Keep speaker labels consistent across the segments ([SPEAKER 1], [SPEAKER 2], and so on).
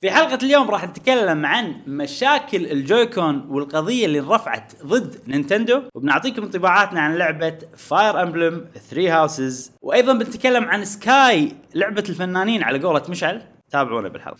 [SPEAKER 1] في حلقة اليوم راح نتكلم عن مشاكل الجويكون والقضية اللي رفعت ضد نينتندو وبنعطيكم انطباعاتنا عن لعبة فاير امبلم ثري هاوسز وايضا بنتكلم عن سكاي لعبة الفنانين على قولة مشعل تابعونا بالحلقة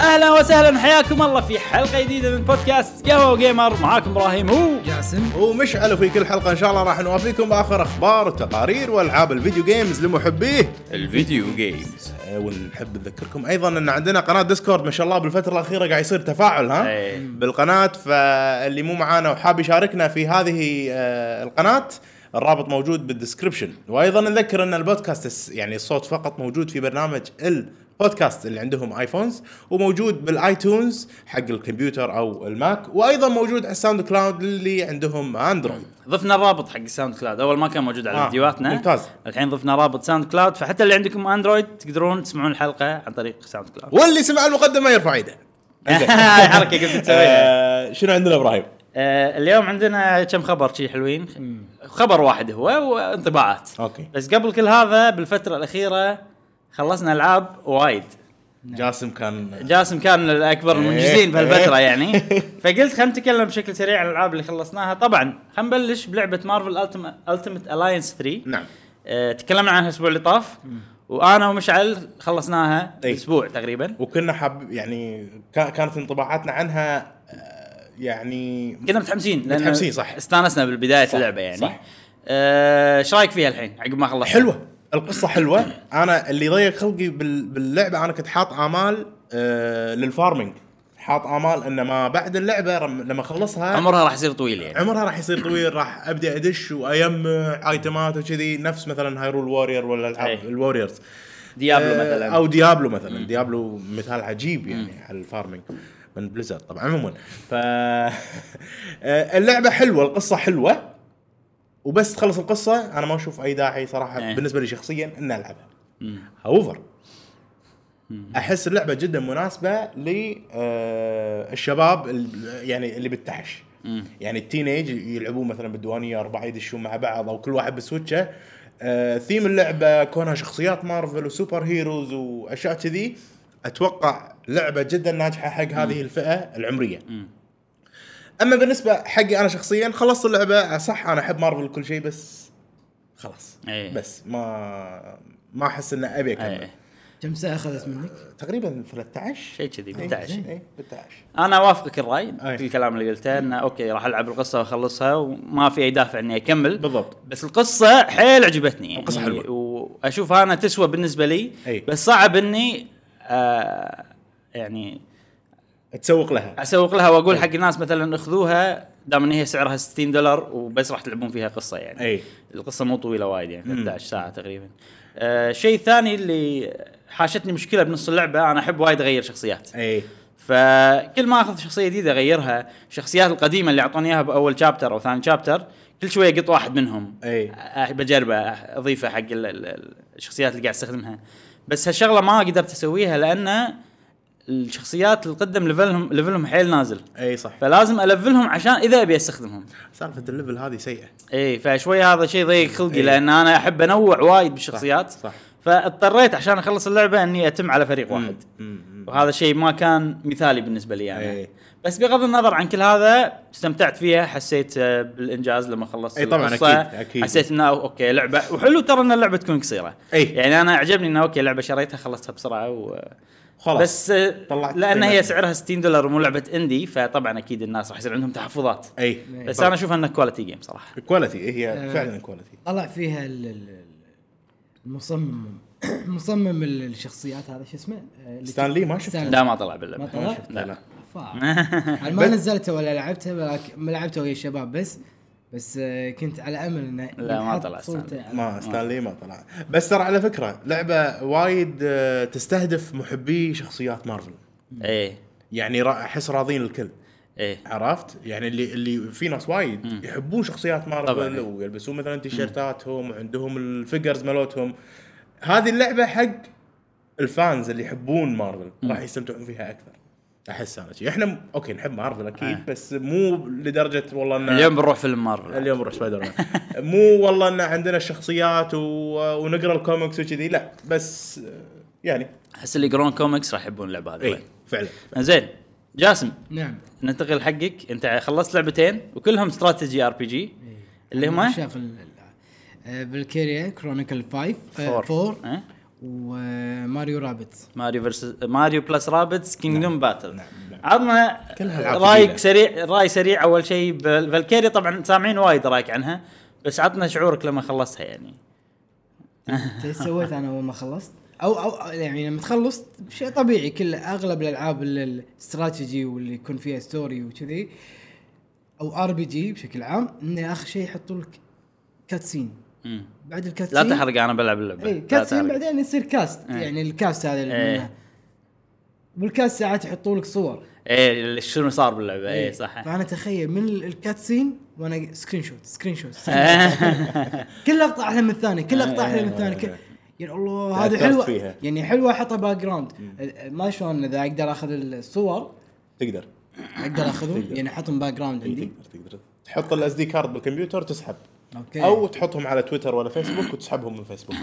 [SPEAKER 1] اهلا وسهلا حياكم الله في حلقة جديدة من بودكاست قهوة جيمر معاكم ابراهيم هو
[SPEAKER 2] جاسم
[SPEAKER 3] ومشعل في كل حلقه ان شاء الله راح نوافيكم باخر اخبار وتقارير والعاب الفيديو جيمز لمحبيه
[SPEAKER 1] الفيديو جيمز
[SPEAKER 3] أه، ونحب نذكركم ايضا ان عندنا قناه ديسكورد ما شاء الله بالفتره الاخيره قاعد يصير تفاعل ها
[SPEAKER 1] إيه.
[SPEAKER 3] بالقناه فاللي مو معانا وحاب يشاركنا في هذه آه، القناه الرابط موجود بالدسكربشن وايضا نذكر ان البودكاست الس- يعني الصوت فقط موجود في برنامج البودكاست اللي عندهم ايفونز وموجود بالايتونز حق الكمبيوتر او الماك وايضا موجود على الساوند كلاود اللي عندهم اندرويد
[SPEAKER 1] ضفنا الرابط حق الساوند كلاود اول ما كان موجود على
[SPEAKER 3] آه،
[SPEAKER 1] فيديوهاتنا
[SPEAKER 3] ممتاز.
[SPEAKER 1] الحين ضفنا رابط ساوند كلاود فحتى اللي عندكم اندرويد تقدرون تسمعون الحلقه عن طريق ساوند كلاود
[SPEAKER 3] واللي سمع المقدمه يرفع ايده
[SPEAKER 1] هاي حركه كنت تسويها
[SPEAKER 3] آه، شنو عندنا ابراهيم؟
[SPEAKER 1] آه، اليوم عندنا كم خبر شي حلوين خبر واحد هو وانطباعات
[SPEAKER 3] اوكي
[SPEAKER 1] بس قبل كل هذا بالفتره الاخيره خلصنا العاب وايد
[SPEAKER 3] جاسم كان
[SPEAKER 1] جاسم كان من
[SPEAKER 3] إيه.
[SPEAKER 1] الاكبر المنجزين بهالفتره يعني فقلت خلينا نتكلم بشكل سريع عن الالعاب اللي خلصناها طبعا خلينا نبلش بلعبه مارفل التيمت الاينس 3
[SPEAKER 3] نعم
[SPEAKER 1] آه، تكلمنا عنها الاسبوع اللي طاف وانا ومشعل خلصناها
[SPEAKER 3] أي.
[SPEAKER 1] اسبوع تقريبا
[SPEAKER 3] وكنا حاب يعني كا- كانت انطباعاتنا عنها آه، يعني
[SPEAKER 1] كنا متحمسين لأن
[SPEAKER 3] متحمسين، صح.
[SPEAKER 1] استانسنا بالبدايه
[SPEAKER 3] صح،
[SPEAKER 1] اللعبه يعني
[SPEAKER 3] صح.
[SPEAKER 1] آه، ايش رايك فيها الحين عقب ما خلصت
[SPEAKER 3] حلوه القصه حلوه انا اللي ضيق خلقي بال- باللعبه انا كنت حاط امال آه، للفارمنج حاط امال ان ما بعد اللعبه رم- لما اخلصها
[SPEAKER 1] عمرها راح يصير طويل يعني
[SPEAKER 3] عمرها راح يصير طويل راح ابدا ادش واجمع ايتمات وكذي نفس مثلا هايرول وورير ولا
[SPEAKER 1] أي.
[SPEAKER 3] العاب الوريرز
[SPEAKER 1] ديابلو
[SPEAKER 3] آه،
[SPEAKER 1] مثلا
[SPEAKER 3] او ديابلو مثلا ديابلو مثال عجيب يعني على الفارمنج من بليزرد طبعا عموما ف آه، اللعبه حلوه القصه حلوه وبس تخلص القصه انا ما اشوف اي داعي صراحه
[SPEAKER 1] إيه.
[SPEAKER 3] بالنسبه لي شخصيا ان العبها
[SPEAKER 1] مم.
[SPEAKER 3] هاوفر احس اللعبه جدا مناسبه للشباب آه، يعني اللي بالتحش
[SPEAKER 1] مم.
[SPEAKER 3] يعني التينيج يلعبون مثلا بالديوانيه اربعه يدشون مع بعض او كل واحد بسويتشه آه، ثيم اللعبه كونها شخصيات مارفل وسوبر هيروز واشياء كذي اتوقع لعبه جدا ناجحه حق هذه الفئه العمريه
[SPEAKER 1] مم.
[SPEAKER 3] اما بالنسبه حقي انا شخصيا خلصت اللعبه صح انا احب مارفل كل شيء بس خلاص
[SPEAKER 1] إيه.
[SPEAKER 3] بس ما ما احس انه ابي اكمل
[SPEAKER 1] إيه.
[SPEAKER 2] كم ساعة اخذت منك؟
[SPEAKER 3] تقريبا 13
[SPEAKER 1] شيء كذي
[SPEAKER 3] إيه،
[SPEAKER 1] 11
[SPEAKER 3] إيه، 11
[SPEAKER 1] انا اوافقك الراي
[SPEAKER 3] أي.
[SPEAKER 1] الكلام اللي قلته انه اوكي راح العب القصه واخلصها وما في اي دافع اني اكمل
[SPEAKER 3] بالضبط.
[SPEAKER 1] بس القصه حيل عجبتني يعني
[SPEAKER 3] القصة حلوة.
[SPEAKER 1] واشوفها انا تسوى بالنسبه لي
[SPEAKER 3] أي.
[SPEAKER 1] بس صعب اني آه يعني
[SPEAKER 3] تسوق لها
[SPEAKER 1] اسوق لها واقول حق الناس مثلا خذوها دام ان هي سعرها 60 دولار وبس راح تلعبون فيها قصه يعني
[SPEAKER 3] اي
[SPEAKER 1] القصه مو طويله وايد يعني
[SPEAKER 3] إيه. مم.
[SPEAKER 1] 11 ساعه تقريبا آه شيء ثاني اللي حاشتني مشكله بنص اللعبه انا احب وايد اغير شخصيات
[SPEAKER 3] اي
[SPEAKER 1] فكل ما اخذ شخصيه جديده اغيرها الشخصيات القديمه اللي اعطوني اياها باول شابتر او ثاني شابتر كل شويه قط واحد منهم
[SPEAKER 3] أي.
[SPEAKER 1] أ- بجربه أ- اضيفه حق ال- ال- الشخصيات اللي قاعد استخدمها بس هالشغله ما قدرت اسويها لان الشخصيات اللي قدم ليفلهم ليفلهم حيل نازل
[SPEAKER 3] اي إيه، صح
[SPEAKER 1] فلازم الفلهم عشان اذا ابي استخدمهم
[SPEAKER 3] سالفه الليفل هذه سيئه
[SPEAKER 1] اي إيه، فشوي هذا شيء ضيق خلقي
[SPEAKER 3] إي.
[SPEAKER 1] لان انا احب انوع وايد بالشخصيات
[SPEAKER 3] إيه. صح.
[SPEAKER 1] فاضطريت عشان اخلص اللعبه اني اتم على فريق واحد
[SPEAKER 3] مم.
[SPEAKER 1] وهذا الشيء ما كان مثالي بالنسبه لي يعني
[SPEAKER 3] إيه.
[SPEAKER 1] بس بغض النظر عن كل هذا استمتعت فيها حسيت آه، بالانجاز لما خلصت
[SPEAKER 3] إيه طبعاً،
[SPEAKER 1] القصة.
[SPEAKER 3] أكيد- أكيد.
[SPEAKER 1] حسيت انه اوكي لعبه وحلو ترى ان اللعبه تكون قصيره
[SPEAKER 3] إيه.
[SPEAKER 1] يعني انا عجبني انه اوكي لعبه شريتها خلصتها بسرعه و...
[SPEAKER 3] خلاص
[SPEAKER 1] بس آه،
[SPEAKER 3] طلعت
[SPEAKER 1] لان هي
[SPEAKER 3] قيمتها.
[SPEAKER 1] سعرها 60 دولار ومو لعبه اندي فطبعا اكيد الناس راح يصير عندهم تحفظات
[SPEAKER 3] اي
[SPEAKER 1] بس انا اشوف انها كواليتي جيم صراحه
[SPEAKER 3] كواليتي إيه، هي
[SPEAKER 2] آه.
[SPEAKER 3] فعلا كواليتي
[SPEAKER 2] طلع فيها ال- ال- ال- المصمم مصمم ال- الشخصيات هذا شو اسمه؟ آه، اللي-
[SPEAKER 3] ستانلي ما شفته.
[SPEAKER 2] ستانلي.
[SPEAKER 1] لا ما طلع
[SPEAKER 2] ما
[SPEAKER 1] باللعبه
[SPEAKER 2] طلع؟
[SPEAKER 1] أه؟ لا لا
[SPEAKER 2] فا. أنا يعني ما
[SPEAKER 3] بس-
[SPEAKER 2] نزلته ولا لعبته ولكن ما لعبته ويا الشباب بس بس آه، كنت على امل انه
[SPEAKER 1] لا، ما
[SPEAKER 2] ينحط
[SPEAKER 1] طلع
[SPEAKER 2] صورته
[SPEAKER 1] ستانلي.
[SPEAKER 2] على-
[SPEAKER 3] ما ستانلي ما طلع بس ترى على فكره لعبه وايد آه، تستهدف محبي شخصيات مارفل
[SPEAKER 1] ايه
[SPEAKER 3] يعني را- احس راضين الكل
[SPEAKER 1] ايه
[SPEAKER 3] عرفت يعني اللي اللي في ناس وايد يحبون شخصيات
[SPEAKER 1] طبعاً.
[SPEAKER 3] مارفل ويلبسون مثلا تيشيرتاتهم وعندهم الفيجرز مالتهم هذه اللعبه حق الفانز اللي يحبون مارفل راح يستمتعون فيها اكثر احس انا شي. احنا م- اوكي نحب مارفل
[SPEAKER 1] آه.
[SPEAKER 3] اكيد بس مو لدرجه والله ان
[SPEAKER 1] اليوم بنروح فيلم مارفل
[SPEAKER 3] اليوم نروح سبايدر مان مو والله ان عندنا الشخصيات و... ونقرا الكوميكس وكذي لا بس آه، يعني
[SPEAKER 1] احس اللي يقرون كوميكس راح يحبون اللعبه هذه
[SPEAKER 3] اي فعلا
[SPEAKER 1] زين جاسم
[SPEAKER 2] نعم
[SPEAKER 1] ننتقل حقك انت خلصت لعبتين وكلهم استراتيجي ار بي جي
[SPEAKER 3] إيه.
[SPEAKER 1] اللي هما
[SPEAKER 2] شاف آه، بالكيريا آه، كرونيكل
[SPEAKER 3] إيه،
[SPEAKER 2] 5
[SPEAKER 1] فور.
[SPEAKER 2] 4
[SPEAKER 1] أه؟
[SPEAKER 2] وماريو آه، رابت
[SPEAKER 1] ماريو فيرس ماريو بلس رابتس كينجدوم باتل
[SPEAKER 3] نعم، نعم.
[SPEAKER 1] عطنا
[SPEAKER 3] كلها ألعاب
[SPEAKER 1] رايك
[SPEAKER 3] جديدة.
[SPEAKER 1] سريع راي سريع اول شيء بال- فالكيري طبعا سامعين وايد رايك عنها بس عطنا شعورك لما خلصتها يعني
[SPEAKER 2] إنت ايش سويت انا اول ما خلصت او او يعني لما تخلص شيء طبيعي كل اغلب الالعاب اللي الاستراتيجي واللي يكون فيها ستوري وكذي او ار بي جي بشكل عام انه اخر شيء يحطوا لك كاتسين
[SPEAKER 1] مم.
[SPEAKER 2] بعد الكاتسين
[SPEAKER 1] لا تحرق انا بلعب اللعبه
[SPEAKER 3] إيه،
[SPEAKER 2] اي
[SPEAKER 1] لا
[SPEAKER 2] كاتسين
[SPEAKER 1] تحرق.
[SPEAKER 2] بعدين يصير كاست
[SPEAKER 1] إيه.
[SPEAKER 2] يعني الكاست هذا اللي
[SPEAKER 1] إيه.
[SPEAKER 2] منه. والكاست ساعات يحطوا لك صور
[SPEAKER 1] اي شنو إيه، صار باللعبه
[SPEAKER 2] إيه.
[SPEAKER 1] اي إيه، صح
[SPEAKER 2] فانا اتخيل من ال- الكاتسين وانا سكرين شوت سكرين شوت كل لقطه احلى من الثانيه كل لقطه احلى من الثانيه كل... يا الله
[SPEAKER 3] إيه،
[SPEAKER 2] هذه
[SPEAKER 3] تأثرت
[SPEAKER 2] حلوه
[SPEAKER 3] فيها.
[SPEAKER 2] يعني حلوه احطها باك جراوند ما شلون اذا اقدر اخذ الصور
[SPEAKER 3] تقدر
[SPEAKER 2] اقدر اخذهم يعني احطهم باك جراوند
[SPEAKER 3] إي،
[SPEAKER 2] عندي
[SPEAKER 3] تقدر تقدر تحط الاس دي كارد بالكمبيوتر تسحب
[SPEAKER 2] اوكي
[SPEAKER 3] او تحطهم على تويتر ولا فيسبوك وتسحبهم من فيسبوك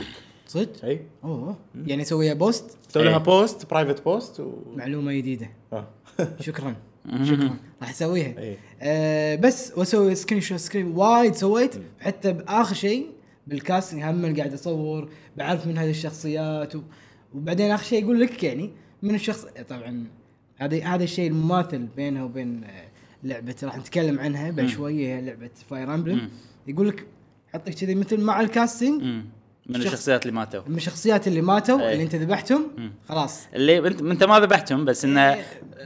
[SPEAKER 2] صدق؟
[SPEAKER 3] اي
[SPEAKER 2] اوه يعني اسويها بوست
[SPEAKER 3] تسوي لها
[SPEAKER 1] إي.
[SPEAKER 3] بوست برايفت بوست و...
[SPEAKER 2] معلومه جديده
[SPEAKER 3] آه.
[SPEAKER 2] شكرا شكرا راح اسويها
[SPEAKER 3] إيه.
[SPEAKER 2] آه بس واسوي سكرين شوت سكرين وايد سويت حتى باخر شيء بالكاست هم قاعد اصور بعرف من هذه الشخصيات و... وبعدين اخر شيء يقول لك يعني من الشخص طبعا هذا هذا الشيء المماثل بينها وبين آه، لعبه راح نتكلم عنها بعد شويه هي لعبه فاير امبلم يقول لك حطك كذي مثل مع الكاستنج
[SPEAKER 1] مم. من
[SPEAKER 2] شخص-
[SPEAKER 1] الشخصيات اللي ماتوا
[SPEAKER 2] من الشخصيات اللي ماتوا
[SPEAKER 1] إيه.
[SPEAKER 2] اللي انت ذبحتهم خلاص
[SPEAKER 1] اللي انت انت ما ذبحتهم بس انه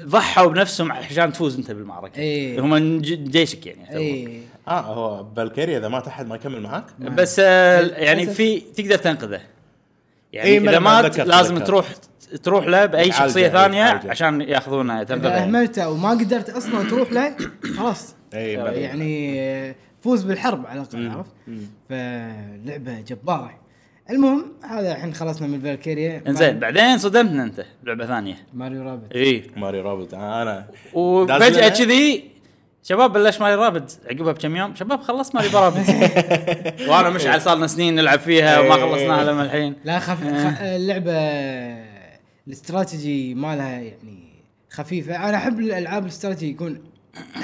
[SPEAKER 1] ضحوا بنفسهم عشان تفوز انت بالمعركه
[SPEAKER 2] إيه.
[SPEAKER 1] هم من ج- جيشك يعني يعتبرون.
[SPEAKER 2] اي
[SPEAKER 3] اه هو فالكيريا اذا مات احد ما يكمل معاك
[SPEAKER 1] بس آه، يعني
[SPEAKER 2] للأسف.
[SPEAKER 1] في تقدر تنقذه يعني
[SPEAKER 3] إيه، ما
[SPEAKER 1] اذا
[SPEAKER 3] أنا ما
[SPEAKER 1] مات
[SPEAKER 3] ذكرت
[SPEAKER 1] لازم
[SPEAKER 3] ذكرت.
[SPEAKER 1] تروح تروح له باي
[SPEAKER 3] يتعالج،
[SPEAKER 1] شخصيه
[SPEAKER 3] إيه،
[SPEAKER 1] ثانيه
[SPEAKER 3] يتعالج.
[SPEAKER 1] عشان ياخذونه
[SPEAKER 2] اذا
[SPEAKER 1] تنقذه
[SPEAKER 2] اهملته وما قدرت اصلا تروح له خلاص
[SPEAKER 3] اي بعدين.
[SPEAKER 2] يعني فوز بالحرب على الاقل عرفت فلعبه جباره المهم هذا الحين خلصنا من فالكيريا
[SPEAKER 1] انزين إيه. بعدين صدمتنا انت بلعبه ثانيه
[SPEAKER 2] ماريو رابط
[SPEAKER 1] اي
[SPEAKER 3] ماري روبرت آه، انا
[SPEAKER 1] وفجاه
[SPEAKER 3] دازلنا.
[SPEAKER 1] كذي شباب بلش ماري رابد عقبها بكم يوم شباب خلص ماري رابد وانا مش على صار لنا سنين نلعب فيها
[SPEAKER 3] إيه.
[SPEAKER 1] وما خلصناها لما الحين
[SPEAKER 2] لا خف... خ... اللعبه الاستراتيجي مالها يعني خفيفه انا احب الالعاب الاستراتيجي يكون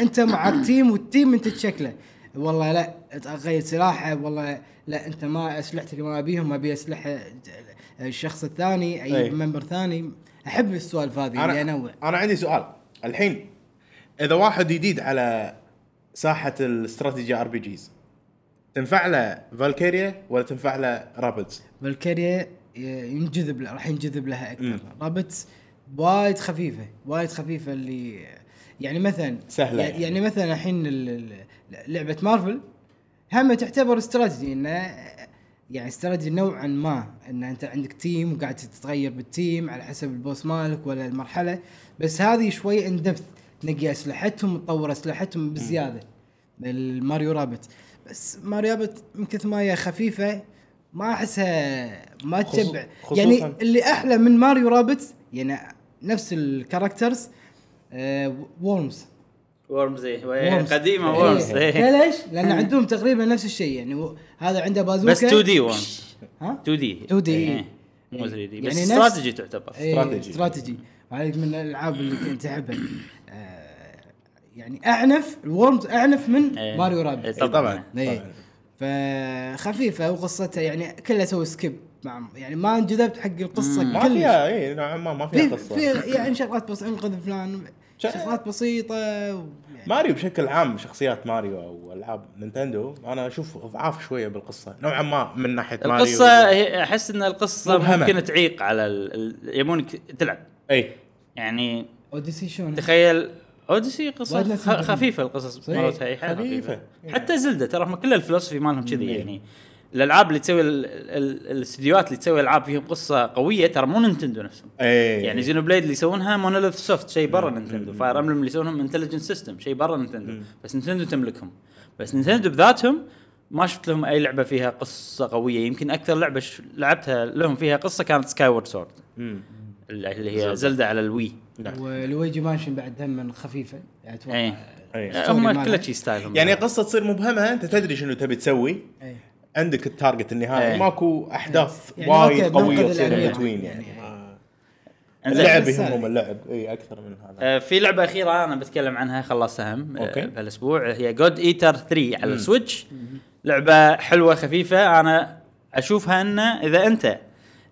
[SPEAKER 2] انت معك تيم والتيم انت تشكله والله لا تغير سلاحه والله لا انت ما اسلحتك ما ابيهم ابي اسلحه الشخص الثاني اي
[SPEAKER 3] أي.
[SPEAKER 2] ممبر ثاني احب السوالف هذه اللي انوع
[SPEAKER 3] انا انا عندي سؤال الحين اذا واحد جديد على ساحه الاستراتيجي ار بي جيز تنفع له فالكيريا ولا تنفع له رابدز؟
[SPEAKER 2] فالكاريا ينجذب لها راح ينجذب لها اكثر رابط وايد خفيفه وايد خفيفه اللي يعني مثلا
[SPEAKER 3] سهلة
[SPEAKER 2] يعني,
[SPEAKER 3] يعني.
[SPEAKER 2] يعني مثلا الحين ال- ال- لعبه مارفل هم تعتبر استراتيجي انه يعني استراتيجي نوعا ما ان انت عندك تيم وقاعد تتغير بالتيم على حسب البوس مالك ولا المرحله بس هذه شوي اندبث تنقي اسلحتهم وتطور اسلحتهم بزياده الماريو رابت بس ماريو رابت من كثر ما هي خفيفه ما احسها ما
[SPEAKER 3] خصو-
[SPEAKER 2] تشبع
[SPEAKER 3] خصوصاً-
[SPEAKER 2] يعني اللي احلى من ماريو رابت يعني نفس الكاركترز آه وورمز
[SPEAKER 1] وورمز اي
[SPEAKER 2] Worms.
[SPEAKER 1] قديمه
[SPEAKER 2] إيه.
[SPEAKER 1] وورمز إيه.
[SPEAKER 2] ليش؟ لان عندهم تقريبا نفس الشيء يعني و- هذا عنده بازوكا
[SPEAKER 1] بس 2 دي وورمز
[SPEAKER 2] ها؟
[SPEAKER 1] 2 دي
[SPEAKER 2] 2D.
[SPEAKER 1] إيه. مو 3 دي
[SPEAKER 2] يعني
[SPEAKER 1] بس
[SPEAKER 2] نفس-
[SPEAKER 1] استراتيجي تعتبر
[SPEAKER 2] إيه،
[SPEAKER 3] استراتيجي.
[SPEAKER 2] استراتيجي هذه من الالعاب اللي كنت احبها آه يعني اعنف الورمز اعنف من
[SPEAKER 1] إيه.
[SPEAKER 2] ماريو
[SPEAKER 1] إيه،
[SPEAKER 2] رابت
[SPEAKER 3] إي
[SPEAKER 1] طبعاً.
[SPEAKER 2] ايه فخفيفه وقصتها يعني كلها اسوي سكيب مع يعني ما انجذبت حق القصه
[SPEAKER 3] ما
[SPEAKER 2] كلش.
[SPEAKER 3] فيها اي نوعا ما ما فيها
[SPEAKER 2] في
[SPEAKER 3] قصه
[SPEAKER 2] في يعني شغلات بس انقذ فلان
[SPEAKER 3] شا-
[SPEAKER 2] شغلات بسيطه ويعني-
[SPEAKER 3] ماريو بشكل عام شخصيات ماريو او العاب نينتندو انا اشوف ضعاف شويه بالقصه نوعا ما من ناحيه ماريو
[SPEAKER 1] القصه هي- احس ان القصه
[SPEAKER 3] مبهمة.
[SPEAKER 1] ممكن تعيق على ال- ال- يبونك تلعب
[SPEAKER 3] اي
[SPEAKER 1] يعني
[SPEAKER 2] اوديسي شلون
[SPEAKER 1] تخيل اوديسي
[SPEAKER 2] وايد
[SPEAKER 1] قصه
[SPEAKER 2] ناس
[SPEAKER 1] خ-
[SPEAKER 2] يحبونها.
[SPEAKER 1] خفيفه القصص
[SPEAKER 2] صحيح.
[SPEAKER 1] مالتها هي حيل
[SPEAKER 3] خفيفة.
[SPEAKER 1] خفيفه حتى زلده ترى هم كل الفلسفي مالهم كذي
[SPEAKER 3] إيه.
[SPEAKER 1] يعني الالعاب اللي تسوي ال- ال- الاستديوهات اللي تسوي العاب فيهم قصه قويه ترى مو نينتندو نفسهم
[SPEAKER 3] اي
[SPEAKER 1] يعني زينو بليد اللي يسوونها مونوليث سوفت شيء برا نينتندو فاير امبلم اللي يسوونهم انتليجنت سيستم شيء برا نينتندو بس نينتندو تملكهم بس نينتندو بذاتهم ما شفت لهم اي لعبه فيها قصه قويه يمكن اكثر لعبه ش... لعبتها لهم فيها قصه كانت سكاي وورد سورد
[SPEAKER 3] مم.
[SPEAKER 1] اللي هي زلدة على الوي
[SPEAKER 3] نعم.
[SPEAKER 2] ولويجي مانشن بعد هم خفيفه يعني
[SPEAKER 1] إيه.
[SPEAKER 2] اتوقع
[SPEAKER 3] أي.
[SPEAKER 2] السوري
[SPEAKER 1] هم
[SPEAKER 2] ماله.
[SPEAKER 1] كلها شي ستايلهم
[SPEAKER 3] يعني قصه تصير مبهمه انت تدري شنو تبي تسوي
[SPEAKER 2] إيه.
[SPEAKER 3] عندك التارجت النهائي
[SPEAKER 1] إيه.
[SPEAKER 3] ماكو احداث
[SPEAKER 2] يعني
[SPEAKER 3] وايد
[SPEAKER 2] أوكي،
[SPEAKER 3] قويه
[SPEAKER 2] منقذ
[SPEAKER 3] تصير
[SPEAKER 2] الأميرة.
[SPEAKER 3] بتوين يعني
[SPEAKER 1] إنزين.
[SPEAKER 3] اللعب
[SPEAKER 2] بس
[SPEAKER 3] يهمهم
[SPEAKER 2] هذه.
[SPEAKER 3] اللعب اي اكثر من هذا
[SPEAKER 1] آه، في لعبه اخيره انا بتكلم عنها خلصتها هم آه،
[SPEAKER 3] أوكي.
[SPEAKER 1] بهالاسبوع هي جود ايتر 3 على السويتش لعبه حلوه خفيفه انا اشوفها انه اذا انت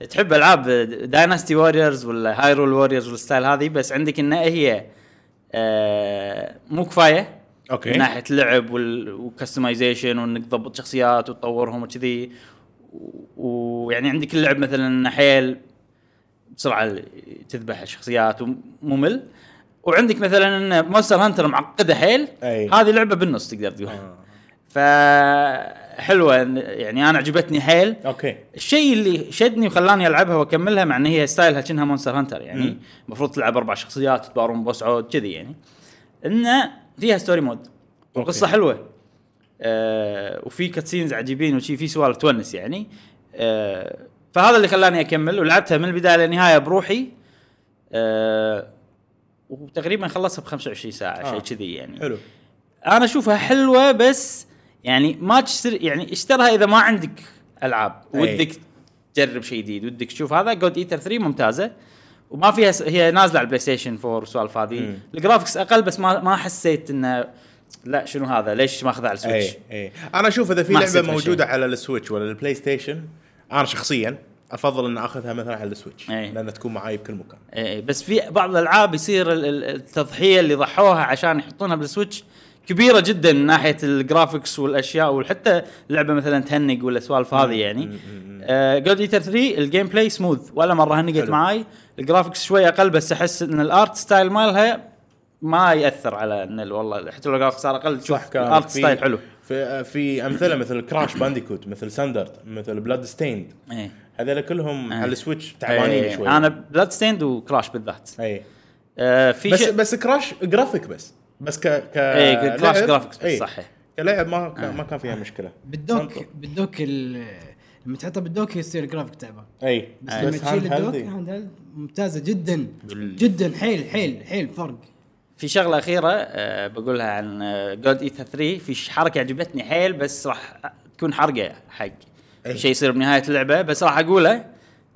[SPEAKER 1] تحب العاب دايناستي ووريرز ولا هايرول ووريرز والستايل هذه بس عندك انها هي آه، مو كفايه
[SPEAKER 3] اوكي
[SPEAKER 1] من ناحيه لعب وال- وكستمايزيشن وانك تضبط شخصيات وتطورهم وكذي و- ويعني عندك اللعب مثلا إنه حيل بسرعه تذبح الشخصيات وممل وعندك مثلا ان مونستر هانتر معقده حيل
[SPEAKER 3] أي.
[SPEAKER 1] هذه لعبه بالنص تقدر تقول فحلوه يعني انا عجبتني حيل
[SPEAKER 3] اوكي
[SPEAKER 1] الشيء اللي شدني وخلاني العبها واكملها مع ان هي ستايلها كأنها مونستر هانتر
[SPEAKER 3] مم.
[SPEAKER 1] يعني المفروض تلعب اربع شخصيات تبارون بوس عود كذي يعني انه فيها ستوري مود وقصه
[SPEAKER 3] أوكي.
[SPEAKER 1] حلوه آه وفي كاتسينز عجيبين وشي في سوالف تونس يعني آه فهذا اللي خلاني اكمل ولعبتها من البدايه للنهايه بروحي آه وتقريبا خلصها ب 25 ساعه
[SPEAKER 3] آه.
[SPEAKER 1] شيء كذي يعني
[SPEAKER 3] حلو
[SPEAKER 1] انا اشوفها حلوه بس يعني ما تشتري يعني اشترها اذا ما عندك العاب
[SPEAKER 3] أي.
[SPEAKER 1] ودك تجرب شيء جديد ودك تشوف هذا جود ايتر 3 ممتازه وما فيها س... هي نازله على البلاي ستيشن 4 والسوالف هذه
[SPEAKER 3] مم.
[SPEAKER 1] الجرافكس اقل بس ما ما حسيت انه لا شنو هذا ليش ماخذها على السويتش
[SPEAKER 3] اي اي انا اشوف اذا في
[SPEAKER 1] ما
[SPEAKER 3] لعبه
[SPEAKER 1] حسيت
[SPEAKER 3] موجوده على السويتش ولا البلاي ستيشن انا شخصيا افضل ان اخذها مثلا على السويتش
[SPEAKER 1] أي.
[SPEAKER 3] لان تكون معاي بكل مكان
[SPEAKER 1] إيه، بس في بعض الالعاب يصير ال- ال- التضحيه اللي ضحوها عشان يحطونها بالسويتش كبيره جدا من ناحيه الجرافكس والاشياء وحتى اللعبه مثلا تهنق والسوالف هذه يعني جود ايتر 3 الجيم بلاي سموث ولا مره هنقت
[SPEAKER 3] حلو.
[SPEAKER 1] معاي الجرافكس شوي اقل بس احس ان الارت ستايل مالها ما ياثر على ان ال- والله حتى لو الجرافكس صار اقل تشوف
[SPEAKER 3] كان
[SPEAKER 1] الارت
[SPEAKER 3] في-
[SPEAKER 1] ستايل حلو
[SPEAKER 3] في في امثله مثل كراش بانديكوت مثل ساندرد مثل بلاد ستيند
[SPEAKER 1] ايه
[SPEAKER 3] هذول كلهم على السويتش
[SPEAKER 1] إيه،
[SPEAKER 3] تعبانين شوي
[SPEAKER 1] انا بلاد ستيند وكراش بالذات
[SPEAKER 3] اي
[SPEAKER 1] آه، في
[SPEAKER 3] بس
[SPEAKER 1] شيء-
[SPEAKER 3] بس كراش جرافيك بس بس ك ك
[SPEAKER 1] إيه، كراش
[SPEAKER 3] لعب-
[SPEAKER 1] جرافيكس بس، آه.
[SPEAKER 3] إيه.
[SPEAKER 1] صحيح.
[SPEAKER 3] كلعب ما كان ما كان فيها مشكله
[SPEAKER 2] بالدوك
[SPEAKER 3] منطق.
[SPEAKER 2] بالدوك ال- لما تحطه بالدوك يصير جرافيك تعبان
[SPEAKER 3] اي
[SPEAKER 2] بس لما تشيل
[SPEAKER 3] hand held
[SPEAKER 2] الدوك يعني.
[SPEAKER 3] إيه.
[SPEAKER 2] هاند هيلد ممتازه جدا جدا حيل حيل حيل فرق
[SPEAKER 1] في شغله اخيره أه بقولها عن آه، جود ايثر 3 في ش- حركه عجبتني حيل بس راح تكون حرقه حق
[SPEAKER 3] أي.
[SPEAKER 1] شيء يصير بنهايه اللعبه بس راح اقوله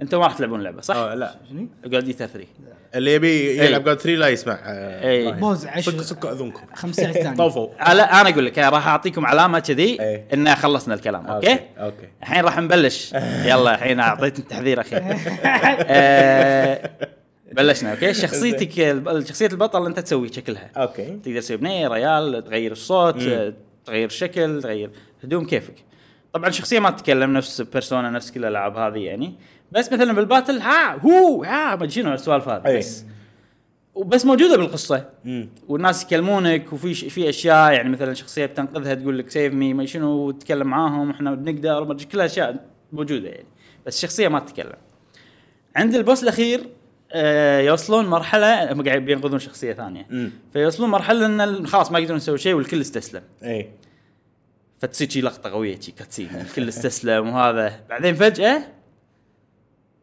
[SPEAKER 1] انتم ما راح تلعبون اللعبه صح؟
[SPEAKER 3] اه لا
[SPEAKER 2] شنو؟
[SPEAKER 1] جود ايثر 3
[SPEAKER 3] اللي يبي يلعب
[SPEAKER 1] إيه.
[SPEAKER 3] جود 3 لا يسمع آه،
[SPEAKER 1] إيه.
[SPEAKER 3] رايح.
[SPEAKER 2] بوز
[SPEAKER 3] سكوا
[SPEAKER 2] 10
[SPEAKER 3] سكوا اذنكم
[SPEAKER 2] 15 ثانيه
[SPEAKER 3] طوفوا
[SPEAKER 1] على انا اقول لك أنا راح اعطيكم علامه كذي
[SPEAKER 3] أي.
[SPEAKER 1] ان خلصنا الكلام
[SPEAKER 3] آه،
[SPEAKER 1] اوكي؟
[SPEAKER 3] اوكي
[SPEAKER 1] الحين راح نبلش يلا الحين اعطيت التحذير اخير أه بلشنا اوكي شخصيتك الب- شخصيه البطل انت تسوي شكلها
[SPEAKER 3] اوكي
[SPEAKER 1] تقدر تسوي بنيه ريال تغير الصوت
[SPEAKER 3] مم.
[SPEAKER 1] آه، تغير الشكل تغير هدوم كيفك طبعا الشخصيه ما تتكلم نفس بيرسونا نفس كل الالعاب هذه يعني بس مثلا بالباتل ها هو ها ما شنو السوالف هذه
[SPEAKER 3] أي.
[SPEAKER 1] بس وبس موجوده بالقصه
[SPEAKER 3] مم.
[SPEAKER 1] والناس يكلمونك وفي ش- في اشياء يعني مثلا شخصيه بتنقذها تقول لك سيف مي ما شنو وتتكلم معاهم احنا بنقدر ما أدري، كل اشياء موجوده يعني بس الشخصيه ما تتكلم عند البوس الاخير آه، يوصلون مرحله هم قاعد بينقذون شخصيه ثانيه
[SPEAKER 3] مم.
[SPEAKER 1] فيوصلون مرحله ان ال- خلاص ما يقدرون يسوي شيء والكل استسلم
[SPEAKER 3] اي
[SPEAKER 1] فتصير شي لقطه قويه شي كاتسين الكل استسلم وهذا بعدين فجاه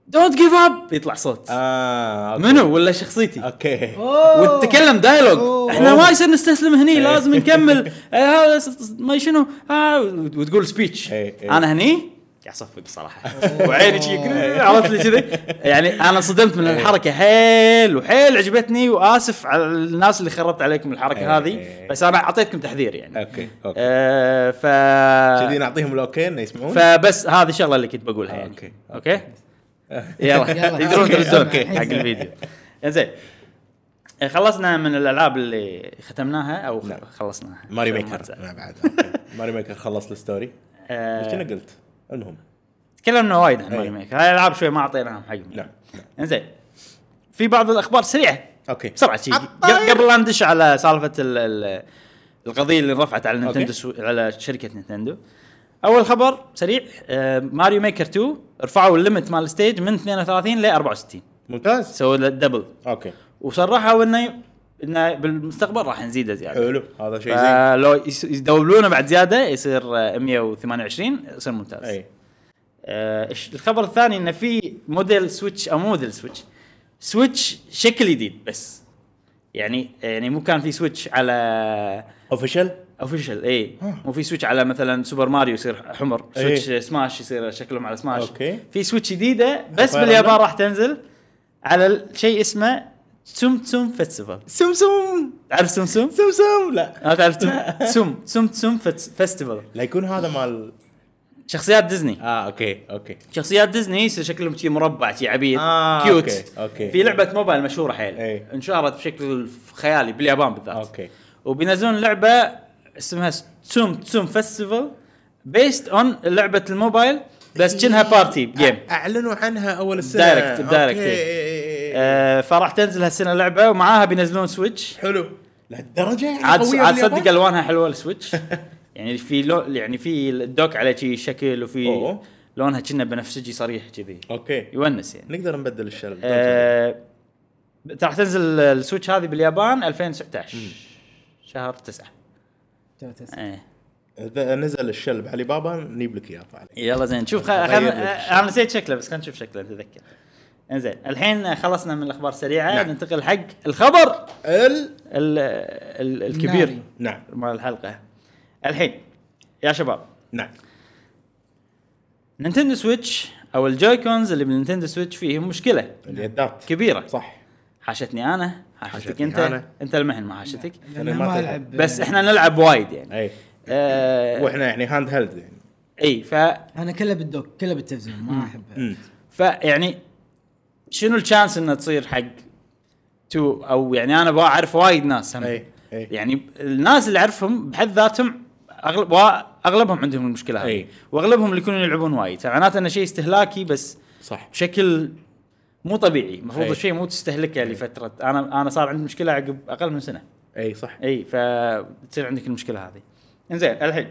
[SPEAKER 1] دونت جيف اب يطلع صوت
[SPEAKER 3] اه أوكي.
[SPEAKER 1] منو ولا شخصيتي
[SPEAKER 3] اوكي
[SPEAKER 1] وتتكلم دايلوج
[SPEAKER 2] أوه.
[SPEAKER 1] احنا ما يصير نستسلم هني
[SPEAKER 3] إيه.
[SPEAKER 1] لازم نكمل آه، هذا س- س- ما شنو آه، وتقول سبيتش
[SPEAKER 3] إيه، إيه.
[SPEAKER 1] انا هني قاعد اصفق صراحه وعيني شي عرفت لي كذي يعني انا صدمت
[SPEAKER 3] إيه.
[SPEAKER 1] من الحركه حيل وحيل عجبتني واسف على الناس اللي خربت عليكم
[SPEAKER 3] إيه،
[SPEAKER 1] الحركه هذه
[SPEAKER 3] إيه.
[SPEAKER 1] بس انا اعطيتكم تحذير يعني
[SPEAKER 3] اوكي اوكي
[SPEAKER 1] آه ف
[SPEAKER 3] كذي نعطيهم الاوكي انه يسمعون
[SPEAKER 1] فبس هذه الشغله اللي كنت بقولها يعني
[SPEAKER 3] آه، أوكي.
[SPEAKER 1] اوكي يلا
[SPEAKER 2] يلا.
[SPEAKER 1] يقدرون
[SPEAKER 2] أوكي.
[SPEAKER 1] يدرسون
[SPEAKER 2] أوكي.
[SPEAKER 1] حق الفيديو زين خلصنا من الالعاب اللي ختمناها او
[SPEAKER 3] نعم.
[SPEAKER 1] خلصناها
[SPEAKER 3] ماري
[SPEAKER 1] عشان ما
[SPEAKER 3] ميكر
[SPEAKER 1] تزعل.
[SPEAKER 3] ما بعد أوكي. ماري ميكر خلص الستوري
[SPEAKER 1] آه،
[SPEAKER 3] ايش انا قلت؟ المهم
[SPEAKER 1] تكلمنا وايد عن
[SPEAKER 3] إيه.
[SPEAKER 1] ماري ميكر هاي الالعاب شوي ما اعطيناهم حقهم
[SPEAKER 3] نعم
[SPEAKER 1] انزين في بعض الاخبار سريعه
[SPEAKER 3] اوكي
[SPEAKER 1] بسرعه شي
[SPEAKER 3] عالطير.
[SPEAKER 1] قبل لا ندش على سالفه ال ال القضيه اللي رفعت على نينتندو
[SPEAKER 3] أوكي.
[SPEAKER 1] سو... على شركه نينتندو اول خبر سريع آه، ماريو ميكر 2 رفعوا الليمت مال الستيج من 32 ل 64
[SPEAKER 3] ممتاز
[SPEAKER 1] سووا له دبل
[SPEAKER 3] اوكي
[SPEAKER 1] وصرحوا انه انه بالمستقبل راح نزيده زياده
[SPEAKER 3] حلو هذا شيء زين
[SPEAKER 1] فلو يس- يدولونه بعد زياده يصير آه، 128 يصير ممتاز
[SPEAKER 3] اي
[SPEAKER 1] آه، الش- الخبر الثاني انه في موديل سويتش او مو موديل سويتش سويتش شكل جديد بس يعني يعني مو كان في سويتش على
[SPEAKER 3] اوفيشال
[SPEAKER 1] اوفيشال اي مو في سويتش على مثلا سوبر ماريو يصير حمر
[SPEAKER 3] آه. إيه.
[SPEAKER 1] سويتش سماش يصير شكلهم على سماش
[SPEAKER 3] أوكي.
[SPEAKER 1] في سويتش جديده بس
[SPEAKER 3] فاير
[SPEAKER 1] باليابان
[SPEAKER 3] أمبلم؟
[SPEAKER 1] راح تنزل على شيء اسمه تسوم تسوم فيستيفال
[SPEAKER 3] سمسم
[SPEAKER 1] تعرف سوم سوم؟
[SPEAKER 3] سمسم لا
[SPEAKER 1] ما تعرف تسوم تسوم تسوم تسوم فيتس- فيستيفال
[SPEAKER 3] لا يكون هذا مال
[SPEAKER 1] شخصيات ديزني
[SPEAKER 3] اه اوكي اوكي
[SPEAKER 1] شخصيات ديزني يصير شكلهم شي مربع شي عبيد
[SPEAKER 3] آه،
[SPEAKER 1] كيوت
[SPEAKER 3] أوكي، أوكي. إيه.
[SPEAKER 1] في لعبه موبايل مشهوره حيل
[SPEAKER 3] إي.
[SPEAKER 1] انشهرت بشكل خيالي باليابان بالذات
[SPEAKER 3] اوكي
[SPEAKER 1] وبينزلون لعبه اسمها تسوم تسوم فيستيفال بيست اون لعبه الموبايل بس كأنها
[SPEAKER 3] إيه.
[SPEAKER 1] بارتي جيم
[SPEAKER 3] أ- اعلنوا عنها اول السنه
[SPEAKER 1] دايركت- دايركت،
[SPEAKER 3] أوكي.
[SPEAKER 1] إيه.
[SPEAKER 3] إيه، إيه.
[SPEAKER 1] آه فراح تنزل هالسنه لعبه ومعاها بينزلون سويتش
[SPEAKER 3] حلو لهالدرجه يعني
[SPEAKER 1] عاد
[SPEAKER 3] قوية
[SPEAKER 1] عاد
[SPEAKER 3] باليابان؟
[SPEAKER 1] صدق الوانها حلوه السويتش يعني في لو يعني في الدوك على شي شكل وفي
[SPEAKER 3] أوه.
[SPEAKER 1] لونها كنا بنفسجي صريح كذي
[SPEAKER 3] اوكي
[SPEAKER 1] يونس يعني
[SPEAKER 3] نقدر نبدل الشلل
[SPEAKER 1] آه، راح تنزل السويتش هذه باليابان 2019 شهر 9 ايه
[SPEAKER 3] اذا نزل الشلب علي بابا نجيب لك اياه طالع
[SPEAKER 1] يلا زين شوف خل... خل...
[SPEAKER 3] غير لك
[SPEAKER 1] انا نسيت شكله بس خلينا نشوف شكله نتذكر انزين الحين خلصنا من الاخبار السريعه
[SPEAKER 3] نعم.
[SPEAKER 1] نعم. ننتقل حق الخبر
[SPEAKER 3] ال
[SPEAKER 1] ال... ال... الكبير
[SPEAKER 2] ناري.
[SPEAKER 3] نعم
[SPEAKER 1] مال الحلقه الحين يا شباب
[SPEAKER 3] نعم
[SPEAKER 1] نينتندو سويتش او الجويكونز اللي بالنينتندو سويتش فيهم مشكله
[SPEAKER 3] اليدات
[SPEAKER 1] كبيره
[SPEAKER 3] صح
[SPEAKER 1] حاشتني انا حاشتك
[SPEAKER 3] حاشتني
[SPEAKER 1] انت
[SPEAKER 3] أنا.
[SPEAKER 1] انت المحن ما حاشتك
[SPEAKER 2] لأنه
[SPEAKER 3] ما
[SPEAKER 2] ما
[SPEAKER 3] تلعب.
[SPEAKER 2] العب
[SPEAKER 1] بس احنا نلعب وايد يعني
[SPEAKER 3] اي
[SPEAKER 1] آه،
[SPEAKER 3] واحنا يعني هاند هيلد يعني
[SPEAKER 1] اي ف
[SPEAKER 2] انا كله بالدوك كله بالتلفزيون ما احب
[SPEAKER 3] مم.
[SPEAKER 1] فيعني يعني شنو الشانس انها تصير حق تو او يعني انا بعرف وايد ناس هم
[SPEAKER 3] أي، أي.
[SPEAKER 1] يعني الناس اللي اعرفهم بحد ذاتهم اغلب اغلبهم عندهم المشكله هذه
[SPEAKER 3] أي.
[SPEAKER 1] واغلبهم اللي يكونون يلعبون وايد فمعناته انه شيء استهلاكي بس
[SPEAKER 3] صح
[SPEAKER 1] بشكل مو طبيعي المفروض
[SPEAKER 3] أي.
[SPEAKER 1] الشيء مو تستهلكه لفتره انا انا صار عندي مشكله عقب اقل من سنه
[SPEAKER 3] اي صح
[SPEAKER 1] اي فتصير عندك المشكله هذه انزين الحين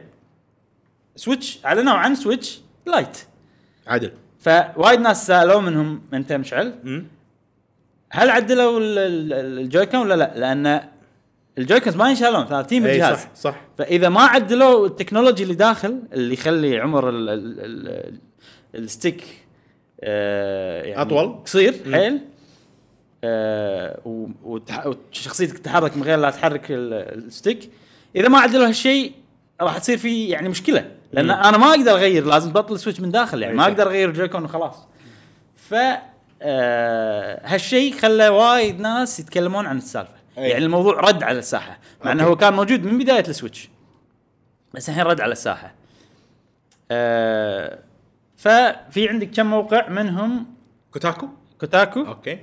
[SPEAKER 1] سويتش اعلنوا عن سويتش لايت
[SPEAKER 3] عدل
[SPEAKER 1] فوايد ناس سالوا منهم انت مشعل
[SPEAKER 3] مم.
[SPEAKER 1] هل عدلوا ال- ال- ال- الجويكون ولا لا؟ لان الجويكونز ما ينشالون ثابتين
[SPEAKER 3] اي
[SPEAKER 1] بالجهاز
[SPEAKER 3] صح صح
[SPEAKER 1] فاذا ما عدلوا التكنولوجي اللي داخل اللي يخلي عمر ال ال ال الستيك آه يعني
[SPEAKER 3] أطول.
[SPEAKER 1] قصير
[SPEAKER 3] مم.
[SPEAKER 1] حيل آه و- وتح- وشخصيتك تتحرك من غير لا تحرك ال- الستيك اذا ما عدلوا هالشيء راح تصير في يعني مشكله لان
[SPEAKER 3] مم.
[SPEAKER 1] انا ما اقدر اغير لازم بطل السويتش من داخل يعني
[SPEAKER 3] أي
[SPEAKER 1] ما
[SPEAKER 3] صح.
[SPEAKER 1] اقدر اغير الجويكون وخلاص ف آه، هالشيء خلى وايد ناس يتكلمون عن السالفه
[SPEAKER 3] أي.
[SPEAKER 1] يعني الموضوع رد على الساحه مع انه
[SPEAKER 3] أوكي.
[SPEAKER 1] هو كان موجود من بدايه السويتش بس الحين رد على الساحه آه ففي عندك كم موقع منهم
[SPEAKER 3] كوتاكو
[SPEAKER 1] كوتاكو
[SPEAKER 3] اوكي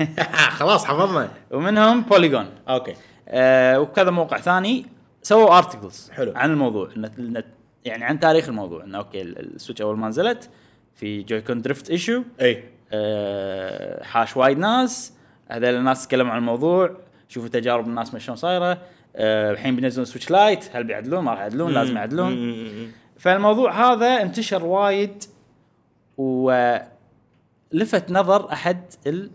[SPEAKER 3] خلاص حفظنا
[SPEAKER 1] ومنهم بوليجون
[SPEAKER 3] اوكي
[SPEAKER 1] آه وكذا موقع ثاني سووا ارتكلز
[SPEAKER 3] حلو.
[SPEAKER 1] عن الموضوع إن- إن- يعني عن تاريخ الموضوع انه اوكي ال- السويتش اول ما نزلت في جويكون درفت ايشو
[SPEAKER 3] اي
[SPEAKER 1] آه، حاش وايد ناس هذول الناس تكلموا عن الموضوع شوفوا تجارب الناس ما شلون صايره آه، الحين بينزلون سويتش لايت هل بيعدلون ما راح يعدلون لازم يعدلون
[SPEAKER 3] مم.
[SPEAKER 1] فالموضوع هذا انتشر وايد ولفت نظر احد ال-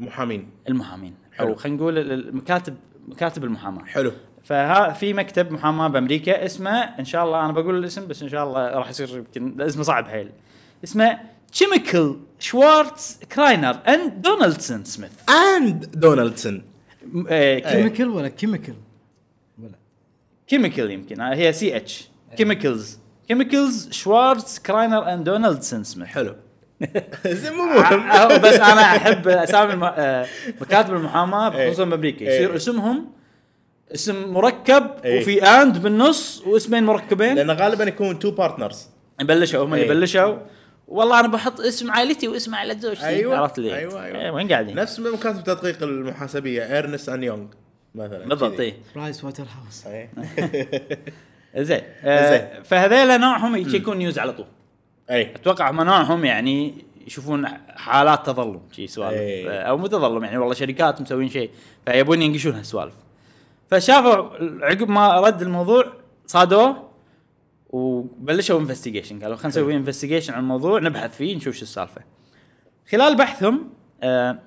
[SPEAKER 3] محامين
[SPEAKER 1] المحامين
[SPEAKER 3] حلو.
[SPEAKER 1] او خلينا نقول ال- المكاتب مكاتب المحاماه
[SPEAKER 3] حلو
[SPEAKER 1] فها في مكتب محاماه بامريكا اسمه ان شاء الله انا بقول الاسم بس ان شاء الله راح يصير يمكن اسمه صعب حيل اسمه كيميكال شوارتز كراينر اند دونالدسون سميث
[SPEAKER 3] اند دونالدسون
[SPEAKER 1] م- آه،
[SPEAKER 3] إيه.
[SPEAKER 1] كي-
[SPEAKER 2] كيميكال ولا كيميكال ولا
[SPEAKER 1] كيميكال يمكن آه، هي سي اتش
[SPEAKER 3] إيه.
[SPEAKER 1] كيميكالز كيميكالز شوارتز كراينر اند دونالدسون سميث
[SPEAKER 3] حلو زين مو
[SPEAKER 1] آه،
[SPEAKER 3] مهم
[SPEAKER 1] بس انا احب اسامي الم- آه، مكاتب المحاماه خصوصا بامريكا
[SPEAKER 3] إيه.
[SPEAKER 1] يصير اسمهم اسم مركب
[SPEAKER 3] إيه.
[SPEAKER 1] وفي اند بالنص واسمين مركبين
[SPEAKER 3] لان غالبا يكون تو بارتنرز
[SPEAKER 1] بلشوا هم اللي
[SPEAKER 3] أي.
[SPEAKER 1] بلشوا والله انا بحط اسم عائلتي واسم عائله زوجتي
[SPEAKER 3] أيوة.
[SPEAKER 1] عرفت لي
[SPEAKER 3] أيوة، أيوة.
[SPEAKER 1] إيه، وين قاعدين
[SPEAKER 3] نفس من مكاتب تدقيق المحاسبيه ايرنست ان يونغ مثلا
[SPEAKER 1] بالضبط إيه.
[SPEAKER 3] كذي.
[SPEAKER 1] اي
[SPEAKER 2] برايس ووتر هاوس
[SPEAKER 3] اي
[SPEAKER 1] زين آه
[SPEAKER 3] زين.
[SPEAKER 1] فهذيلا نوعهم يشيكون نيوز على طول
[SPEAKER 3] اي
[SPEAKER 1] اتوقع هم نوعهم يعني يشوفون حالات تظلم شي سوالف
[SPEAKER 3] أي.
[SPEAKER 1] آه، او مو تظلم يعني والله شركات مسوين شيء فيبون ينقشون هالسوالف فشافوا عقب ما رد الموضوع صادوه وبلشوا انفستيجيشن قالوا خلينا نسوي انفستيجيشن عن الموضوع نبحث فيه نشوف شو السالفه خلال بحثهم آه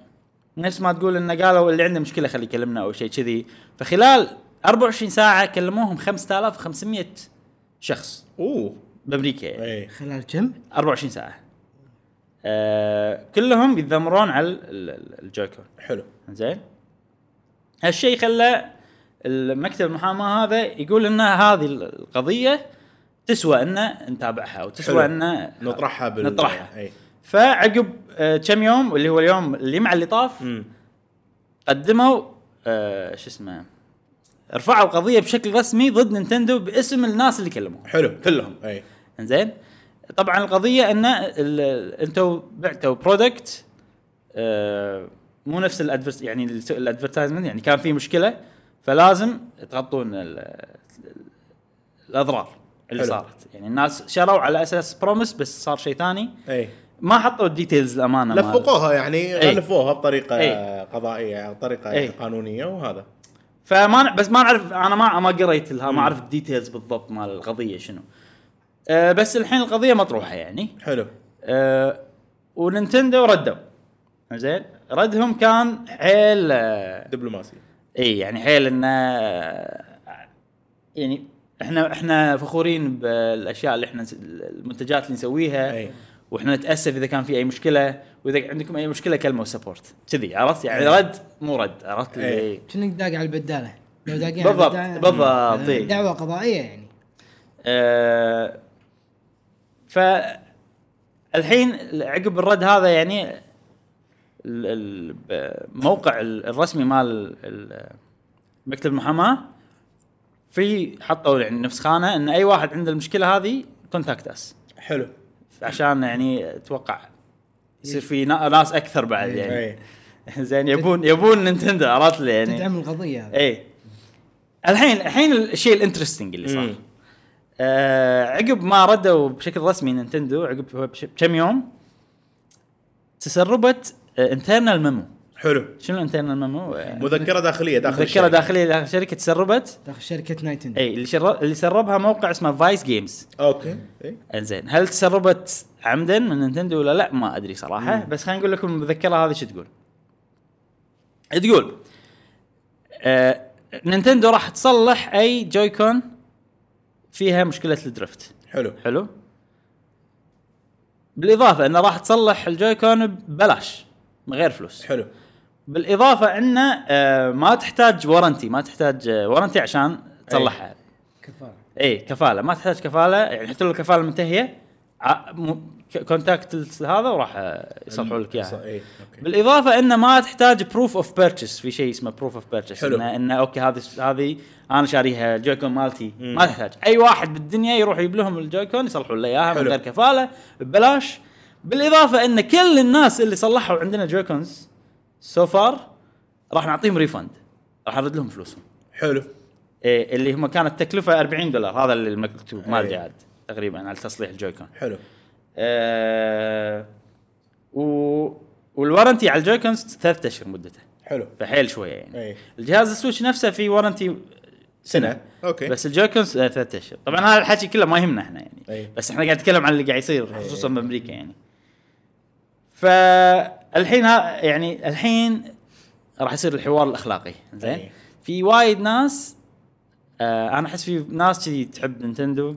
[SPEAKER 1] نفس ما تقول انه قالوا اللي عنده مشكله خليه يكلمنا او شيء كذي فخلال 24 ساعه كلموهم 5500 شخص
[SPEAKER 3] اوه
[SPEAKER 1] بامريكا يعني
[SPEAKER 3] اي
[SPEAKER 2] خلال كم؟
[SPEAKER 1] 24 ساعه آه كلهم يتذمرون على ال- ال- الجويكون
[SPEAKER 3] حلو
[SPEAKER 1] زين هالشيء خلى المكتب المحاماه هذا يقول ان هذه القضيه تسوى ان نتابعها وتسوى
[SPEAKER 3] حلو.
[SPEAKER 1] ان
[SPEAKER 3] نطرحها بال
[SPEAKER 1] نطرحها.
[SPEAKER 3] اي
[SPEAKER 1] فعقب آه، كم يوم اللي هو اليوم اللي مع اللي طاف
[SPEAKER 3] امم
[SPEAKER 1] قدموا آه، شو اسمه رفعوا قضيه بشكل رسمي ضد نينتندو باسم الناس اللي كلموهم
[SPEAKER 3] حلو كلهم اي
[SPEAKER 1] انزين طبعا القضيه ان ال- انتوا بعتوا برودكت آه، مو نفس الادفرس يعني الادفرتايزمنت يعني كان في مشكله فلازم تغطون ال- ال- الاضرار اللي
[SPEAKER 3] حلو.
[SPEAKER 1] صارت يعني الناس شروا على اساس بروميس بس صار شيء ثاني
[SPEAKER 3] اي
[SPEAKER 1] ما حطوا الديتيلز الامانه مال-
[SPEAKER 3] إيه. لفقوها يعني
[SPEAKER 1] إي.
[SPEAKER 3] لفوها بطريقه
[SPEAKER 1] إي.
[SPEAKER 3] قضائيه او طريقه
[SPEAKER 1] إي.
[SPEAKER 3] قانونيه وهذا
[SPEAKER 1] فما ن- بس ما نعرف انا ما ما قريت لها ما اعرف الديتيلز بالضبط مال القضيه شنو أه بس الحين القضيه مطروحه يعني
[SPEAKER 3] حلو
[SPEAKER 1] أه وننتندو ردوا زين ردهم كان حيل آه،
[SPEAKER 3] دبلوماسي
[SPEAKER 1] اي يعني حيل انه آه، يعني احنا احنا فخورين بالاشياء اللي احنا نس- المنتجات اللي نسويها
[SPEAKER 3] اي
[SPEAKER 1] واحنا نتاسف اذا كان في اي مشكله واذا عندكم اي مشكله كلموا سبورت كذي عرفت يعني رد مو رد عرفت
[SPEAKER 3] إي.
[SPEAKER 1] اللي
[SPEAKER 2] شنو داق على البداله لو داقين
[SPEAKER 1] بالضبط،
[SPEAKER 2] على البدالة-
[SPEAKER 1] بالضبط، إي.
[SPEAKER 2] دعوه قضائيه يعني
[SPEAKER 1] آه، ف الحين عقب الرد هذا يعني ال- ال- الموقع ال- الرسمي مال ال- مكتب المحاماه في حطوا يعني نفس خانه ان اي واحد عنده المشكله هذه كونتاكت اس
[SPEAKER 3] حلو
[SPEAKER 1] عشان يعني اتوقع يصير في نا- ناس اكثر بعد
[SPEAKER 3] إيه،
[SPEAKER 1] يعني
[SPEAKER 3] اي
[SPEAKER 1] زين يبون يبون نينتندو عرفت لي يعني
[SPEAKER 2] تدعم القضيه هذه
[SPEAKER 1] اي إيه. الحين الحين الشيء الانترستنج اللي صار
[SPEAKER 3] مم.
[SPEAKER 1] آه عقب ما ردوا بشكل رسمي نينتندو عقب بش- بكم يوم تسربت انترنال ميمو
[SPEAKER 3] حلو
[SPEAKER 1] شنو انترنال ميمو؟
[SPEAKER 3] مذكره داخليه داخل
[SPEAKER 1] مذكره
[SPEAKER 3] الشركة.
[SPEAKER 1] داخليه يعني داخل الشركه تسربت
[SPEAKER 2] داخل شركه نايتندو
[SPEAKER 1] اي اللي, شر... اللي سربها موقع اسمه فايس جيمز
[SPEAKER 3] اوكي اي
[SPEAKER 1] انزين هل تسربت عمدا من نينتندو ولا لا ما ادري صراحه مم. بس خلينا نقول لكم المذكره هذه شو تقول تقول آه نينتندو راح تصلح اي جويكون فيها مشكله الدرفت
[SPEAKER 3] حلو
[SPEAKER 1] حلو بالاضافه انه راح تصلح الجويكون ببلاش من غير فلوس
[SPEAKER 3] حلو
[SPEAKER 1] بالاضافه انه آه ما تحتاج ورنتي ما تحتاج آه، ورنتي عشان تصلحها
[SPEAKER 2] كفاره
[SPEAKER 1] اي كفاله إيه، ما تحتاج كفاله يعني حتى لو الكفاله منتهيه ع- م- ك- كونتاكت الس- هذا وراح آه، يصلحوا لك اياها
[SPEAKER 3] اي اوكي
[SPEAKER 1] بالاضافه انه ما تحتاج بروف اوف بيرتشس في شيء اسمه بروف اوف بيرتشس
[SPEAKER 3] حلو.
[SPEAKER 1] انه إنه اوكي هذه هذه انا شاريها الجويكون مالتي
[SPEAKER 3] مم.
[SPEAKER 1] ما تحتاج اي واحد بالدنيا يروح يجيب لهم الجويكون يصلحوا له اياها من
[SPEAKER 3] حلو.
[SPEAKER 1] غير كفاله ببلاش بالاضافه ان كل الناس اللي صلحوا عندنا جويكونز سو فار راح نعطيهم ريفند راح نرد لهم فلوسهم
[SPEAKER 3] حلو
[SPEAKER 1] إيه اللي هم كانت تكلفه 40 دولار هذا اللي المكتوب ما
[SPEAKER 3] إيه.
[SPEAKER 1] ادري عاد تقريبا على تصليح الجويكون
[SPEAKER 3] حلو
[SPEAKER 1] أه و... والورنتي على الجويكونز ثلاث اشهر مدته
[SPEAKER 3] حلو
[SPEAKER 1] فحيل شويه يعني
[SPEAKER 3] اي
[SPEAKER 1] الجهاز السويتش نفسه في ورنتي سنه
[SPEAKER 3] سنه اوكي بس
[SPEAKER 1] بس الجويكونز آه، ثلاث اشهر طبعا هذا الحكي كله ما يهمنا احنا يعني
[SPEAKER 3] أي.
[SPEAKER 1] بس احنا قاعد نتكلم عن اللي قاعد يصير
[SPEAKER 3] أي.
[SPEAKER 1] خصوصا بامريكا يعني فالحين ها يعني الحين راح يصير الحوار الاخلاقي زين
[SPEAKER 3] أي.
[SPEAKER 1] في وايد ناس آه انا احس في ناس كذي تحب نينتندو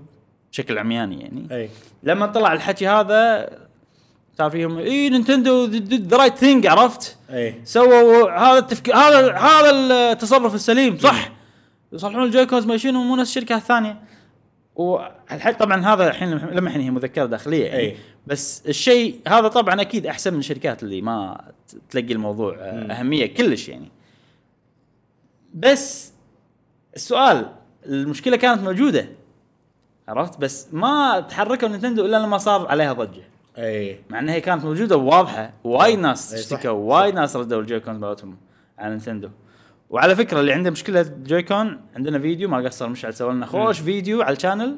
[SPEAKER 1] بشكل عمياني يعني
[SPEAKER 3] اي
[SPEAKER 1] لما طلع الحكي هذا صار فيهم اي نينتندو ذا رايت ثينج عرفت
[SPEAKER 3] اي
[SPEAKER 1] سووا هذا التفكير هذا هذا التصرف السليم صح يصلحون الجويكونز ما شنو مو نفس الشركه الثانيه والحل طبعا هذا الحين لما الحين هي مذكره داخليه يعني
[SPEAKER 3] أي.
[SPEAKER 1] بس الشيء هذا طبعا اكيد احسن من الشركات اللي ما ت- تلقي الموضوع آه،
[SPEAKER 3] مم.
[SPEAKER 1] اهميه كلش يعني بس السؤال المشكله كانت موجوده عرفت بس ما تحركوا نينتندو الا لما صار عليها ضجه
[SPEAKER 3] اي
[SPEAKER 1] مع انها هي كانت موجوده وواضحه وايد ناس
[SPEAKER 3] إي صح،
[SPEAKER 1] اشتكوا وايد ناس ردوا الجويكون مالتهم على نينتندو وعلى فكره اللي عنده مشكله جويكون عندنا فيديو ما قصر مشعل سوى لنا خوش فيديو على الشانل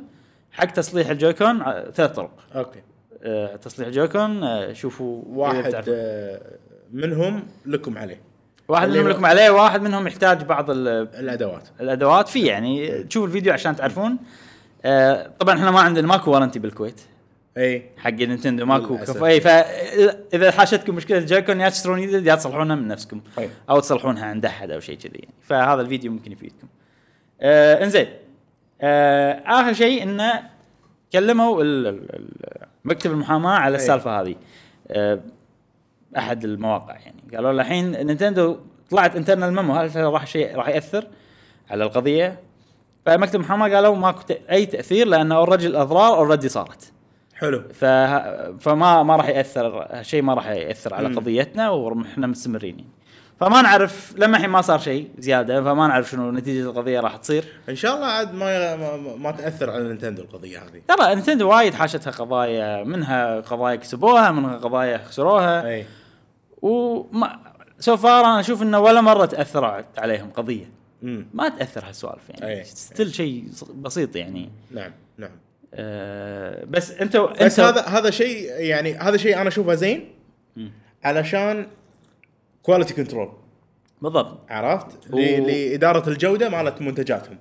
[SPEAKER 1] حق تصليح الجويكون ع- ثلاث طرق
[SPEAKER 3] اوكي
[SPEAKER 1] أه تصليح الجويكون أه شوفوا إذا
[SPEAKER 3] واحد
[SPEAKER 1] بتعرفوا.
[SPEAKER 3] آه، منهم لكم عليه
[SPEAKER 1] واحد منهم
[SPEAKER 3] اللي-
[SPEAKER 1] لكم عليه واحد منهم يحتاج بعض ال-
[SPEAKER 3] الادوات
[SPEAKER 1] الادوات في يعني تشوفوا الفيديو عشان تعرفون أه طبعا احنا ما عندنا ماكو ورنتي بالكويت
[SPEAKER 3] اي
[SPEAKER 1] حق نينتندو ماكو
[SPEAKER 3] للأسف.
[SPEAKER 1] كف اي فاذا حاشتكم مشكله جايكون يا تشترون جديد يا تصلحونها من نفسكم
[SPEAKER 3] أي.
[SPEAKER 1] او تصلحونها عند احد او شيء كذي يعني فهذا الفيديو ممكن يفيدكم. آه انزين آه اخر شيء انه كلموا ال- ال- ال- مكتب المحاماه على السالفه هذه آه، احد المواقع يعني قالوا له الحين نينتندو طلعت انترنال ميمو هل راح شيء راح ياثر على القضيه؟ فمكتب محاماه قالوا ماكو تأ- اي تاثير لان اوريدي الاضرار اوريدي صارت
[SPEAKER 3] حلو
[SPEAKER 1] ف... فما ما راح ياثر شيء ما راح ياثر على
[SPEAKER 3] مم.
[SPEAKER 1] قضيتنا واحنا مستمرين يعني. فما نعرف لما الحين ما صار شيء زياده فما نعرف شنو نتيجه القضيه راح تصير
[SPEAKER 3] ان شاء الله عاد ما ما, ما تاثر على نينتندو القضيه هذه
[SPEAKER 1] ترى نتندو وايد حاشتها قضايا منها قضايا كسبوها منها قضايا خسروها
[SPEAKER 3] اي
[SPEAKER 1] وما سو فار انا اشوف انه ولا مره تاثرت عليهم قضيه
[SPEAKER 3] امم
[SPEAKER 1] ما تاثر هالسوالف يعني
[SPEAKER 3] أي.
[SPEAKER 1] ستيل شيء بسيط يعني
[SPEAKER 3] نعم نعم
[SPEAKER 1] أه بس انت انت
[SPEAKER 3] بس هذا هذا شيء يعني هذا شيء انا اشوفه زين
[SPEAKER 1] مم.
[SPEAKER 3] علشان كواليتي كنترول
[SPEAKER 1] بالضبط
[SPEAKER 3] عرفت؟
[SPEAKER 1] و-
[SPEAKER 3] ل- لاداره الجوده مالت منتجاتهم.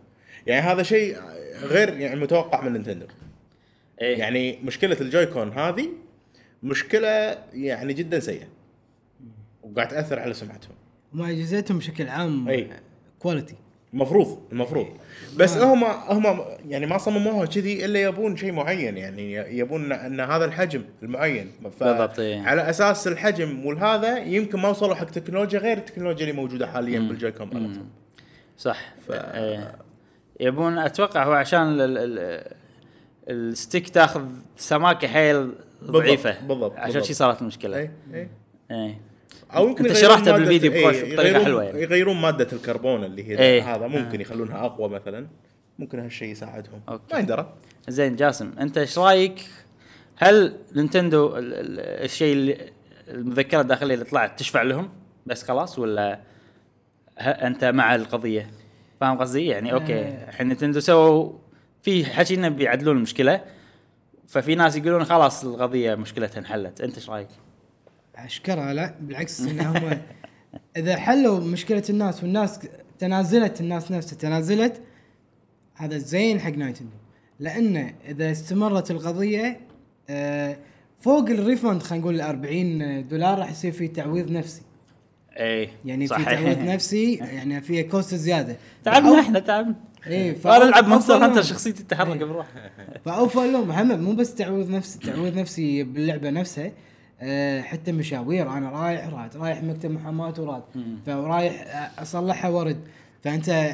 [SPEAKER 3] يعني هذا شيء غير يعني متوقع من نينتندو.
[SPEAKER 1] إيه.
[SPEAKER 3] يعني مشكله الجويكون هذه مشكله يعني جدا سيئه. وقاعد تاثر على سمعتهم.
[SPEAKER 2] وما اجهزتهم بشكل عام
[SPEAKER 3] أي.
[SPEAKER 2] كواليتي
[SPEAKER 3] المفروض المفروض بس
[SPEAKER 1] آه.
[SPEAKER 3] هم هم يعني ما صمموها كذي الا يبون شيء معين يعني يبون ان هذا الحجم المعين ف-
[SPEAKER 1] بالضبط، إيه.
[SPEAKER 3] على اساس الحجم والهذا يمكن ما وصلوا حق تكنولوجيا غير التكنولوجيا اللي موجوده حاليا بالجويكون مالتهم.
[SPEAKER 1] صح ف... إيه. يبون اتوقع هو عشان ال... ال... الستيك تاخذ سماكه حيل ضعيفه
[SPEAKER 3] بالضبط،
[SPEAKER 1] عشان
[SPEAKER 3] بالضبط.
[SPEAKER 1] شي صارت المشكله
[SPEAKER 3] اي اي
[SPEAKER 1] ايه.
[SPEAKER 3] او إيه، يمكن
[SPEAKER 1] انت
[SPEAKER 3] يغيرون
[SPEAKER 1] شرحتها
[SPEAKER 3] مادة-
[SPEAKER 1] بالفيديو
[SPEAKER 3] إيه،
[SPEAKER 1] بكويس بطريقة
[SPEAKER 3] يغيرون-
[SPEAKER 1] حلوة يعني.
[SPEAKER 3] يغيرون ماده الكربون اللي هي
[SPEAKER 1] إيه.
[SPEAKER 3] هذا ممكن يخلونها اقوى مثلا ممكن هالشيء يساعدهم
[SPEAKER 1] أوكي.
[SPEAKER 3] ما يندرى
[SPEAKER 1] زين جاسم انت ايش رايك هل نينتندو ال- ال- الشيء اللي المذكره الداخليه اللي طلعت تشفع لهم بس خلاص ولا ه- انت مع القضيه فاهم قصدي يعني اوكي
[SPEAKER 2] آه.
[SPEAKER 1] الحين نينتندو سووا في حكي انه بيعدلون المشكله ففي ناس يقولون خلاص القضيه مشكلتها انحلت انت ايش رايك
[SPEAKER 2] اشكرها لا بالعكس ان هم اذا حلوا مشكله الناس والناس تنازلت الناس نفسها تنازلت هذا زين حق نايتندو لانه اذا استمرت القضيه آه، فوق الريفند خلينا نقول ال 40 دولار راح يصير في تعويض نفسي
[SPEAKER 1] اي
[SPEAKER 2] يعني في تعويض نفسي يعني في كوست زياده
[SPEAKER 1] تعبنا احنا تعبنا
[SPEAKER 2] اي
[SPEAKER 1] انا العب مونستر هانتر شخصيتي
[SPEAKER 2] إيه.
[SPEAKER 1] تتحرك بروحها
[SPEAKER 2] فاوفى لهم هم مو بس تعويض نفسي تعويض نفسي باللعبه نفسها أه حتى مشاوير انا رايح راد رايح مكتب محاماه وراد فرايح آه، أ- اصلحها ورد فانت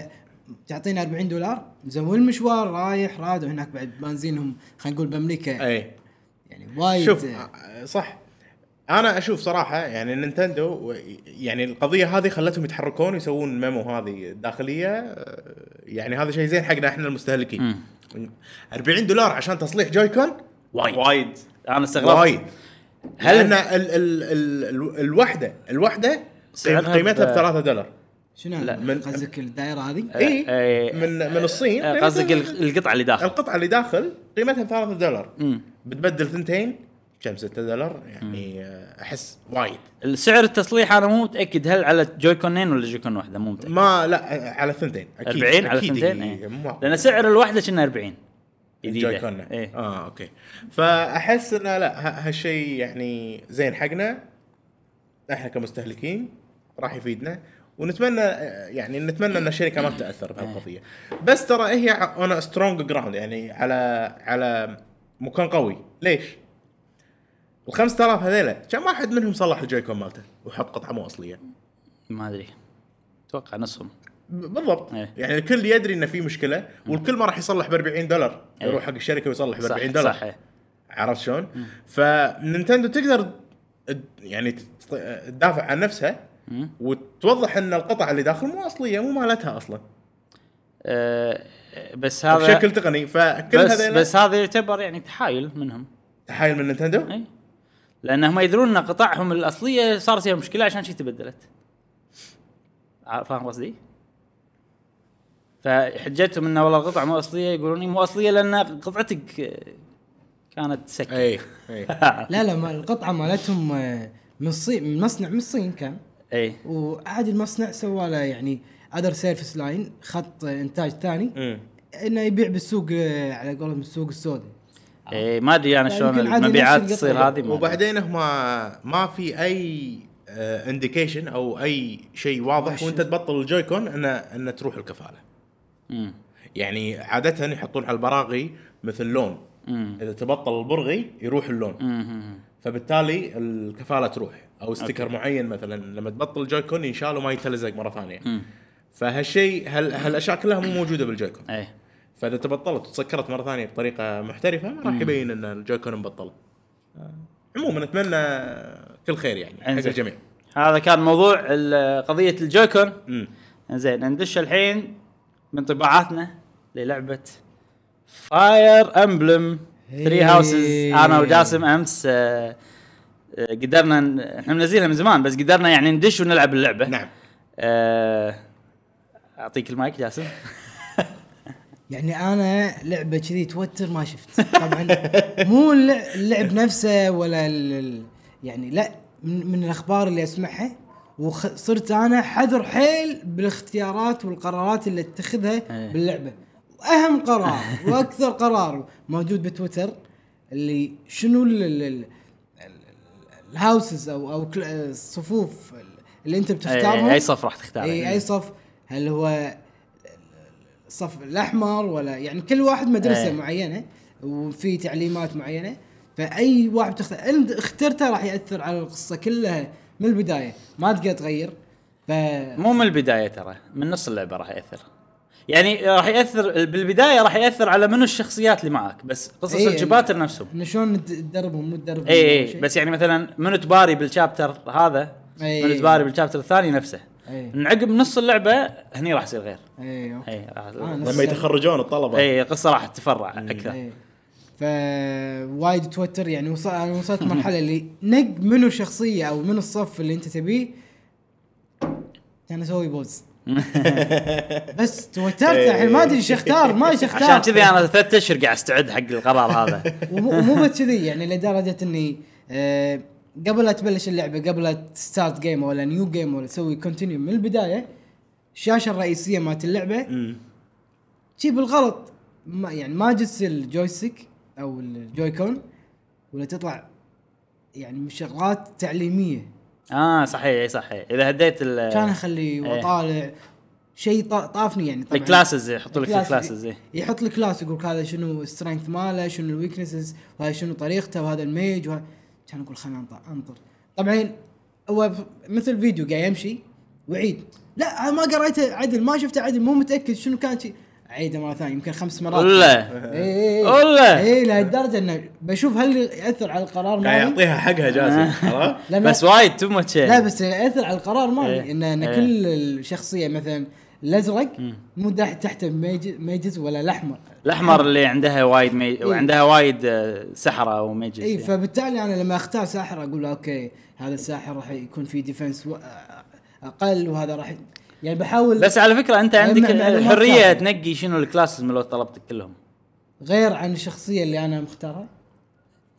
[SPEAKER 2] تعطينا 40 دولار زول المشوار رايح راد وهناك بعد بنزينهم خلينا نقول بامريكا
[SPEAKER 3] اي
[SPEAKER 2] يعني وايد
[SPEAKER 3] شوف
[SPEAKER 2] آه،
[SPEAKER 3] آه، صح انا اشوف صراحه يعني نينتندو و- يعني القضيه هذه خلتهم يتحركون ويسوون ميمو هذه داخليه آه، يعني هذا شيء زين حقنا احنا المستهلكين 40 دولار عشان تصليح جويكون وايد
[SPEAKER 1] وايد انا استغربت
[SPEAKER 3] وايد هل
[SPEAKER 1] هل-
[SPEAKER 3] لان ال ال ال ال الوحده الوحده
[SPEAKER 1] سعرها
[SPEAKER 3] قيمتها
[SPEAKER 1] ب-
[SPEAKER 3] ب 3 دولار
[SPEAKER 2] شنو
[SPEAKER 1] لا،
[SPEAKER 2] من
[SPEAKER 3] من-
[SPEAKER 2] قصدك الدائره هذه؟
[SPEAKER 3] اي
[SPEAKER 1] إيه.
[SPEAKER 3] من من الصين
[SPEAKER 1] آه، قصدك
[SPEAKER 3] قيمتها-
[SPEAKER 1] ال- القطعه اللي داخل
[SPEAKER 3] القطعه اللي داخل قيمتها ب 3 دولار
[SPEAKER 1] مم.
[SPEAKER 3] بتبدل ثنتين كم 6 دولار يعني آه، احس وايد
[SPEAKER 1] السعر التصليح انا مو متاكد هل على جويكونين ولا جويكون واحده مو متاكد
[SPEAKER 3] ما لا على ثنتين اكيد
[SPEAKER 1] 40 طيب. على
[SPEAKER 3] أكيد
[SPEAKER 1] ثنتين
[SPEAKER 3] هي-
[SPEAKER 1] إيه.
[SPEAKER 3] مو معقول.
[SPEAKER 1] لان سعر الواحده كنا 40
[SPEAKER 3] الجويكون.
[SPEAKER 1] جديده ايه.
[SPEAKER 3] اه اوكي فاحس انه لا ه- هالشيء يعني زين حقنا احنا كمستهلكين راح يفيدنا ونتمنى يعني نتمنى ان الشركه ما تتاثر بهالقضيه بس ترى هي انا سترونج جراوند يعني على على مكان قوي ليش؟ ال 5000 هذيلا كم واحد منهم صلح الجويكون مالته وحط قطعه مو اصليه؟
[SPEAKER 1] ما ادري اتوقع نصهم
[SPEAKER 3] بالضبط
[SPEAKER 1] إيه.
[SPEAKER 3] يعني الكل يدري انه في مشكله والكل ما راح يصلح ب 40 دولار
[SPEAKER 1] إيه.
[SPEAKER 3] يروح حق الشركه ويصلح ب
[SPEAKER 1] صح
[SPEAKER 3] 40 دولار
[SPEAKER 1] صح إيه.
[SPEAKER 3] عرفت شلون؟ فنينتندو تقدر ت- يعني تت- تدافع عن نفسها
[SPEAKER 1] مم.
[SPEAKER 3] وتوضح ان القطعه اللي داخل مو اصليه مو مالتها اصلا
[SPEAKER 1] آه، بس هذا
[SPEAKER 3] بشكل تقني فكل
[SPEAKER 1] بس
[SPEAKER 3] هذا
[SPEAKER 1] بس هذا يعتبر يعني تحايل منهم
[SPEAKER 3] تحايل من نينتندو
[SPEAKER 1] اي لان هم يدرون ان قطعهم الاصليه صار فيها مشكله عشان شي تبدلت ع- فاهم قصدي؟ فحجتهم انه والله القطعه مو اصليه يقولون إيه مو اصليه لان قطعتك آه، كانت سكه
[SPEAKER 3] اي اي
[SPEAKER 1] إيه.
[SPEAKER 2] لا لا ما القطعه مالتهم آه، من الصين من مصنع من الصين كان
[SPEAKER 1] اي
[SPEAKER 2] وعاد المصنع سوى له يعني اذر سيرفيس لاين خط آه، انتاج ثاني
[SPEAKER 3] أمم.
[SPEAKER 2] انه يبيع بالسوق آه، على قولهم السوق السوداء
[SPEAKER 1] اي ما ادري انا
[SPEAKER 2] لا،
[SPEAKER 1] شلون
[SPEAKER 2] يمكن عادي
[SPEAKER 1] المبيعات
[SPEAKER 2] نفس
[SPEAKER 1] تصير
[SPEAKER 2] القطعة.
[SPEAKER 1] هذه ما أدري.
[SPEAKER 3] وبعدين هما ما في آه، اي انديكيشن او اي شيء واضح
[SPEAKER 2] ماشي.
[SPEAKER 3] وانت تبطل الجويكون ان ان تروح الكفاله
[SPEAKER 1] أمم.
[SPEAKER 3] يعني عاده يحطون على البراغي مثل لون
[SPEAKER 1] مم.
[SPEAKER 3] اذا تبطل البرغي يروح اللون
[SPEAKER 1] مم.
[SPEAKER 3] فبالتالي الكفاله تروح او ستيكر معين مثلا لما تبطل الجويكون ينشال وما يتلزق مره ثانيه فهالشيء هال هالاشياء كلها مو موجوده بالجويكون
[SPEAKER 1] ايه
[SPEAKER 3] فاذا تبطلت وتسكرت مره ثانيه بطريقه محترفه ما راح يبين ان الجويكون مبطل آه، عموما اتمنى كل خير يعني حق
[SPEAKER 1] انزين.
[SPEAKER 3] الجميع
[SPEAKER 1] هذا كان موضوع ال- قضيه الجويكون
[SPEAKER 3] مم.
[SPEAKER 1] زين ندش الحين من طباعاتنا للعبه فاير امبلم 3 هاوسز
[SPEAKER 2] إيه.
[SPEAKER 1] انا وجاسم امس آه، آه، قدرنا ن- احنا منزلينها من زمان بس قدرنا يعني ندش ونلعب اللعبه
[SPEAKER 3] نعم
[SPEAKER 1] آه، اعطيك المايك جاسم
[SPEAKER 2] يعني انا لعبه كذي توتر ما شفت طبعا مو اللع- اللعب نفسه ولا ال- ال- يعني لا من, من الاخبار اللي اسمعها وصرت انا حذر حيل بالاختيارات والقرارات اللي اتخذها
[SPEAKER 1] إيه.
[SPEAKER 2] باللعبه واهم قرار واكثر قرار موجود بتويتر اللي شنو ال- ال- ال- ال- الهاوسز او او كل- الصفوف آه، اللي انت بتختارهم
[SPEAKER 1] إيه، أي- اي صف راح تختار
[SPEAKER 2] اي اي إيه، صف هل هو الصف الاحمر ولا يعني كل واحد مدرسه
[SPEAKER 1] إيه.
[SPEAKER 2] أي. معينه وفي تعليمات معينه فاي واحد تختار انت اخترته راح ياثر على القصه كلها من البدايه ما تقدر تغير ف
[SPEAKER 1] مو من البدايه ترى من نص اللعبه راح ياثر يعني راح ياثر بالبدايه راح ياثر على منو الشخصيات اللي معاك بس قصص
[SPEAKER 2] إيه.
[SPEAKER 1] الجباتر نفسهم
[SPEAKER 2] إنه شلون تدربهم مو تدربهم
[SPEAKER 1] اي
[SPEAKER 2] أو
[SPEAKER 1] اي
[SPEAKER 2] شيء.
[SPEAKER 1] بس يعني مثلا منو تباري بالشابتر هذا
[SPEAKER 2] إي.
[SPEAKER 1] منو تباري بالشابتر الثاني نفسه
[SPEAKER 2] اي
[SPEAKER 1] من عقب نص اللعبه هني راح يصير غير
[SPEAKER 2] اي اوكي
[SPEAKER 1] اي راح
[SPEAKER 2] آه، نفس- إيه،
[SPEAKER 3] لما يتخرجون الطلبه
[SPEAKER 1] اي القصه راح تتفرع اكثر
[SPEAKER 2] اي ف وايد توتر يعني وصل أنا وصلت مرحله اللي نق منو الشخصيه او منو الصف اللي انت تبيه كان اسوي بوز بس توترت الحين ما ادري ايش اختار ما ايش اختار
[SPEAKER 1] عشان كذي انا ثلاث اشهر قاعد استعد حق القرار هذا
[SPEAKER 2] ومو ومو بس كذي يعني لدرجه اني آه، قبل لا تبلش اللعبه قبل لا تستارت جيم ولا نيو جيم ولا تسوي كونتينيو من البدايه الشاشه الرئيسيه مالت اللعبه
[SPEAKER 3] مم.
[SPEAKER 2] شي بالغلط ما يعني ما جس الجويستيك او الجويكون ولا تطلع يعني من شغلات تعليميه
[SPEAKER 1] اه صحيح اي صحيح اذا هديت ال
[SPEAKER 2] كان اخلي
[SPEAKER 1] إيه.
[SPEAKER 2] واطالع شيء طا- طافني يعني طبعا
[SPEAKER 1] الكلاسز إيه، يحطوا لك إيه.
[SPEAKER 2] الكلاسز.
[SPEAKER 1] الكلاسز اي
[SPEAKER 2] يحط لك كلاس يقول لك هذا شنو السترينث ماله شنو الويكنسز وهذا شنو طريقته وهذا الميج وهذا كان اقول خليني انطر انطر طبعا هو ب- مثل فيديو قاعد يمشي وعيد لا أنا ما قريته عدل ما شفته عدل مو متاكد شنو كان شي عيده مره ثانيه يمكن خمس مرات إيه،
[SPEAKER 1] ولا
[SPEAKER 2] اي
[SPEAKER 1] والله.
[SPEAKER 2] اي لهالدرجه انه إيه، بشوف هل ياثر على القرار
[SPEAKER 3] قاعد
[SPEAKER 2] مالي
[SPEAKER 3] يعطيها حقها جاسم عرفت؟
[SPEAKER 2] لأن-
[SPEAKER 1] بس وايد تو ماتش
[SPEAKER 2] لا بس ياثر على القرار مالي
[SPEAKER 1] إيه.
[SPEAKER 2] ان ان
[SPEAKER 1] إيه.
[SPEAKER 2] كل الشخصيه مثلا الازرق مو دح- تحته ميج- ميجز ولا الاحمر
[SPEAKER 1] الاحمر اللي عندها وايد مي...
[SPEAKER 2] إيه.
[SPEAKER 1] وعندها وايد آه، سحره وميجز
[SPEAKER 2] اي
[SPEAKER 1] اي
[SPEAKER 2] إيه، فبالتالي انا لما اختار ساحر اقول له اوكي هذا الساحر راح يكون فيه ديفنس و- اقل وهذا راح ي- يعني بحاول
[SPEAKER 1] بس على فكره انت عندك
[SPEAKER 2] مع- معلومات
[SPEAKER 1] الحريه
[SPEAKER 2] ثانية.
[SPEAKER 1] تنقي شنو الكلاسز من لو طلبتك كلهم
[SPEAKER 2] غير عن الشخصيه اللي انا مختارها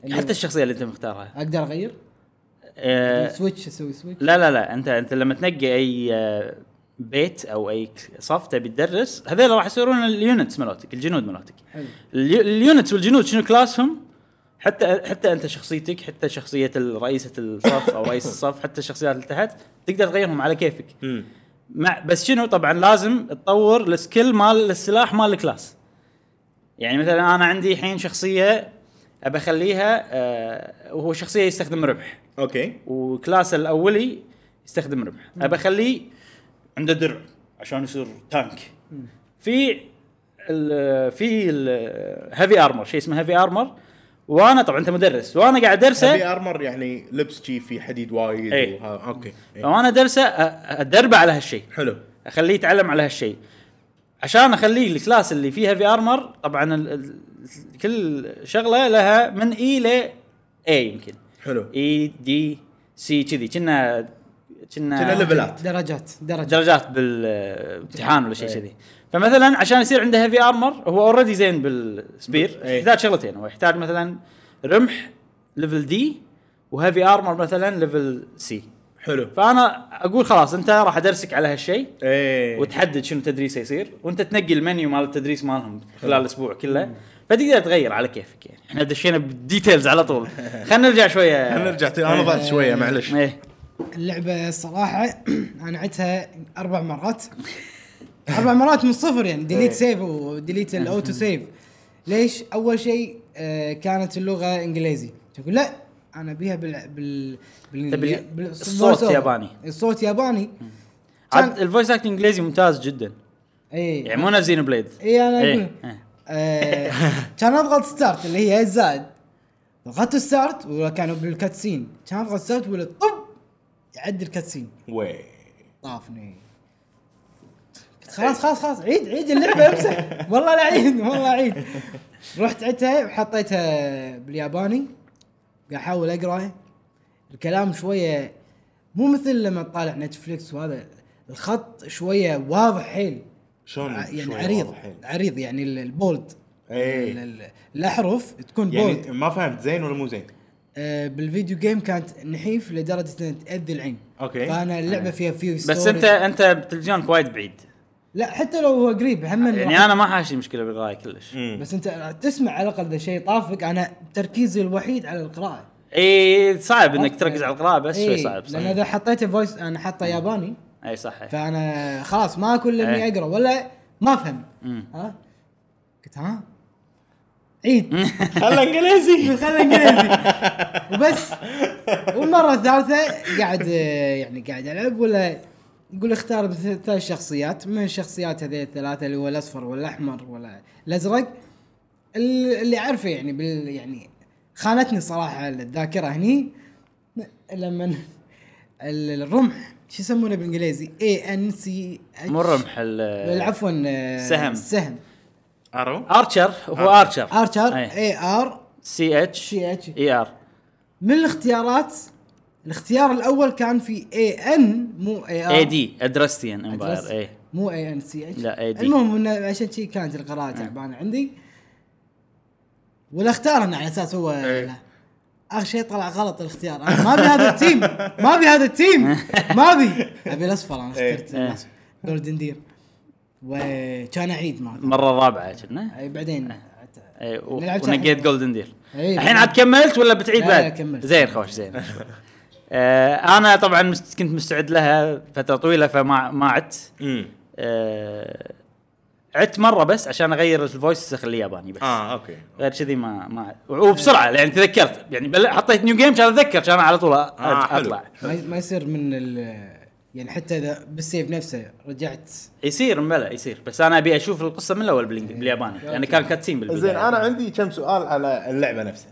[SPEAKER 2] اللي
[SPEAKER 1] حتى الشخصيه اللي انت مختارها
[SPEAKER 2] اقدر اغير إيه.
[SPEAKER 1] آه،
[SPEAKER 2] سويتش اسوي سويتش
[SPEAKER 1] لا لا لا انت انت لما تنقي اي آه، بيت او اي ك- صف تبي تدرس هذول راح يصيرون اليونتس مالتك الجنود مالتك
[SPEAKER 2] حلو
[SPEAKER 1] اليو- اليونتس والجنود شنو كلاسهم حتى حتى انت شخصيتك حتى شخصيه رئيسه الصف او رئيس الصف حتى الشخصيات اللي تحت تقدر تغيرهم على كيفك
[SPEAKER 3] مم.
[SPEAKER 1] مع بس شنو طبعا لازم تطور السكيل مال السلاح مال الكلاس يعني مثلا انا عندي الحين شخصيه ابى اخليها آه، وهو شخصيه يستخدم رمح
[SPEAKER 3] اوكي
[SPEAKER 1] وكلاسه الاولي يستخدم رمح ابى اخليه عنده درع عشان يصير تانك في ال في الهيفي ارمر شيء اسمه هيفي ارمر وانا طبعا انت مدرس وانا قاعد ادرسه
[SPEAKER 3] هذه ارمر يعني لبس شي في حديد وايد
[SPEAKER 1] إيه.
[SPEAKER 3] وها- اوكي إيه.
[SPEAKER 1] وانا ادرسه أ- ادربه على هالشيء
[SPEAKER 3] حلو
[SPEAKER 1] اخليه يتعلم على هالشيء عشان اخليه الكلاس اللي فيها في ارمر طبعا ال ال كل شغله لها من اي ل اي يمكن
[SPEAKER 3] حلو
[SPEAKER 1] اي دي سي كذي كنا
[SPEAKER 3] كنا
[SPEAKER 1] كنا
[SPEAKER 3] ليفلات
[SPEAKER 2] درجات درجات
[SPEAKER 1] درجات بالامتحان ولا شيء
[SPEAKER 3] إيه.
[SPEAKER 1] كذي فمثلا عشان يصير عنده هيفي ارمر هو اوريدي زين بالسبير
[SPEAKER 3] إيه.
[SPEAKER 1] يحتاج شغلتين هو يحتاج مثلا رمح ليفل دي وهيفي ارمر مثلا ليفل سي
[SPEAKER 3] حلو
[SPEAKER 1] فانا اقول خلاص انت راح ادرسك على هالشيء
[SPEAKER 3] ايه
[SPEAKER 1] وتحدد شنو تدريسه يصير وانت تنقي المنيو مال التدريس مالهم خلال الاسبوع كله فتقدر تغير على كيفك يعني احنا دشينا بالديتيلز على طول خلينا نرجع شويه
[SPEAKER 3] خلينا نرجع تي- انا ضعت شويه معلش
[SPEAKER 1] ايه
[SPEAKER 2] اللعبه الصراحه انا عدتها اربع مرات
[SPEAKER 1] إيه.
[SPEAKER 2] اربع مرات من الصفر يعني ديليت سيف وديليت الاوتو سيف ليش اول شيء آه، كانت اللغه انجليزي تقول لا انا ابيها بال بال
[SPEAKER 1] تبي
[SPEAKER 2] بال بال-
[SPEAKER 1] طيب، الصوت
[SPEAKER 2] بالvoice over.
[SPEAKER 1] ياباني.
[SPEAKER 2] الصوت ياباني كان-
[SPEAKER 1] عاد الفويس اكتنج الانجليزي ممتاز جدا
[SPEAKER 2] اي
[SPEAKER 1] يعني مو نفس زينو بليد
[SPEAKER 2] اي انا
[SPEAKER 1] إيه،
[SPEAKER 2] اقول
[SPEAKER 1] إيه.
[SPEAKER 2] آه، كان اضغط ستارت اللي هي الزائد ضغطت ستارت ولا كانوا بالكاتسين كان اضغط ستارت ولا طب يعد الكاتسين
[SPEAKER 3] وي
[SPEAKER 2] طافني قلت خلاص خلاص خلاص عيد عيد اللعبه امسك والله لا عيد والله عيد رحت عدتها وحطيتها بالياباني قاعد احاول اقرا الكلام شويه مو مثل لما تطالع نتفليكس وهذا الخط شويه واضح حيل
[SPEAKER 3] شلون
[SPEAKER 2] يعني
[SPEAKER 3] شوي
[SPEAKER 2] عريض
[SPEAKER 3] واضح حيل؟
[SPEAKER 2] عريض يعني ال- البولد
[SPEAKER 3] إيه.
[SPEAKER 2] ال- ال- الاحرف تكون
[SPEAKER 3] يعني
[SPEAKER 2] بولد
[SPEAKER 3] ما فهمت زين ولا مو زين؟
[SPEAKER 2] آه، بالفيديو جيم كانت نحيف لدرجه انها تاذي العين
[SPEAKER 3] أوكي.
[SPEAKER 2] فانا اللعبه فيها فيو
[SPEAKER 1] بس انت انت تلفزيونك وايد بعيد
[SPEAKER 2] لا حتى لو هو قريب هم
[SPEAKER 1] يعني انا ما حاشي مشكله بالقرايه كلش
[SPEAKER 3] مم.
[SPEAKER 2] بس انت راح تسمع على الاقل اذا شيء طافك انا تركيزي الوحيد على القراءه
[SPEAKER 1] اي صعب انك تركز على القراءه بس شوي
[SPEAKER 2] إيه،
[SPEAKER 1] صعب صح
[SPEAKER 2] لان اذا حطيت فويس انا حاطه ياباني
[SPEAKER 1] اي صح إيه.
[SPEAKER 2] فانا خلاص ما اكون اني
[SPEAKER 1] إيه.
[SPEAKER 2] اقرا ولا ما افهم
[SPEAKER 1] مم.
[SPEAKER 2] ها قلت ها عيد
[SPEAKER 3] خله انجليزي
[SPEAKER 2] خلنا انجليزي وبس والمره الثالثه قاعد آه، يعني قاعد العب ولا يقول اختار مثل ثلاث شخصيات من الشخصيات هذه الثلاثه اللي هو الاصفر والاحمر ولا الازرق ال- اللي اعرفه يعني بال يعني خانتني صراحه الذاكره هني لما ال- الرمح شو يسمونه بالانجليزي اي ان سي
[SPEAKER 1] مو الرمح ال-
[SPEAKER 2] عفوا آه،
[SPEAKER 1] سهم.
[SPEAKER 2] سهم
[SPEAKER 3] ارو
[SPEAKER 1] ارشر هو
[SPEAKER 2] آه.
[SPEAKER 1] ارشر
[SPEAKER 2] ارشر اي ار
[SPEAKER 1] سي اتش
[SPEAKER 2] شي اتش
[SPEAKER 1] اي ار
[SPEAKER 2] من الاختيارات الاختيار الاول كان في اي ان مو اي ار
[SPEAKER 1] اي دي ادرستيان امباير اي
[SPEAKER 2] مو اي ان سي اتش
[SPEAKER 1] إيه. لا، AD.
[SPEAKER 2] المهم انه عشان شي كانت القراءه تعبانه عندي ولا اختارنا على اساس هو اخر شيء طلع غلط الاختيار انا ما ابي هذا التيم ما ابي هذا التيم ما ابي ابي الاصفر انا اخترت
[SPEAKER 1] إيه.
[SPEAKER 2] الأصفر. جولدن دير وكان اعيد معه
[SPEAKER 1] مره الرابعه كنا
[SPEAKER 2] أي بعدين
[SPEAKER 1] إيه. اي و-
[SPEAKER 2] نلعب
[SPEAKER 1] ونقيت
[SPEAKER 2] شحن.
[SPEAKER 1] جولدن دير
[SPEAKER 2] إيه.
[SPEAKER 1] الحين عاد كملت ولا بتعيد
[SPEAKER 2] لا،
[SPEAKER 1] بعد؟
[SPEAKER 2] لا، كملت.
[SPEAKER 1] زين خوش زين آه، انا طبعا مست- كنت مستعد لها فتره طويله فما ما عدت آه، عدت مره بس عشان اغير الفويس اخليه ياباني بس
[SPEAKER 3] اه اوكي
[SPEAKER 1] غير كذي ما ما وبسرعه يعني تذكرت يعني بل حطيت نيو جيم كان اتذكر كان على طول أ-
[SPEAKER 3] حلو.
[SPEAKER 1] اطلع
[SPEAKER 2] ما ما يصير من ال يعني حتى اذا بالسيف نفسه رجعت
[SPEAKER 1] يصير مبلى يصير بس انا ابي اشوف القصه من الاول بالإنج- بالياباني يعني كان كاتسين بالبدايه
[SPEAKER 3] إيه. زين انا عندي كم سؤال على اللعبه نفسها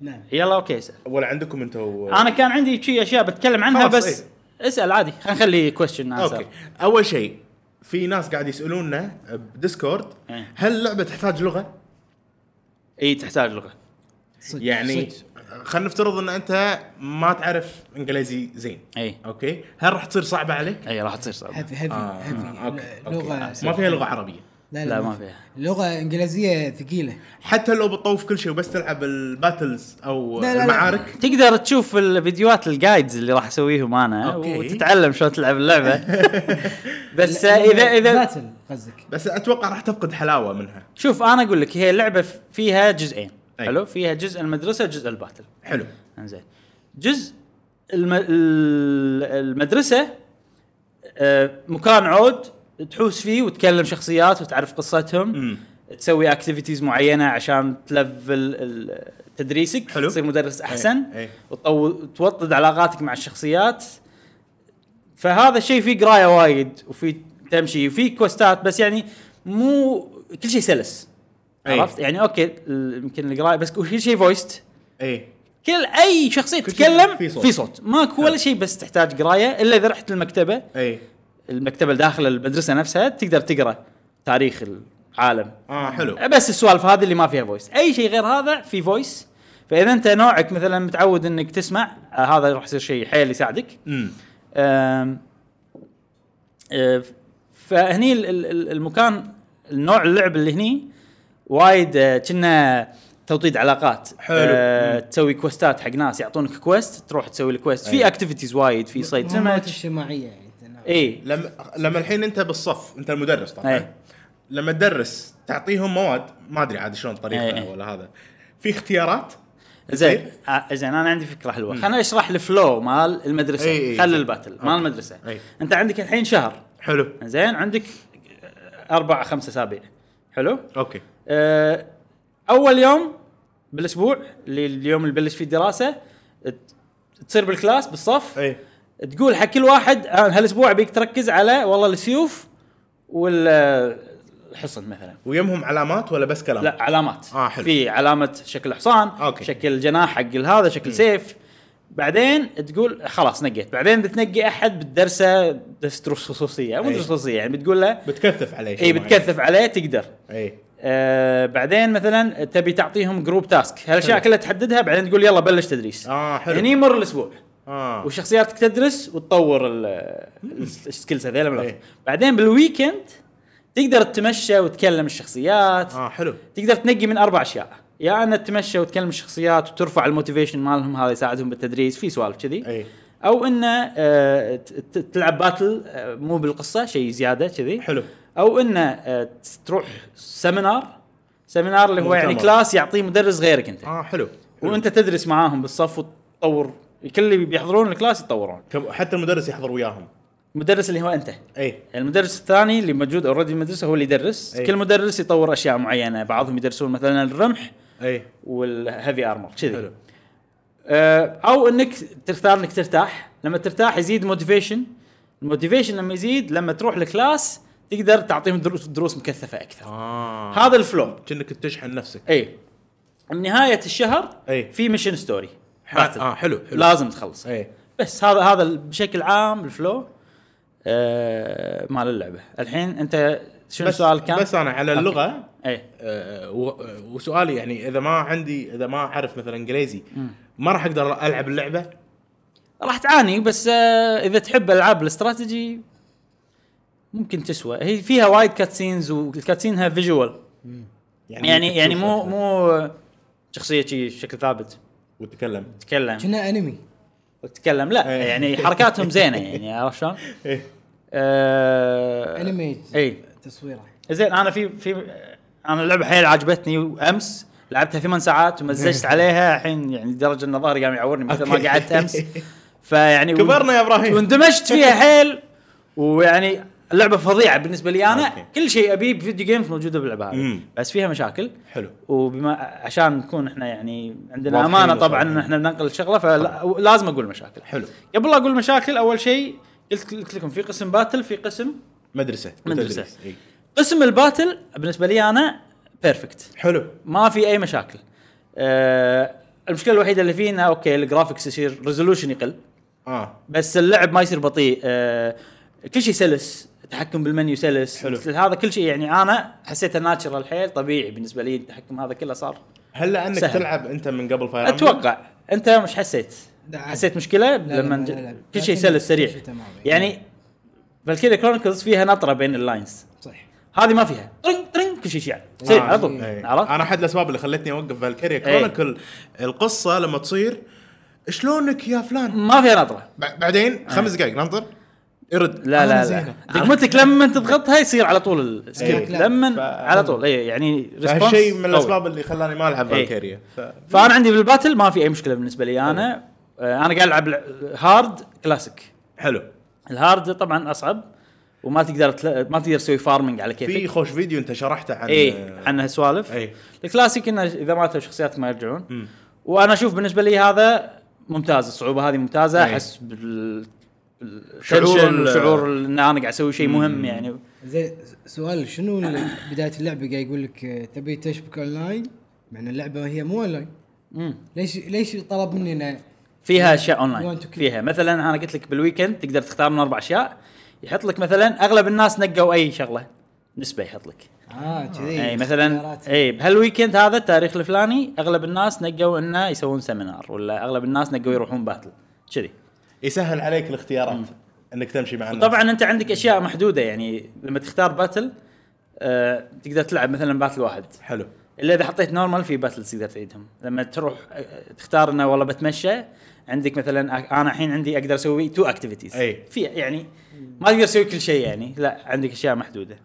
[SPEAKER 2] نعم
[SPEAKER 1] يلا اوكي اسال
[SPEAKER 3] ولا عندكم انتم
[SPEAKER 1] انا كان عندي شي اشياء بتكلم عنها
[SPEAKER 3] خلاص، إيه.
[SPEAKER 1] بس اسال عادي خلينا نخلي كويشن
[SPEAKER 3] اوكي اول شيء في ناس قاعد يسالوننا بديسكورد
[SPEAKER 1] إيه.
[SPEAKER 3] هل اللعبه تحتاج لغه؟
[SPEAKER 1] اي تحتاج لغه
[SPEAKER 2] صدق
[SPEAKER 3] يعني
[SPEAKER 2] صدق.
[SPEAKER 3] خلينا نفترض ان انت ما تعرف انجليزي زين
[SPEAKER 1] اي
[SPEAKER 3] اوكي هل راح تصير صعبه عليك؟
[SPEAKER 1] اي إيه. راح تصير صعبه
[SPEAKER 2] هيفي هيفي
[SPEAKER 3] آه،
[SPEAKER 2] هيفي
[SPEAKER 3] اوكي
[SPEAKER 2] ل-
[SPEAKER 3] اوكي
[SPEAKER 2] لغه
[SPEAKER 3] ما فيها لغه عربيه
[SPEAKER 2] لا
[SPEAKER 1] لا، ما
[SPEAKER 2] في.
[SPEAKER 1] فيها.
[SPEAKER 2] لغه انجليزيه ثقيله
[SPEAKER 3] حتى لو بتطوف كل شيء وبس تلعب الباتلز او
[SPEAKER 2] لا، لا، لا.
[SPEAKER 3] المعارك
[SPEAKER 1] تقدر تشوف الفيديوهات الجايدز اللي راح اسويهم انا
[SPEAKER 3] أوكي.
[SPEAKER 1] وتتعلم شلون تلعب اللعبه بس
[SPEAKER 2] لا،
[SPEAKER 1] اذا اذا
[SPEAKER 2] باتل قصدك
[SPEAKER 3] بس اتوقع راح تفقد حلاوه منها
[SPEAKER 1] شوف انا اقول لك هي اللعبه فيها جزئين
[SPEAKER 3] أي.
[SPEAKER 1] حلو فيها جزء المدرسه وجزء الباتل
[SPEAKER 3] حلو
[SPEAKER 1] انزين جزء الم... ال- المدرسه آه، مكان عود تحوس فيه وتكلم شخصيات وتعرف قصتهم
[SPEAKER 3] امم
[SPEAKER 1] تسوي اكتيفيتيز معينه عشان تلفل ال- تدريسك
[SPEAKER 3] حلو. إيه،
[SPEAKER 1] تصير مدرس احسن
[SPEAKER 3] أي.
[SPEAKER 1] وتطو- وتوطد علاقاتك مع الشخصيات فهذا الشيء فيه قرايه وايد وفي تمشي وفي كوستات بس يعني مو كل شيء سلس
[SPEAKER 3] أي.
[SPEAKER 1] عرفت يعني اوكي ال- يمكن القرايه بس كل شيء فويست
[SPEAKER 3] اي
[SPEAKER 1] كل اي شخصيه
[SPEAKER 3] كل شيء
[SPEAKER 1] تتكلم
[SPEAKER 3] في صوت.
[SPEAKER 1] في صوت ماكو ولا شيء بس تحتاج قرايه الا اذا رحت المكتبه
[SPEAKER 3] اي
[SPEAKER 1] المكتبه اللي داخل المدرسه نفسها تقدر تقرا تاريخ العالم
[SPEAKER 3] اه حلو
[SPEAKER 1] بس السوالف هذه اللي ما فيها فويس اي شيء غير هذا في فويس فاذا انت نوعك مثلا متعود انك تسمع آه، هذا راح يصير شيء حيل يساعدك
[SPEAKER 3] امم
[SPEAKER 1] آم، آه، فهني ال- ال- ال- المكان النوع اللعب اللي هني وايد آه، كنا توطيد علاقات
[SPEAKER 3] حلو.
[SPEAKER 1] آه، تسوي كوستات حق ناس يعطونك كويست تروح تسوي الكويست في اكتيفيتيز وايد في صيد
[SPEAKER 2] مهمات
[SPEAKER 1] سمك
[SPEAKER 2] اجتماعيه يعني تنوع.
[SPEAKER 3] إيه.
[SPEAKER 1] اي
[SPEAKER 3] لما لما الحين انت بالصف انت المدرس طبعا
[SPEAKER 1] أي.
[SPEAKER 3] لما تدرس تعطيهم مواد ما ادري عاد شلون
[SPEAKER 1] أي،
[SPEAKER 3] طريقه
[SPEAKER 1] أي.
[SPEAKER 3] ولا هذا في اختيارات
[SPEAKER 1] زين
[SPEAKER 3] تصير؟
[SPEAKER 1] آه، زين انا عندي فكره حلوه خليني اشرح الفلو مال المدرسه
[SPEAKER 3] إي، إي،
[SPEAKER 1] خل
[SPEAKER 3] زين.
[SPEAKER 1] الباتل مال
[SPEAKER 3] أوكي.
[SPEAKER 1] المدرسه
[SPEAKER 3] إي.
[SPEAKER 1] انت عندك الحين شهر
[SPEAKER 3] حلو
[SPEAKER 1] زين عندك اربع خمس اسابيع حلو
[SPEAKER 3] اوكي
[SPEAKER 1] آه، اول يوم بالاسبوع اللي اليوم اللي بلش فيه الدراسه ت- تصير بالكلاس بالصف
[SPEAKER 3] اي
[SPEAKER 1] تقول حق كل واحد آه، هالاسبوع ابيك تركز على والله السيوف والحصن مثلا
[SPEAKER 3] ويمهم علامات ولا بس كلام؟
[SPEAKER 1] لا علامات
[SPEAKER 3] آه، حلو.
[SPEAKER 1] في علامه شكل حصان
[SPEAKER 3] أوكي.
[SPEAKER 1] شكل جناح حق هذا شكل سيف بعدين تقول خلاص نقيت بعدين بتنقي احد بتدرسه درس دروس خصوصيه مو
[SPEAKER 3] أي.
[SPEAKER 1] دروس خصوصيه يعني بتقول له
[SPEAKER 3] بتكثف عليه شيء
[SPEAKER 1] اي
[SPEAKER 3] معين.
[SPEAKER 1] إيه،
[SPEAKER 3] إيه.
[SPEAKER 1] بتكثف عليه تقدر
[SPEAKER 3] اي
[SPEAKER 1] آه بعدين مثلا تبي تعطيهم جروب تاسك هالاشياء
[SPEAKER 3] حلو.
[SPEAKER 1] كلها تحددها بعدين تقول يلا بلش تدريس
[SPEAKER 3] اه حلو
[SPEAKER 1] يعني يمر الاسبوع
[SPEAKER 3] اه
[SPEAKER 1] وشخصياتك تدرس وتطور ال- السكيلز هذيلا من الأول.
[SPEAKER 3] إيه.
[SPEAKER 1] بعدين بالويكند تقدر تتمشى وتكلم الشخصيات
[SPEAKER 3] اه حلو
[SPEAKER 1] تقدر تنقي من اربع اشياء يا ان تتمشى وتكلم الشخصيات وترفع الموتيفيشن مالهم هذا يساعدهم بالتدريس في سوالف كذي
[SPEAKER 3] اي
[SPEAKER 1] او انه آه، ت- ت- تلعب باتل آه، مو بالقصه شيء زياده كذي
[SPEAKER 3] حلو
[SPEAKER 1] او انه آه، تروح سيمينار سيمينار اللي هو يعني
[SPEAKER 3] مؤتمر.
[SPEAKER 1] كلاس يعطيه مدرس غيرك انت
[SPEAKER 3] اه حلو, حلو.
[SPEAKER 1] وانت تدرس معاهم بالصف وتطور كل اللي بيحضرون الكلاس يتطورون
[SPEAKER 3] كم- حتى المدرس يحضر وياهم إيه.
[SPEAKER 1] المدرس اللي هو انت
[SPEAKER 3] اي
[SPEAKER 1] المدرس الثاني اللي موجود اوريدي المدرسه هو اللي يدرس
[SPEAKER 3] أي.
[SPEAKER 1] كل مدرس يطور اشياء معينه بعضهم يدرسون مثلا الرمح
[SPEAKER 3] اي
[SPEAKER 1] والهيفي ارمر كذي
[SPEAKER 3] إيه. حلو
[SPEAKER 1] آه، او انك تختار انك ترتاح لما ترتاح يزيد موتيفيشن الموتيفيشن لما يزيد لما تروح الكلاس تقدر تعطيهم دروس دروس مكثفه اكثر
[SPEAKER 3] اه
[SPEAKER 1] هذا الفلو
[SPEAKER 3] كأنك تشحن نفسك
[SPEAKER 1] اي بنهايه الشهر
[SPEAKER 3] أي.
[SPEAKER 1] في ميشن ستوري
[SPEAKER 3] حاتم. اه حلو إيه. حلو
[SPEAKER 1] لازم تخلص
[SPEAKER 3] اي
[SPEAKER 1] بس هذا هذا ال- بشكل عام الفلو آه مال اللعبه الحين انت شنو
[SPEAKER 3] بس
[SPEAKER 1] السؤال كان
[SPEAKER 3] بس انا على
[SPEAKER 1] أوكي.
[SPEAKER 3] اللغه
[SPEAKER 1] اي
[SPEAKER 3] آه، و- وسؤالي يعني اذا ما عندي اذا ما اعرف مثلا انجليزي ما راح اقدر العب اللعبه
[SPEAKER 1] راح تعاني بس آه اذا تحب العاب الاستراتيجي ممكن تسوى هي فيها وايد كاتسينز والكاتسينها فيجوال يعني
[SPEAKER 3] ممكن
[SPEAKER 1] يعني
[SPEAKER 3] تشوف
[SPEAKER 1] مو
[SPEAKER 3] أكثر
[SPEAKER 1] مو شخصيه شي شكل ثابت
[SPEAKER 3] وتتكلم
[SPEAKER 1] تتكلم
[SPEAKER 2] كنا انمي
[SPEAKER 1] وتتكلم لا
[SPEAKER 3] إيه.
[SPEAKER 1] يعني حركاتهم زينه يعني عرفت شلون؟
[SPEAKER 3] ايه
[SPEAKER 1] آه
[SPEAKER 2] انمي
[SPEAKER 3] إيه.
[SPEAKER 1] اي
[SPEAKER 2] تصويره
[SPEAKER 1] زين انا في في انا اللعبه حيل عجبتني وامس لعبتها ثمان ساعات ومزجت عليها الحين يعني لدرجه ان ظهري قام يعورني مثل ما
[SPEAKER 3] إيه. أوكي.
[SPEAKER 1] قعدت امس فيعني
[SPEAKER 3] كبرنا يا إبراهيم.
[SPEAKER 1] واندمجت فيها حيل ويعني اللعبه فظيعه بالنسبه لي انا
[SPEAKER 3] أوكي.
[SPEAKER 1] كل شيء ابيه بفيديو جيمز موجوده باللعبه هذه
[SPEAKER 3] مم.
[SPEAKER 1] بس فيها مشاكل
[SPEAKER 3] حلو
[SPEAKER 1] وبما عشان نكون احنا يعني عندنا
[SPEAKER 3] واضحين
[SPEAKER 1] امانه
[SPEAKER 3] وصراحة.
[SPEAKER 1] طبعا ان احنا ننقل الشغله فلازم اقول مشاكل
[SPEAKER 3] حلو
[SPEAKER 1] قبل لا اقول مشاكل اول شيء قلت قلت لكم في قسم باتل في قسم
[SPEAKER 3] مدرسه
[SPEAKER 1] مدرسة.
[SPEAKER 3] وتدريس. إيه.
[SPEAKER 1] قسم الباتل بالنسبه لي انا بيرفكت
[SPEAKER 3] حلو
[SPEAKER 1] ما في اي مشاكل أه المشكله الوحيده اللي فيه انها اوكي الجرافكس يصير ريزولوشن يقل
[SPEAKER 3] اه
[SPEAKER 1] بس اللعب ما يصير بطيء أه كل شيء سلس التحكم بالمنيو سلس
[SPEAKER 3] حلو.
[SPEAKER 1] هذا كل شيء يعني انا حسيته ناتشرال حيل طبيعي بالنسبه لي التحكم هذا كله صار
[SPEAKER 3] هل لانك
[SPEAKER 1] سهل.
[SPEAKER 3] تلعب انت من قبل فاير أمبلم؟
[SPEAKER 1] اتوقع انت مش حسيت
[SPEAKER 2] لا، عادي.
[SPEAKER 1] حسيت مشكله
[SPEAKER 2] لا،
[SPEAKER 1] لما
[SPEAKER 2] لا،
[SPEAKER 1] نج-
[SPEAKER 2] لا، لا.
[SPEAKER 1] كل شيء
[SPEAKER 2] لكن
[SPEAKER 1] سلس سريع
[SPEAKER 2] كل شيء تمام.
[SPEAKER 1] يعني فالكيريا كرونيكلز فيها نطره بين اللاينز
[SPEAKER 2] صح
[SPEAKER 1] هذه ما فيها ترنج ترنج كل شيء شيء سريع
[SPEAKER 3] آه،
[SPEAKER 1] على طول
[SPEAKER 3] إيه.
[SPEAKER 1] عرفت؟
[SPEAKER 3] انا احد الاسباب اللي خلتني اوقف فالكيريا
[SPEAKER 1] إيه.
[SPEAKER 3] كرونيكل القصه لما تصير شلونك يا فلان
[SPEAKER 1] ما فيها نطره
[SPEAKER 3] بع- بعدين خمس دقائق ننطر يرد
[SPEAKER 1] إيه. لا
[SPEAKER 2] أنا
[SPEAKER 1] لا لا
[SPEAKER 2] آه، زينة.
[SPEAKER 1] دقمتك لما تضغطها يصير على طول السكيل
[SPEAKER 3] إيه.
[SPEAKER 1] لما
[SPEAKER 3] ف-
[SPEAKER 1] على طول اي يعني response
[SPEAKER 3] فهالشيء من
[SPEAKER 1] قوي.
[SPEAKER 3] الاسباب اللي خلاني ما العب
[SPEAKER 1] إيه.
[SPEAKER 3] فالكيريا ف...
[SPEAKER 1] فانا عندي بالباتل ما في اي مشكله بالنسبه لي انا آه، انا قاعد العب لع- هارد كلاسيك
[SPEAKER 3] حلو
[SPEAKER 1] إيه، الهارد طبعا اصعب وما تقدر تل... ما تقدر تسوي فارمنج على
[SPEAKER 3] في
[SPEAKER 1] كيفك
[SPEAKER 3] خوش فيديو انت شرحته عن
[SPEAKER 1] اي عن هالسوالف
[SPEAKER 3] إيه.
[SPEAKER 1] الكلاسيك انه اذا ماتوا شخصيات ما يرجعون
[SPEAKER 3] مم.
[SPEAKER 1] وانا اشوف بالنسبه لي هذا ممتاز الصعوبه هذه ممتازه
[SPEAKER 3] إيه.
[SPEAKER 1] احس بال
[SPEAKER 3] شعور
[SPEAKER 1] شعور
[SPEAKER 3] ال-
[SPEAKER 1] شعور ان انا قاعد اسوي شيء مهم يعني
[SPEAKER 2] زين سؤال شنو ال- بدايه اللعبه قاعد يقول لك آه، تبي تشبك اونلاين مع ان اللعبه هي مو اونلاين
[SPEAKER 1] مم.
[SPEAKER 2] ليش ليش طلب مني انا
[SPEAKER 1] فيها اشياء اونلاين
[SPEAKER 2] You want to keep-
[SPEAKER 1] فيها مثلا انا قلت لك بالويكند تقدر تختار من اربع اشياء يحط لك مثلا اغلب الناس نقوا اي شغله نسبه يحط لك إيه،
[SPEAKER 2] اه كذي
[SPEAKER 3] إيه،
[SPEAKER 1] اي مثلا
[SPEAKER 2] اختيارات.
[SPEAKER 1] اي بهالويكند هذا التاريخ الفلاني اغلب الناس نقوا انه يسوون سيمينار ولا اغلب الناس نقوا يروحون باتل كذي
[SPEAKER 3] يسهل عليك الاختيارات انك تمشي مع الناس
[SPEAKER 1] طبعا انت عندك اشياء محدوده يعني لما تختار باتل آه تقدر تلعب مثلا باتل واحد
[SPEAKER 3] حلو
[SPEAKER 1] الا اذا حطيت نورمال في باتلز تقدر تعيدهم لما تروح آه، تختار انه والله بتمشى عندك مثلا آه، انا الحين عندي اقدر اسوي تو اكتيفيتيز
[SPEAKER 3] أي.
[SPEAKER 1] في يعني ما تقدر تسوي كل شيء يعني لا عندك اشياء محدوده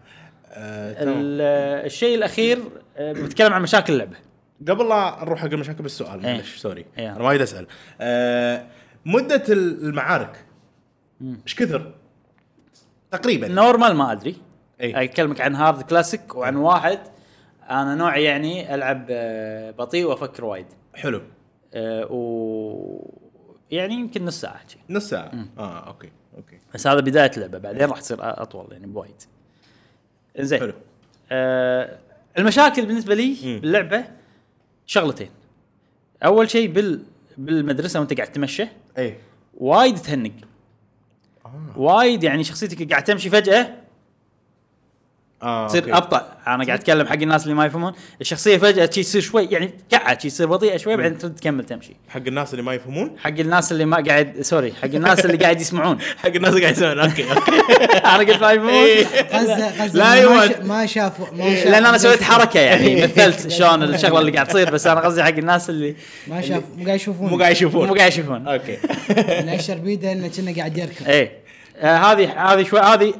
[SPEAKER 3] آه، تمام.
[SPEAKER 1] ال- آه، الشيء الاخير آه، بتكلم عن مشاكل اللعبه
[SPEAKER 3] قبل لا نروح حق المشاكل بالسؤال
[SPEAKER 1] إيه.
[SPEAKER 3] معلش سوري
[SPEAKER 1] إيه.
[SPEAKER 3] انا وايد اسال آه، مده ال- المعارك ايش كثر؟ تقريبا
[SPEAKER 1] نورمال ما ادري
[SPEAKER 3] أي.
[SPEAKER 1] اكلمك عن هارد كلاسيك وعن واحد انا نوعي يعني العب آه، بطيء وافكر وايد
[SPEAKER 3] حلو
[SPEAKER 1] آه، و يعني يمكن نص ساعه شي.
[SPEAKER 3] نص ساعه اه اوكي اوكي
[SPEAKER 1] بس هذا بدايه اللعبه بعدين راح تصير اطول يعني بوايد زين طيب.
[SPEAKER 3] حلو.
[SPEAKER 1] آه المشاكل بالنسبه لي
[SPEAKER 3] مم.
[SPEAKER 1] باللعبه شغلتين اول شيء بال بالمدرسه وانت قاعد تمشى
[SPEAKER 3] اي
[SPEAKER 1] وايد تهنق
[SPEAKER 3] اه,
[SPEAKER 1] وايد يعني شخصيتك قاعد تمشي فجاه
[SPEAKER 3] آه
[SPEAKER 1] تصير
[SPEAKER 3] أوكي.
[SPEAKER 1] ابطا انا قاعد اتكلم حق الناس اللي ما يفهمون الشخصيه فجاه تشي تصير شوي يعني كعه تشي تصير بطيئه شوي بعدين ترد تكمل تمشي
[SPEAKER 3] حق الناس اللي ما يفهمون
[SPEAKER 1] حق الناس اللي ما قاعد سوري حق الناس اللي قاعد يسمعون
[SPEAKER 3] حق الناس اللي قاعد يسوون اوكي اوكي
[SPEAKER 1] انا قلت ما يفهمون
[SPEAKER 3] إيه.
[SPEAKER 2] غزه غزه
[SPEAKER 3] لا
[SPEAKER 2] ما
[SPEAKER 1] أيوة.
[SPEAKER 3] يود.
[SPEAKER 2] شا- ما شافوا ما شافوا إيه.
[SPEAKER 1] لان انا إيه، سويت حركه
[SPEAKER 3] إيه.
[SPEAKER 1] يعني مثلت شلون الشغله اللي قاعد تصير بس انا قصدي حق الناس اللي
[SPEAKER 2] ما شافوا مو قاعد يشوفون
[SPEAKER 3] مو قاعد
[SPEAKER 1] مو
[SPEAKER 3] يشوفون
[SPEAKER 1] قاعد يشوفون
[SPEAKER 3] اوكي
[SPEAKER 2] انا اشعر بيده انه كنا قاعد يركض
[SPEAKER 1] ايه آه، هذه هذه شوي هذه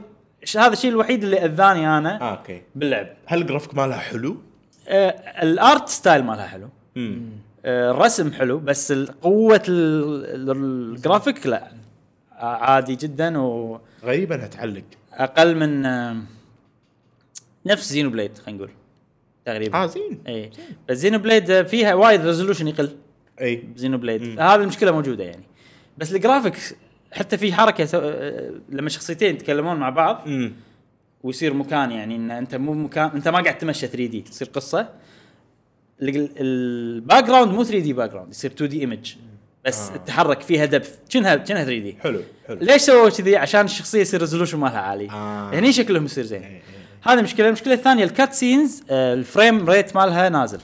[SPEAKER 1] ش- هذا الشيء الوحيد اللي اذاني انا
[SPEAKER 3] آه، اوكي
[SPEAKER 1] باللعب
[SPEAKER 3] هل الجرافيك مالها حلو؟
[SPEAKER 1] آه، الارت ستايل مالها حلو
[SPEAKER 3] امم
[SPEAKER 1] آه، الرسم حلو بس ال- قوه ال- ال- الجرافيك لا آه، عادي جدا واقل
[SPEAKER 3] غريبه انها تعلق
[SPEAKER 1] من آه، نفس زينو بليد خلينا نقول تقريبا
[SPEAKER 3] اه زين
[SPEAKER 1] اي بس زينو بليد آه، فيها وايد ريزولوشن يقل
[SPEAKER 3] اي
[SPEAKER 1] زينو بليد
[SPEAKER 3] مم.
[SPEAKER 1] هذه المشكله موجوده يعني بس الجرافيكس حتى في حركه سو... آه، لما شخصيتين يتكلمون مع بعض
[SPEAKER 3] امم
[SPEAKER 1] ويصير مكان يعني ان انت مو مكان انت ما قاعد تمشى 3 دي تصير قصه الباك جراوند مو 3 دي باك جراوند يصير 2 دي ايمج بس
[SPEAKER 3] آه.
[SPEAKER 1] آه. تتحرك فيها دبث كأنها كأنها 3 دي
[SPEAKER 3] حلو حلو
[SPEAKER 1] ليش سووا كذي عشان الشخصيه يصير ريزولوشن مالها عالي
[SPEAKER 3] آه.
[SPEAKER 1] هني شكلهم يصير
[SPEAKER 3] إيه،
[SPEAKER 1] زين
[SPEAKER 3] إيه.
[SPEAKER 1] هذه مشكله المشكله الثانيه الكات سينز آه، الفريم ريت مالها نازل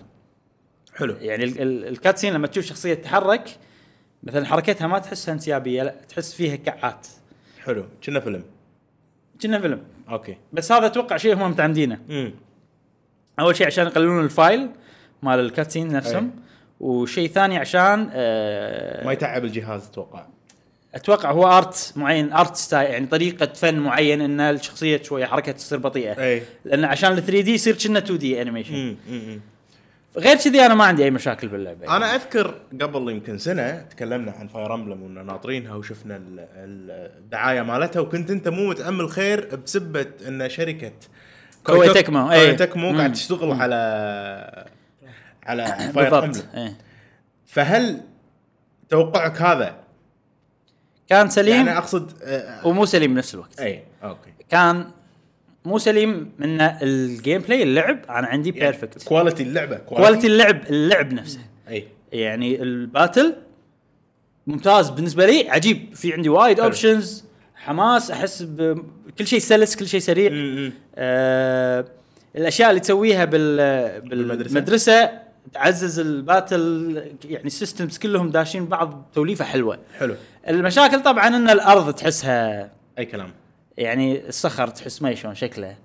[SPEAKER 3] حلو
[SPEAKER 1] يعني ال- ال- الكاتسين لما تشوف شخصيه تتحرك مثلا حركتها ما تحسها انسيابيه لا تحس فيها كعات
[SPEAKER 3] حلو كنا فيلم
[SPEAKER 1] كنا فيلم
[SPEAKER 3] اوكي
[SPEAKER 1] بس هذا اتوقع شيء هم متعمدينه
[SPEAKER 3] امم
[SPEAKER 1] اول شيء عشان يقللون الفايل مال الكاتسين
[SPEAKER 3] أي.
[SPEAKER 1] نفسهم وشيء ثاني عشان آه،
[SPEAKER 3] ما يتعب الجهاز اتوقع
[SPEAKER 1] اتوقع هو ارت معين ارت ستايل يعني طريقه فن معين ان الشخصيه شويه حركتها تصير بطيئه
[SPEAKER 3] اي
[SPEAKER 1] لان عشان ال 3 دي يصير كنا 2 دي انيميشن
[SPEAKER 3] امم امم
[SPEAKER 1] غير كذي انا ما عندي اي مشاكل باللعبه يعني.
[SPEAKER 3] انا اذكر قبل يمكن سنه تكلمنا عن فاير امبلم ونا ناطرينها وشفنا ال- ال- الدعايه مالتها وكنت انت مو متامل خير بسبه ان شركه
[SPEAKER 1] كوي تكمو،
[SPEAKER 3] كوي
[SPEAKER 1] إيه.
[SPEAKER 3] تكمو قاعد
[SPEAKER 1] مم.
[SPEAKER 3] تشتغل على على فاير
[SPEAKER 1] بالضبط
[SPEAKER 3] امبلم
[SPEAKER 1] إيه.
[SPEAKER 3] فهل توقعك هذا
[SPEAKER 1] كان سليم
[SPEAKER 3] يعني اقصد آه، إيه،
[SPEAKER 1] ومو سليم بنفس الوقت
[SPEAKER 3] اي اوكي
[SPEAKER 1] كان مو سليم من الجيم بلاي اللعب انا عندي
[SPEAKER 3] يعني
[SPEAKER 1] بيرفكت
[SPEAKER 3] كواليتي اللعبه
[SPEAKER 1] كواليتي اللعب اللعب نفسه
[SPEAKER 3] اي
[SPEAKER 1] يعني الباتل ممتاز بالنسبه لي عجيب في عندي وايد
[SPEAKER 3] حلو.
[SPEAKER 1] اوبشنز حماس احس بكل شيء سلس كل شيء سريع
[SPEAKER 3] امم
[SPEAKER 1] آه الاشياء اللي تسويها بال
[SPEAKER 3] بالمدرسة.
[SPEAKER 1] بالمدرسه تعزز الباتل يعني السيستمز كلهم داشين بعض توليفه حلوه
[SPEAKER 3] حلو
[SPEAKER 1] المشاكل طبعا ان الارض تحسها
[SPEAKER 3] اي كلام
[SPEAKER 1] يعني الصخر تحس ما شلون شكله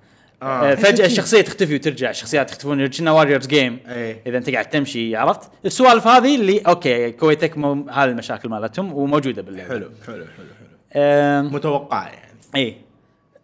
[SPEAKER 3] آه.
[SPEAKER 1] آه. فجاه الشخصيه تختفي وترجع الشخصيات يختفون كنا واريورز جيم
[SPEAKER 3] إيه.
[SPEAKER 1] اذا انت قاعد تمشي عرفت السوالف هذه اللي اوكي كويتك مو هذه المشاكل مالتهم وموجوده باللعبه
[SPEAKER 3] حلو حلو حلو حلو
[SPEAKER 1] آم،
[SPEAKER 3] متوقع يعني
[SPEAKER 1] اي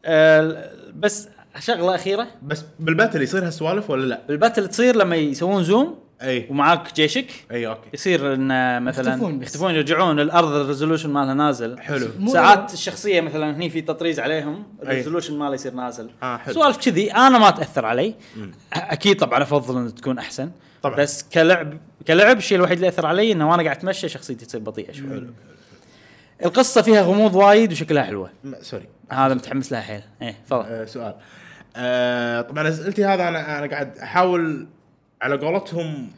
[SPEAKER 1] آه بس شغله اخيره
[SPEAKER 3] بس بالباتل يصير هالسوالف ولا لا؟
[SPEAKER 1] الباتل تصير لما يسوون زوم
[SPEAKER 3] اي
[SPEAKER 1] ومعاك جيشك
[SPEAKER 3] اي اوكي
[SPEAKER 1] يصير ان آه، مثلا
[SPEAKER 2] يختفون
[SPEAKER 1] يختفون,
[SPEAKER 2] بس.
[SPEAKER 1] يختفون يرجعون الارض الريزولوشن مالها نازل
[SPEAKER 3] حلو
[SPEAKER 2] مو-
[SPEAKER 1] ساعات الشخصيه مثلا هني في تطريز عليهم
[SPEAKER 3] أي.
[SPEAKER 1] الريزولوشن ماله يصير نازل
[SPEAKER 3] آه، حلو.
[SPEAKER 1] سوالف كذي انا ما تاثر علي أ- اكيد طبعا افضل ان تكون احسن
[SPEAKER 3] طبعاً.
[SPEAKER 1] بس كلعب كلعب الشيء الوحيد اللي اثر علي انه وانا قاعد اتمشى شخصيتي تصير بطيئه شوي حلو. القصه فيها غموض وايد وشكلها حلوه
[SPEAKER 3] م- سوري
[SPEAKER 1] هذا متحمس لها حيل ايه تفضل
[SPEAKER 3] آه سؤال آه طبعا اسئلتي هذا انا انا قاعد احاول على قولتهم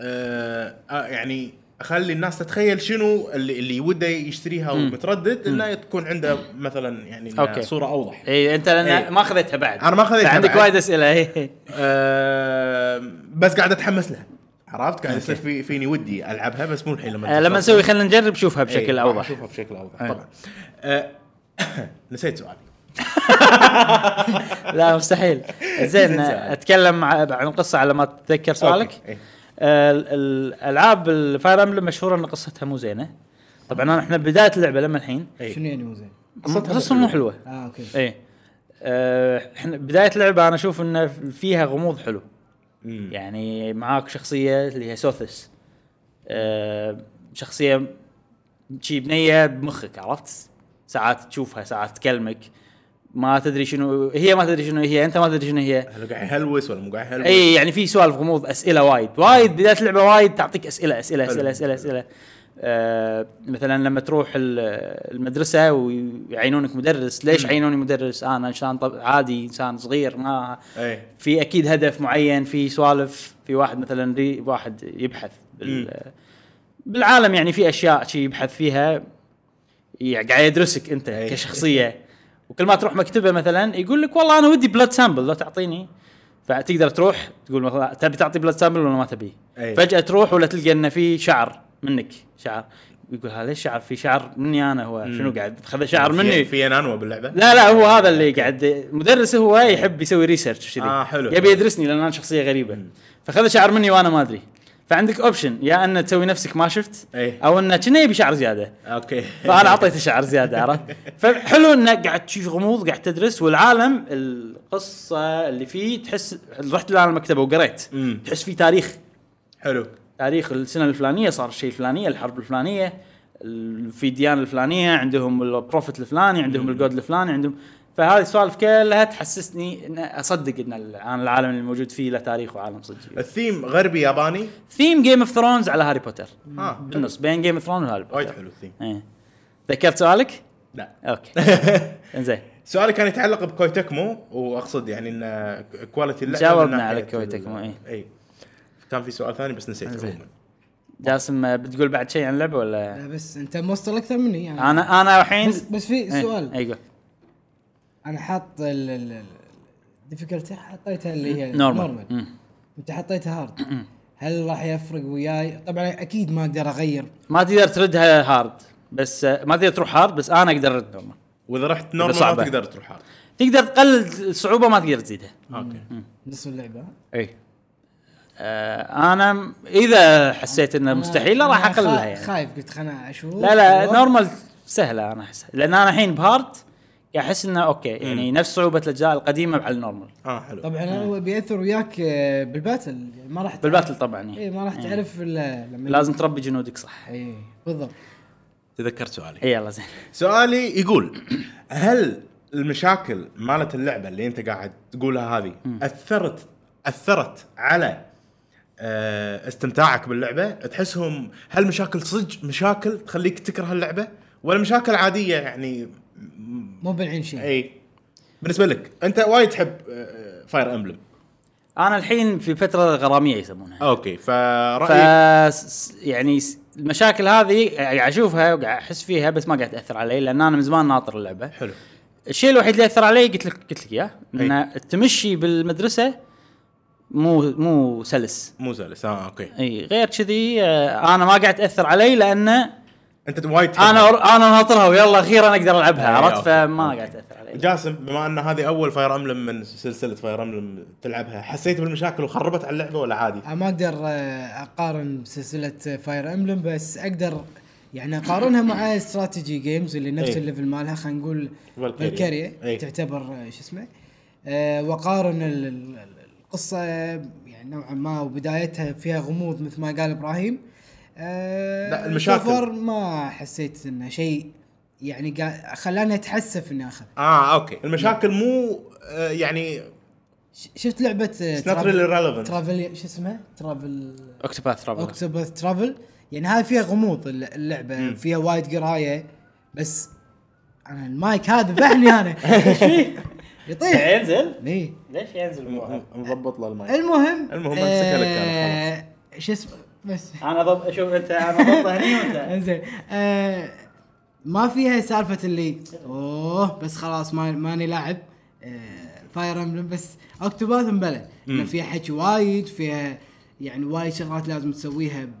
[SPEAKER 3] آه آه، يعني اخلي الناس تتخيل شنو اللي, اللي وده يشتريها ومتردد انه تكون عنده مثلا يعني إنه
[SPEAKER 1] أوكي.
[SPEAKER 3] صوره اوضح
[SPEAKER 1] اي انت لان
[SPEAKER 3] إيه.
[SPEAKER 1] ما اخذتها بعد
[SPEAKER 3] أنا ما أخذتها
[SPEAKER 1] عندك
[SPEAKER 3] بعد.
[SPEAKER 1] وايد إيه. اسئله اي
[SPEAKER 3] آه بس قاعد اتحمس لها عرفت قاعد يصير في فيني ودي العبها بس مو الحين لما
[SPEAKER 1] آه، لما
[SPEAKER 3] تخلص.
[SPEAKER 1] نسوي خلينا نجرب شوفها بشكل
[SPEAKER 3] إيه، راح
[SPEAKER 1] اوضح
[SPEAKER 3] اشوفها بشكل اوضح
[SPEAKER 1] إيه.
[SPEAKER 3] طبعا آه نسيت سؤالي
[SPEAKER 1] لا مستحيل زين
[SPEAKER 3] زين.
[SPEAKER 1] اتكلم ع- عن القصه على ما تتذكر سؤالك
[SPEAKER 3] أوكي. إيه.
[SPEAKER 1] آه، ال- الالعاب الفاير امبلم مشهوره ان قصتها مو زينه طبعا احنا بدايه اللعبه لما الحين
[SPEAKER 3] إيه.
[SPEAKER 2] شنو يعني مو زين؟
[SPEAKER 3] قصتها
[SPEAKER 1] قصتها مو حلوه
[SPEAKER 2] اه اوكي
[SPEAKER 1] ايه آه، احنا بدايه اللعبه انا اشوف ان فيها غموض حلو
[SPEAKER 3] مم.
[SPEAKER 1] يعني معاك شخصيه اللي هي سوثس آه، شخصيه شي بنيه بمخك عرفت؟ ساعات تشوفها ساعات تكلمك ما تدري شنو هي ما تدري شنو هي انت ما تدري شنو هي
[SPEAKER 3] هل قاعد يهلوس ولا مو قاعد يهلوس
[SPEAKER 1] اي يعني في سوالف غموض اسئله وايد وايد بدايه اللعبه وايد تعطيك اسئله اسئله
[SPEAKER 3] حلو.
[SPEAKER 1] اسئله اسئله اسئله آه مثلا لما تروح ال- المدرسه ويعينونك مدرس ليش عينوني مدرس انا انسان طب- عادي انسان صغير ما
[SPEAKER 3] اي
[SPEAKER 1] في اكيد هدف معين في سوالف في واحد مثلا ري واحد يبحث بال بالعالم يعني في اشياء شي يبحث فيها يعني قاعد يدرسك انت
[SPEAKER 3] أي.
[SPEAKER 1] كشخصيه وكل ما تروح مكتبه مثلا يقول لك والله انا ودي بلاد سامبل لو تعطيني فتقدر تروح تقول مثلا تبي تعطي بلاد سامبل ولا ما تبي
[SPEAKER 3] أي.
[SPEAKER 1] فجاه تروح ولا تلقى انه في شعر منك شعر يقول هذا ليش شعر في شعر مني انا هو شنو قاعد خذ شعر
[SPEAKER 3] يعني في-
[SPEAKER 1] مني
[SPEAKER 3] في انانوا باللعبه
[SPEAKER 1] لا لا هو هذا اللي قاعد مدرس هو يحب يسوي ريسيرش كذي
[SPEAKER 3] آه، حلو.
[SPEAKER 1] يبي يدرسني لان انا شخصيه غريبه فخذ شعر مني وانا ما ادري فعندك اوبشن يا ان تسوي نفسك ما شفت
[SPEAKER 3] أي.
[SPEAKER 1] او انه كنا يبي شعر زياده
[SPEAKER 3] اوكي
[SPEAKER 1] فانا اعطيته شعر زياده عرفت فحلو انك قاعد تشوف غموض قاعد تدرس والعالم القصه اللي فيه تحس رحت للعالم المكتبه وقريت
[SPEAKER 3] مم.
[SPEAKER 1] تحس فيه تاريخ
[SPEAKER 3] حلو
[SPEAKER 1] تاريخ السنه الفلانيه صار الشيء الفلانيه الحرب الفلانيه ال- في الديانه الفلانيه عندهم البروفيت الفلاني عندهم الجود الفلاني عندهم فهذه السوالف كلها تحسسني ان اصدق ان ال- أنا العالم اللي موجود فيه له تاريخ وعالم صدق
[SPEAKER 3] الثيم غربي ياباني
[SPEAKER 1] ثيم جيم اوف ثرونز على هاري بوتر
[SPEAKER 3] اه
[SPEAKER 1] بالنص بين جيم اوف ثرونز وهاري
[SPEAKER 3] وايد
[SPEAKER 1] بوتر
[SPEAKER 3] حلو الثيم
[SPEAKER 1] إيه. ذكرت سؤالك؟
[SPEAKER 3] لا
[SPEAKER 1] اوكي انزين
[SPEAKER 3] سؤالي كان يتعلق بكويتكمو واقصد يعني ان كواليتي اللعبه من
[SPEAKER 1] جاوبنا
[SPEAKER 3] ناحية
[SPEAKER 1] على
[SPEAKER 3] ال-
[SPEAKER 1] كويتكمو، إي.
[SPEAKER 3] اي كان في سؤال ثاني بس نسيت
[SPEAKER 1] زين.
[SPEAKER 3] عموما
[SPEAKER 1] جاسم بتقول بعد شيء عن اللعبه ولا؟
[SPEAKER 2] لا، بس انت موصل اكثر مني يعني
[SPEAKER 1] انا انا الحين إيه. أيوة.
[SPEAKER 2] بس بس في سؤال
[SPEAKER 1] اي قول
[SPEAKER 2] انا حاط الديفيكولتي حطيتها اللي هي
[SPEAKER 1] نورمال مم.
[SPEAKER 2] انت حطيتها هارد هل راح يفرق وياي؟ طبعا اكيد ما اقدر اغير
[SPEAKER 1] ما تقدر تردها هارد بس آه، ما تقدر تروح هارد بس انا اقدر ارد نورمال
[SPEAKER 3] واذا رحت
[SPEAKER 1] إذا
[SPEAKER 3] نورمال
[SPEAKER 1] صعبة.
[SPEAKER 3] ما تقدر تروح هارد
[SPEAKER 1] تقدر تقلل الصعوبه ما تقدر تزيدها
[SPEAKER 3] اوكي
[SPEAKER 2] نص اللعبه
[SPEAKER 1] اي آه انا م- اذا حسيت انه
[SPEAKER 2] أنا-
[SPEAKER 1] مستحيل راح
[SPEAKER 2] أنا خا-
[SPEAKER 1] اقللها يعني
[SPEAKER 2] خايف قلت خلنا اشوف
[SPEAKER 1] لا لا
[SPEAKER 2] أشوف. أيوة.
[SPEAKER 1] نورمال سهله انا احس لان انا الحين بهارد قاعد احس انه اوكي يعني نفس صعوبه الاجزاء القديمه على النورمال
[SPEAKER 3] اه حلو
[SPEAKER 2] طبعا هو بياثر وياك آه، بالباتل يعني ما راح تعرف-
[SPEAKER 1] بالباتل طبعا
[SPEAKER 2] اي
[SPEAKER 1] إيه.
[SPEAKER 2] ما راح تعرف الا لما
[SPEAKER 1] لازم تربي جنودك صح
[SPEAKER 2] اي بالضبط
[SPEAKER 3] تذكرت سؤالي
[SPEAKER 1] اي يلا زين
[SPEAKER 3] سؤالي يقول هل المشاكل مالت اللعبه اللي انت قاعد تقولها هذه اثرت اثرت على آه، استمتاعك باللعبه تحسهم هل مشاكل صدق مشاكل تخليك تكره اللعبه ولا مشاكل عاديه يعني
[SPEAKER 2] مو بالعين شيء
[SPEAKER 3] اي بالنسبه لك انت وايد تحب آه، فاير امبلم
[SPEAKER 1] انا الحين في فتره غراميه يسمونها
[SPEAKER 3] اوكي
[SPEAKER 1] ف
[SPEAKER 3] فرايك
[SPEAKER 1] يعني س- المشاكل هذه قاعد اشوفها وقاعد احس فيها بس ما قاعد تاثر علي لان انا من زمان ناطر اللعبه
[SPEAKER 3] حلو
[SPEAKER 1] الشيء الوحيد اللي اثر علي قلت لك قلت لك اياه ان
[SPEAKER 3] أي.
[SPEAKER 1] التمشي بالمدرسه مو مو سلس
[SPEAKER 3] مو سلس اه اوكي
[SPEAKER 1] اي غير كذي آه، انا ما قاعد تاثر علي لان انا
[SPEAKER 3] انت وايد تحب
[SPEAKER 1] انا ناطرها ويلا اخيرا اقدر العبها
[SPEAKER 3] أي،
[SPEAKER 1] عرفت
[SPEAKER 3] أوكي،
[SPEAKER 1] فما
[SPEAKER 3] أوكي.
[SPEAKER 1] قاعد تاثر علي
[SPEAKER 3] جاسم بما ان هذه اول فاير املم من سلسله فاير املم تلعبها حسيت بالمشاكل وخربت على اللعبه ولا عادي؟
[SPEAKER 2] أنا ما اقدر آه، اقارن سلسله فاير امبلم بس اقدر يعني اقارنها مع استراتيجي جيمز اللي نفس
[SPEAKER 3] إيه.
[SPEAKER 2] الليفل مالها خلينا نقول
[SPEAKER 3] Valkyria.
[SPEAKER 2] فالكاريا
[SPEAKER 3] إيه.
[SPEAKER 2] تعتبر آه، شو اسمه آه، واقارن ال- ال- القصه يعني نوعا ما وبدايتها فيها غموض مثل ما قال ابراهيم آه،
[SPEAKER 3] لا، المشاكل.
[SPEAKER 2] so far ما حسيت انه شيء يعني قا- خلاني اتحسف اني اخذ
[SPEAKER 3] اه اوكي المشاكل مو آه، يعني
[SPEAKER 2] ش- شفت لعبه آه،
[SPEAKER 3] It's not
[SPEAKER 2] Travel-
[SPEAKER 3] really relevant.
[SPEAKER 2] Travel- شو اسمها ترافل
[SPEAKER 1] اوكتوباث ترافل
[SPEAKER 2] اوكتوباث ترافل يعني هاي فيها غموض الل- اللعبه
[SPEAKER 3] مم.
[SPEAKER 2] فيها وايد قرايه بس انا المايك هذا ذبحني انا إيش فيه؟ يطيح
[SPEAKER 1] إيه، ينزل
[SPEAKER 2] اي
[SPEAKER 1] ليش ينزل الموضوع؟
[SPEAKER 3] مضبط له المايك
[SPEAKER 2] المهم
[SPEAKER 3] المهم امسكها لك أنا
[SPEAKER 2] آه شو اسمه بس
[SPEAKER 1] انا ضب شوف انت انا ضبطه هني وانت
[SPEAKER 2] انزين آه ما فيها سالفه اللي اوه بس خلاص ما ماني لاعب آه فاير امبلم بس اكتوباث مبلى إن فيها حكي وايد فيها يعني وايد شغلات لازم تسويها ب-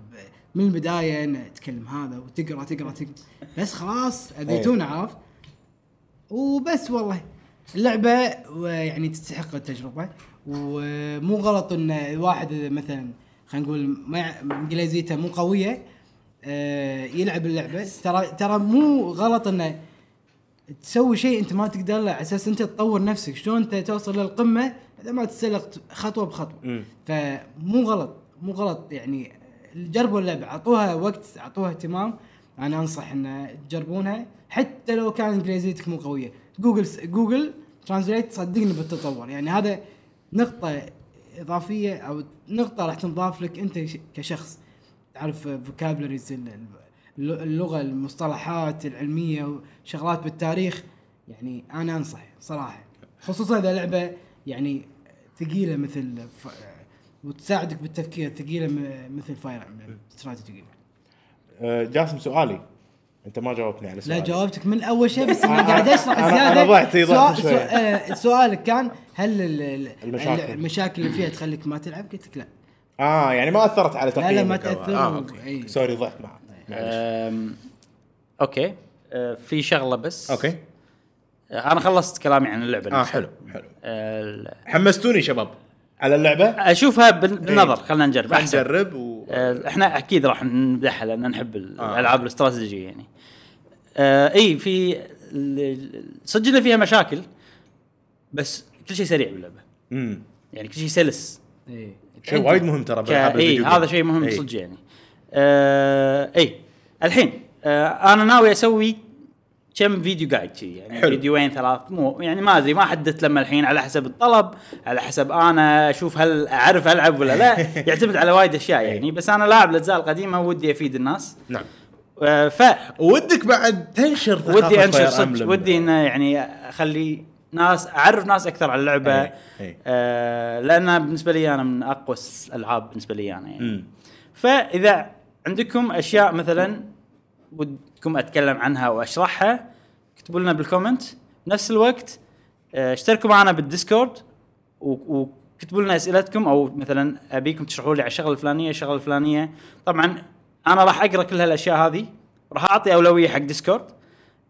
[SPEAKER 2] من البدايه ان تكلم هذا وتقرا تقرا تقرا بس خلاص اذيتونا عرفت وبس والله اللعبة و- يعني تستحق التجربة ومو غلط ان الواحد إذا مثلا خلينا نقول ما يع- انجليزيته مو قوية آه، يلعب اللعبة ترى ترى مو غلط انه تسوي شيء انت ما تقدر له على اساس انت تطور نفسك شلون انت توصل للقمة اذا ما تسلق ت- خطوة بخطوة
[SPEAKER 3] مم.
[SPEAKER 2] فمو غلط مو غلط يعني جربوا اللعبة اعطوها وقت اعطوها اهتمام انا انصح ان تجربونها حتى لو كان انجليزيتك مو قوية جوجل س- جوجل ترانزليت صدقني بالتطور يعني هذا نقطه اضافيه او نقطه راح تنضاف لك انت ش- كشخص تعرف فوكابلريز اللغه المصطلحات العلميه وشغلات بالتاريخ يعني انا انصح صراحه خصوصا اذا لعبه يعني ثقيله مثل ف... وتساعدك بالتفكير ثقيله م- مثل فاير امبلم استراتيجي
[SPEAKER 3] آه، جاسم سؤالي انت ما جاوبتني على
[SPEAKER 2] لا
[SPEAKER 3] سؤالي
[SPEAKER 2] جاوبتك من اول شيء بس انا قاعد
[SPEAKER 3] أنا-
[SPEAKER 2] اشرح
[SPEAKER 3] أنا
[SPEAKER 2] زياده
[SPEAKER 3] ضعت- ضعت
[SPEAKER 2] سؤال-
[SPEAKER 3] شوي.
[SPEAKER 2] سؤال- آه، سؤالك كان هل ال- ال-
[SPEAKER 3] المشاكل.
[SPEAKER 2] المشاكل اللي فيها تخليك ما تلعب؟ قلت لك لا
[SPEAKER 3] اه يعني ما اثرت على تقييمك
[SPEAKER 2] لا، ما إيه.
[SPEAKER 3] أو-
[SPEAKER 2] تأثر.
[SPEAKER 3] اه اوكي
[SPEAKER 2] أي.
[SPEAKER 3] سوري ضحت معك معلش.
[SPEAKER 1] أم، اوكي أه، في شغله بس
[SPEAKER 3] اوكي
[SPEAKER 1] أه، انا خلصت كلامي عن اللعبه
[SPEAKER 3] اه
[SPEAKER 1] نفسها.
[SPEAKER 3] آه، حلو حلو
[SPEAKER 1] ال-
[SPEAKER 3] حمستوني شباب على اللعبه
[SPEAKER 1] اشوفها بال- بالنظر خلينا نجرب
[SPEAKER 3] إيه. راح
[SPEAKER 1] احسن
[SPEAKER 3] نجرب و
[SPEAKER 1] آه، احنا اكيد راح نمدحها لان نحب
[SPEAKER 3] آه.
[SPEAKER 1] الالعاب الاستراتيجيه يعني. آه اي في ال- صدق إن فيها مشاكل بس كل شيء سريع باللعبه
[SPEAKER 3] امم
[SPEAKER 1] يعني كل شيء سلس
[SPEAKER 2] اي
[SPEAKER 3] شيء وايد مهم ترى بالألعاب
[SPEAKER 1] اي
[SPEAKER 3] الفيديو إيه.
[SPEAKER 1] هذا
[SPEAKER 3] جيم.
[SPEAKER 1] شيء مهم
[SPEAKER 3] إي.
[SPEAKER 1] صدق يعني. آه اي الحين آه انا ناوي اسوي كم فيديو جايد شي يعني
[SPEAKER 3] حلو.
[SPEAKER 1] حلو. فيديوين ثلاث مو يعني ما ادري ما حددت لما الحين على حسب الطلب على حسب انا اشوف هل اعرف العب ولا لا يعتمد على وايد اشياء
[SPEAKER 3] إيه.
[SPEAKER 1] يعني بس انا لاعب الاجزاء القديمه ودي افيد الناس
[SPEAKER 3] نعم
[SPEAKER 1] آه، ف
[SPEAKER 3] ودك بعد تنشر ثقافة
[SPEAKER 1] ودي
[SPEAKER 3] إيه، Fire
[SPEAKER 1] انشر صدق
[SPEAKER 3] Emblem.
[SPEAKER 1] ودي انه يعني اخلي ناس اعرف ناس اكثر على اللعبه
[SPEAKER 3] إيه، إيه.
[SPEAKER 1] آه لان بالنسبه لي انا من اقوى الالعاب بالنسبه لي انا يعني
[SPEAKER 3] مم.
[SPEAKER 1] فاذا عندكم اشياء مثلا ودكم اتكلم عنها واشرحها اكتبوا لنا بالكومنت بنفس الوقت آه، اشتركوا معنا بالديسكورد و- وكتبوا لنا اسئلتكم او مثلا ابيكم تشرحوا لي على الشغله الفلانيه الشغله الفلانيه طبعا انا راح اقرا كل هالاشياء هذه راح اعطي اولويه حق ديسكورد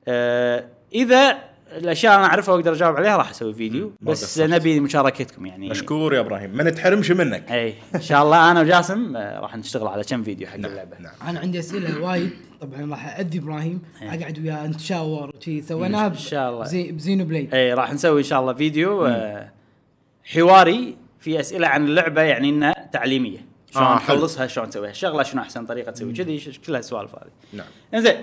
[SPEAKER 1] آه، اذا الاشياء انا اعرفها واقدر اجاوب عليها راح اسوي فيديو
[SPEAKER 3] ما
[SPEAKER 1] بس
[SPEAKER 3] قصرت.
[SPEAKER 1] نبي مشاركتكم يعني
[SPEAKER 3] مشكور يا ابراهيم ما نتحرمش منك
[SPEAKER 1] اي ان شاء الله انا وجاسم آه، راح نشتغل على كم فيديو حق اللعبه
[SPEAKER 3] نعم
[SPEAKER 2] انا عندي اسئله وايد طبعا راح اذي ابراهيم
[SPEAKER 1] إيه.
[SPEAKER 2] اقعد وياه نتشاور وشي سويناها
[SPEAKER 1] إن شاء الله. إيه.
[SPEAKER 2] بزي بزينو بليد
[SPEAKER 1] اي راح نسوي ان شاء الله فيديو آه، حواري في اسئله عن اللعبه يعني انها تعليميه شلون
[SPEAKER 3] آه، حلو.
[SPEAKER 1] نخلصها شلون نسويها الشغله شنو احسن طريقه تسوي كذي ش- كلها السوالف هذه
[SPEAKER 3] نعم
[SPEAKER 1] انزين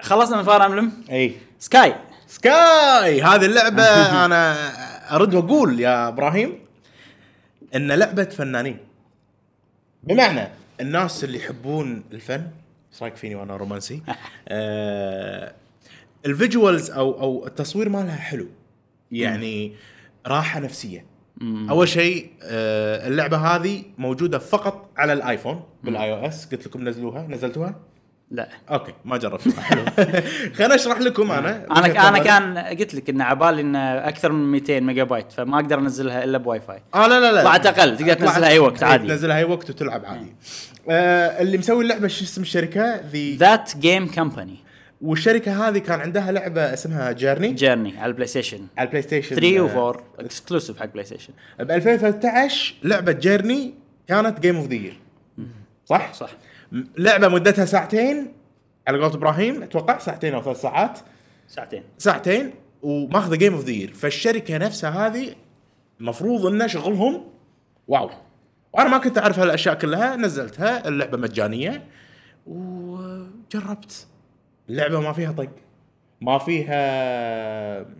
[SPEAKER 1] خلصنا من فاير امبلم
[SPEAKER 3] اي
[SPEAKER 1] سكاي
[SPEAKER 3] سكاي هذه اللعبة أنا أرد وأقول يا إبراهيم إن لعبة فنانين بمعنى الناس اللي يحبون الفن ايش رايك فيني وانا رومانسي؟ آه الفيجوالز او او التصوير مالها حلو يعني راحه نفسيه اول شيء آه اللعبه هذه موجوده فقط على الايفون بالاي او اس قلت لكم نزلوها نزلتوها
[SPEAKER 1] لا
[SPEAKER 3] اوكي ما جربتها حلو خليني اشرح لكم انا
[SPEAKER 1] انا انا كان قلت لك ان عبالي انه اكثر من 200 ميجا بايت فما اقدر انزلها الا بواي فاي
[SPEAKER 3] اه لا لا لا
[SPEAKER 1] طلعت أقل، تقدر
[SPEAKER 3] طلعت-
[SPEAKER 1] تنزلها أي وقت عادي.
[SPEAKER 3] تنزلها اي وقت وتلعب عادي آه اللي مسوي اللعبه شو اسم الشركه ذي
[SPEAKER 1] ذات جيم كمباني
[SPEAKER 3] والشركه هذه كان عندها لعبه اسمها جيرني
[SPEAKER 1] جيرني على البلاي ستيشن
[SPEAKER 3] على البلاي ستيشن
[SPEAKER 1] 3 و4 اكسكلوسيف حق بلاي ستيشن
[SPEAKER 3] ب 2013 لعبه جيرني كانت جيم اوف ذا يير صح؟
[SPEAKER 1] صح.
[SPEAKER 3] م- لعبه مدتها ساعتين على قولة ابراهيم اتوقع ساعتين او ثلاث ساعات
[SPEAKER 1] ساعتين
[SPEAKER 3] ساعتين وماخذه جيم اوف ذا يير فالشركه نفسها هذه المفروض انه شغلهم واو وانا ما كنت اعرف هالاشياء كلها نزلتها اللعبه مجانيه وجربت اللعبه ما فيها طق ما فيها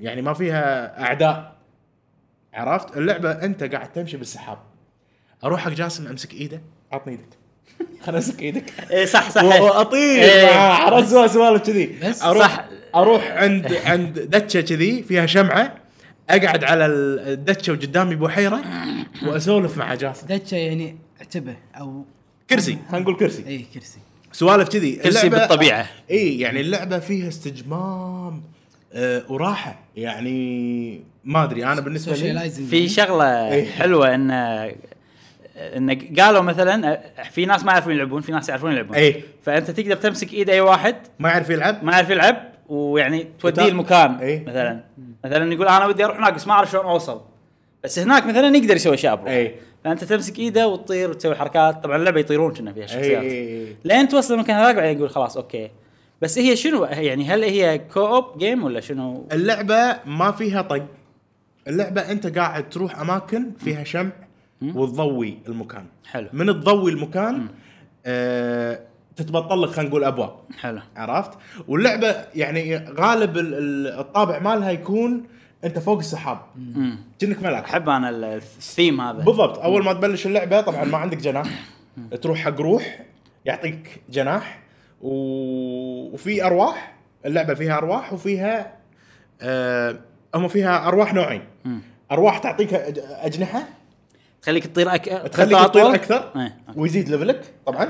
[SPEAKER 3] يعني ما فيها اعداء عرفت اللعبه انت قاعد تمشي بالسحاب اروح حق جاسم امسك ايده عطني ايدك خلنا امسك ايدك
[SPEAKER 1] اي إيه، صح صح
[SPEAKER 3] واطير
[SPEAKER 1] إيه.
[SPEAKER 3] معاه، عرفت سوالف سوالف كذي
[SPEAKER 2] بس
[SPEAKER 3] اروح
[SPEAKER 1] صح.
[SPEAKER 3] اروح عند عند دتشه كذي فيها شمعه اقعد على الدتشه وقدامي بحيره واسولف مع جاسم
[SPEAKER 2] دتشا يعني عتبه او
[SPEAKER 3] كرسي هنقول كرسي
[SPEAKER 2] اي كرسي
[SPEAKER 3] سوالف كذي
[SPEAKER 1] كرسي بالطبيعه
[SPEAKER 3] اي يعني اللعبه فيها استجمام آه وراحه يعني ما ادري انا بالنسبه لي
[SPEAKER 2] Socializing
[SPEAKER 1] في
[SPEAKER 2] يعني.
[SPEAKER 1] شغله
[SPEAKER 3] إيه.
[SPEAKER 1] حلوه ان ان قالوا مثلا في ناس ما يعرفون يلعبون في ناس يعرفون يلعبون
[SPEAKER 3] إيه.
[SPEAKER 1] فانت تقدر تمسك ايد اي واحد
[SPEAKER 3] ما يعرف يلعب
[SPEAKER 1] ما يعرف يلعب ويعني توديه
[SPEAKER 3] وتا-
[SPEAKER 1] المكان
[SPEAKER 3] إيه.
[SPEAKER 1] مثلا مثلا يقول انا ودي اروح هناك بس ما اعرف شلون اوصل بس هناك مثلا يقدر يسوي اشياء بروحه.
[SPEAKER 3] إيه.
[SPEAKER 1] فانت تمسك ايده وتطير وتسوي حركات طبعا اللعبه يطيرون كنا فيها شخصيات
[SPEAKER 3] إيه، إيه، إيه.
[SPEAKER 1] لين توصل المكان هذاك بعدين يقول خلاص اوكي بس هي شنو يعني هل هي كو اوب جيم ولا شنو؟
[SPEAKER 3] اللعبه ما فيها طق اللعبه انت قاعد تروح اماكن فيها شمع وتضوي المكان
[SPEAKER 1] حلو.
[SPEAKER 3] من تضوي المكان آه تتبطل لك خلينا نقول ابواب
[SPEAKER 1] حلو
[SPEAKER 3] عرفت واللعبه يعني غالب ال- ال- الطابع مالها يكون انت فوق السحاب كأنك ملاك
[SPEAKER 1] احب انا ال- الثيم هذا
[SPEAKER 3] بالضبط اول ما تبلش اللعبه طبعا ما عندك جناح تروح حق روح يعطيك جناح و... وفي ارواح اللعبه فيها ارواح وفيها آه... هم فيها ارواح نوعين ارواح تعطيك أج- اجنحه
[SPEAKER 1] تخليك تطير أك...
[SPEAKER 3] تخليك
[SPEAKER 1] خطة
[SPEAKER 3] تطير
[SPEAKER 1] أطول.
[SPEAKER 3] اكثر
[SPEAKER 1] إيه.
[SPEAKER 3] ويزيد ليفلك طبعا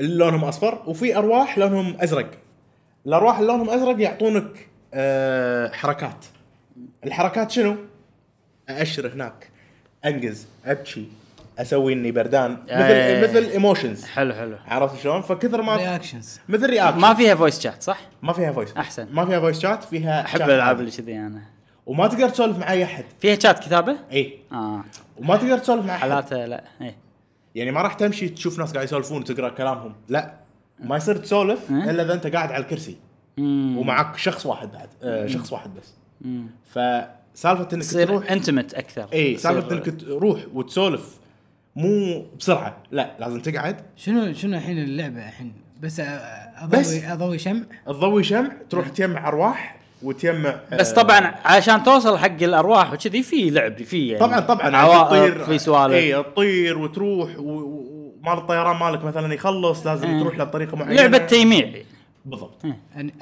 [SPEAKER 3] اللي لونهم اصفر وفي ارواح لونهم ازرق الارواح اللي لونهم ازرق يعطونك آه حركات الحركات شنو؟ ااشر هناك انقز ابكي اسوي اني بردان
[SPEAKER 1] إيه.
[SPEAKER 3] مثل مثل ايموشنز
[SPEAKER 1] حلو حلو
[SPEAKER 3] عرفت شلون؟ فكثر ما
[SPEAKER 2] رياكشنز
[SPEAKER 3] مثل رياكشن
[SPEAKER 1] ما فيها فويس شات صح؟
[SPEAKER 3] ما فيها فويس
[SPEAKER 1] أحسن.
[SPEAKER 3] ما فيها فويس شات فيها
[SPEAKER 1] احب
[SPEAKER 3] شات
[SPEAKER 1] الالعاب
[SPEAKER 3] عادي.
[SPEAKER 1] اللي كذي انا
[SPEAKER 3] وما تقدر تسولف مع اي احد
[SPEAKER 1] فيها شات كتابه؟
[SPEAKER 3] اي
[SPEAKER 1] اه
[SPEAKER 3] وما تقدر تسولف مع احد
[SPEAKER 1] حالاته لا إيه. اي
[SPEAKER 3] يعني ما راح تمشي تشوف ناس قاعد يسولفون وتقرا كلامهم لا ما يصير تسولف
[SPEAKER 1] أه؟
[SPEAKER 3] الا اذا انت قاعد على الكرسي ومعك شخص واحد بعد آه، شخص واحد بس فسالفه انك تروح إيه،
[SPEAKER 1] تصير انتمت اكثر
[SPEAKER 3] اي
[SPEAKER 1] تصير-
[SPEAKER 3] سالفه انك تروح وتسولف مو بسرعه لا لازم تقعد
[SPEAKER 2] شنو شنو الحين اللعبه الحين بس أ-
[SPEAKER 3] بس.
[SPEAKER 2] اضوي اضوي شمع
[SPEAKER 3] تضوي شمع تروح تجمع ارواح وتجمع آه،
[SPEAKER 1] إيه. بس طبعا عشان توصل حق الارواح وكذي في لعب في يعني
[SPEAKER 3] طبعا طبعا
[SPEAKER 1] عوائق في سوالف
[SPEAKER 3] اي إيه، تطير وتروح و- و- ومال الطيران مالك مثلا يخلص لازم
[SPEAKER 1] إيه.
[SPEAKER 3] تروح له بطريقه معينه
[SPEAKER 1] لعبه تيميع
[SPEAKER 3] بالضبط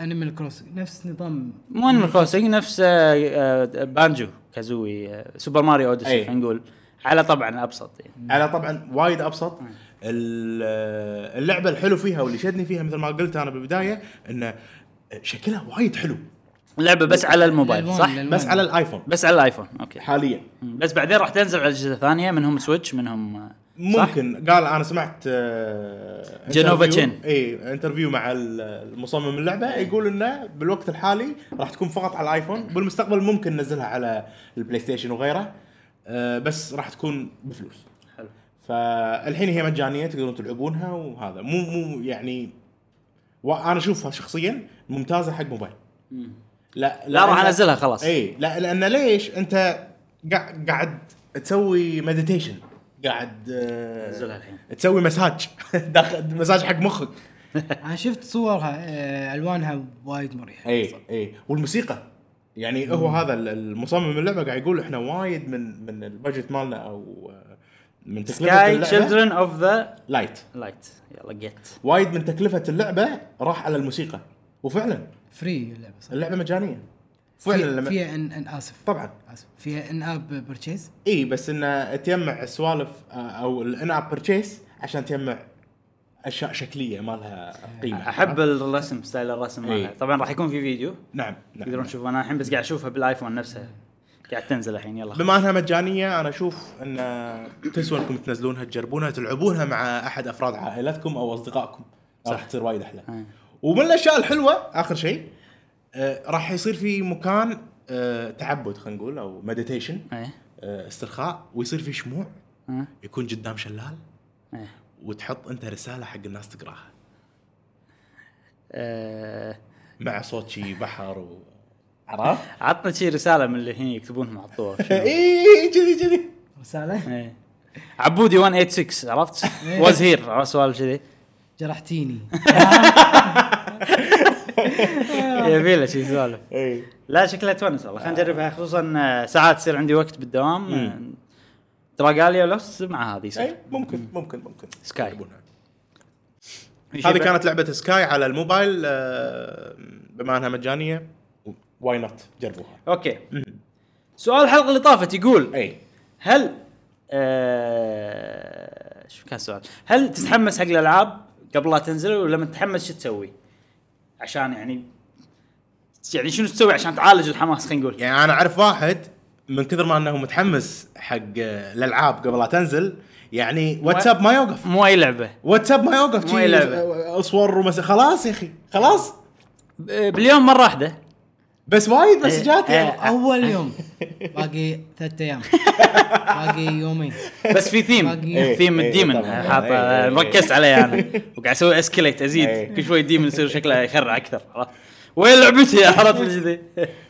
[SPEAKER 2] انيمال كروسنج نفس نظام
[SPEAKER 1] مو انيمال كروسنج نفس آه، آه، بانجو كازوي آه، سوبر ماريو اوديسي
[SPEAKER 3] أي.
[SPEAKER 1] خلينا نقول على طبعا ابسط يعني
[SPEAKER 3] انا طبعا وايد ابسط ال- اللعبه الحلو فيها واللي شدني فيها مثل ما قلت انا بالبدايه انه شكلها وايد حلو
[SPEAKER 1] اللعبه بس على الموبايل
[SPEAKER 2] الألوان-
[SPEAKER 1] صح؟
[SPEAKER 2] الألوان.
[SPEAKER 3] بس على الايفون
[SPEAKER 1] بس على الايفون اوكي
[SPEAKER 3] حاليا
[SPEAKER 1] بس بعدين راح تنزل على اجهزه ثانيه منهم سويتش منهم آه، صح؟
[SPEAKER 3] ممكن قال انا سمعت آه،
[SPEAKER 1] جنوفا
[SPEAKER 3] انترفيو-
[SPEAKER 1] تشين. إيه.
[SPEAKER 3] اي انترفيو مع ال- المصمم اللعبه يقول انه بالوقت الحالي راح تكون فقط على الايفون بالمستقبل ممكن ننزلها على البلاي ستيشن وغيره آه، بس راح تكون بفلوس
[SPEAKER 1] حلو.
[SPEAKER 3] فالحين هي مجانيه تقدرون تلعبونها وهذا مو مو يعني وانا اشوفها شخصيا ممتازه حق موبايل لا إيه.
[SPEAKER 1] لا راح
[SPEAKER 3] لأن-
[SPEAKER 1] انزلها خلاص
[SPEAKER 3] اي لا لان ليش انت قاع- قاعد تسوي مديتيشن قاعد آه،
[SPEAKER 1] نزلها الحين.
[SPEAKER 3] تسوي مساج داخل مساج حق مخك
[SPEAKER 2] انا شفت صورها آه، الوانها وايد مريحه
[SPEAKER 1] إيه.
[SPEAKER 3] اي اي والموسيقى يعني هو هذا ال- المصمم اللعبه قاعد يقول احنا وايد من من البادجت مالنا او آه، من
[SPEAKER 1] سكاي تشيلدرن اوف ذا
[SPEAKER 3] لايت
[SPEAKER 1] لايت يلا جيت
[SPEAKER 3] وايد من تكلفه اللعبه راح على الموسيقى وفعلا
[SPEAKER 2] فري اللعبه صح
[SPEAKER 3] اللعبه مجانيه فعلا
[SPEAKER 2] فعلا
[SPEAKER 3] لما
[SPEAKER 2] فيها ان ان اسف
[SPEAKER 3] طبعا
[SPEAKER 2] اسف فيها ان اب بيرتشيز
[SPEAKER 3] اي بس انه تجمع سوالف آه، او الان اب بيرتشيس عشان تجمع اشياء شكليه ما لها قيمه
[SPEAKER 1] احب الرسم ستايل الرسم
[SPEAKER 3] إي.
[SPEAKER 1] مالها. طبعا راح يكون في فيديو
[SPEAKER 3] نعم
[SPEAKER 1] تقدرون
[SPEAKER 3] نعم
[SPEAKER 1] تشوفون انا الحين بس قاعد اشوفها بالايفون نفسها قاعد تنزل الحين يلا
[SPEAKER 3] بما انها مجانيه انا اشوف ان تسوى انكم تنزلونها تجربونها تلعبونها مع احد افراد عائلتكم او اصدقائكم راح تصير وايد احلى
[SPEAKER 1] أي.
[SPEAKER 3] ومن الاشياء الحلوه اخر شيء آه، راح يصير في مكان آه، تعبد خلينا نقول او مديتيشن
[SPEAKER 1] ايه
[SPEAKER 3] استرخاء ويصير في شموع
[SPEAKER 1] ها؟
[SPEAKER 3] يكون قدام شلال
[SPEAKER 1] إيه.
[SPEAKER 3] وتحط انت رساله حق الناس تقراها
[SPEAKER 1] آه،
[SPEAKER 3] مع صوت شي بحر و عرفت؟
[SPEAKER 1] عطنا شي رساله من اللي هنا يكتبونهم على الطور
[SPEAKER 3] إيه. اي كذي كذي
[SPEAKER 2] رساله
[SPEAKER 1] إيه. عبودي 186 عرفت؟ واز هير سؤال كذي
[SPEAKER 2] جرحتيني
[SPEAKER 1] يبي له شي سوالف
[SPEAKER 3] اي
[SPEAKER 1] لا شكلها تونس والله خلينا نجربها خصوصا آه، ساعات يصير عندي وقت بالدوام آه، تراجاليا لوس مع هذه يصير
[SPEAKER 3] اي ممكن ممكن ممكن
[SPEAKER 1] سكاي.
[SPEAKER 3] يلعبونها.
[SPEAKER 1] في شي
[SPEAKER 3] هذه
[SPEAKER 1] بعد؟
[SPEAKER 3] كانت لعبه سكاي على الموبايل آه، بما انها مجانيه واي نوت جربوها
[SPEAKER 1] اوكي سؤال الحلقه اللي طافت يقول
[SPEAKER 3] اي
[SPEAKER 1] هل آه شو كان السؤال؟ هل تتحمس حق الالعاب قبل لا تنزل ولما تتحمس شو تسوي؟ عشان يعني يعني شنو تسوي عشان تعالج الحماس خلينا نقول
[SPEAKER 3] يعني انا اعرف واحد من كثر ما انه متحمس حق آه، الالعاب قبل لا تنزل يعني واتساب ما يوقف
[SPEAKER 1] مو اي لعبه
[SPEAKER 3] واتساب ما يوقف
[SPEAKER 1] مو أي
[SPEAKER 3] شي
[SPEAKER 1] لعبة.
[SPEAKER 3] آه، اصور ومس... خلاص يا اخي خلاص
[SPEAKER 1] ب- باليوم مره واحده
[SPEAKER 3] بس وايد مسجات
[SPEAKER 1] إيه.
[SPEAKER 3] يعني
[SPEAKER 2] اول يوم أه، باقي ثلاثة ايام باقي يومين
[SPEAKER 1] بس في ثيم
[SPEAKER 2] باقي-
[SPEAKER 1] ثيم
[SPEAKER 3] إيه،
[SPEAKER 1] الديمن
[SPEAKER 3] طبعاً.
[SPEAKER 1] حاطه
[SPEAKER 3] إيه، إيه.
[SPEAKER 1] ركزت عليه انا وقاعد اسوي اسكليت ازيد
[SPEAKER 3] إيه.
[SPEAKER 1] كل شوي ديمن يصير شكله يخرع اكثر عرفت؟ وين لعبتي عرفت كذي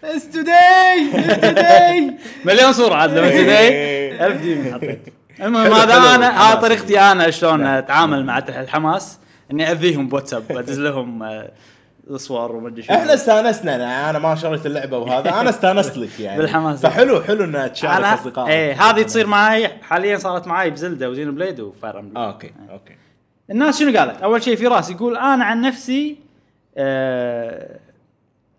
[SPEAKER 2] اتس توداي توداي
[SPEAKER 1] مليون صوره عاد لما تدري
[SPEAKER 3] إيه.
[SPEAKER 1] 1000 ديمن حطيت المهم
[SPEAKER 3] حلو،
[SPEAKER 1] هذا
[SPEAKER 3] حلو نعم.
[SPEAKER 1] انا
[SPEAKER 3] الحماس.
[SPEAKER 1] هذا طريقتي انا شلون اتعامل مع الحماس اني اذيهم بواتساب ادز لهم آه، صور وما ادري شو
[SPEAKER 3] احنا استانسنا انا, أنا ما شريت اللعبه وهذا انا استانست لك يعني
[SPEAKER 1] بالحماس.
[SPEAKER 3] فحلو حلو ان تشارك
[SPEAKER 1] انا
[SPEAKER 3] اصدقائك
[SPEAKER 1] اي إيه،
[SPEAKER 3] نعم.
[SPEAKER 1] هذه تصير معي حاليا صارت معي بزلدا وزين بليد وفاير امبلم
[SPEAKER 3] آه، اوكي اوكي
[SPEAKER 1] الناس شنو قالت؟ اول شيء فراس يقول انا عن نفسي آه،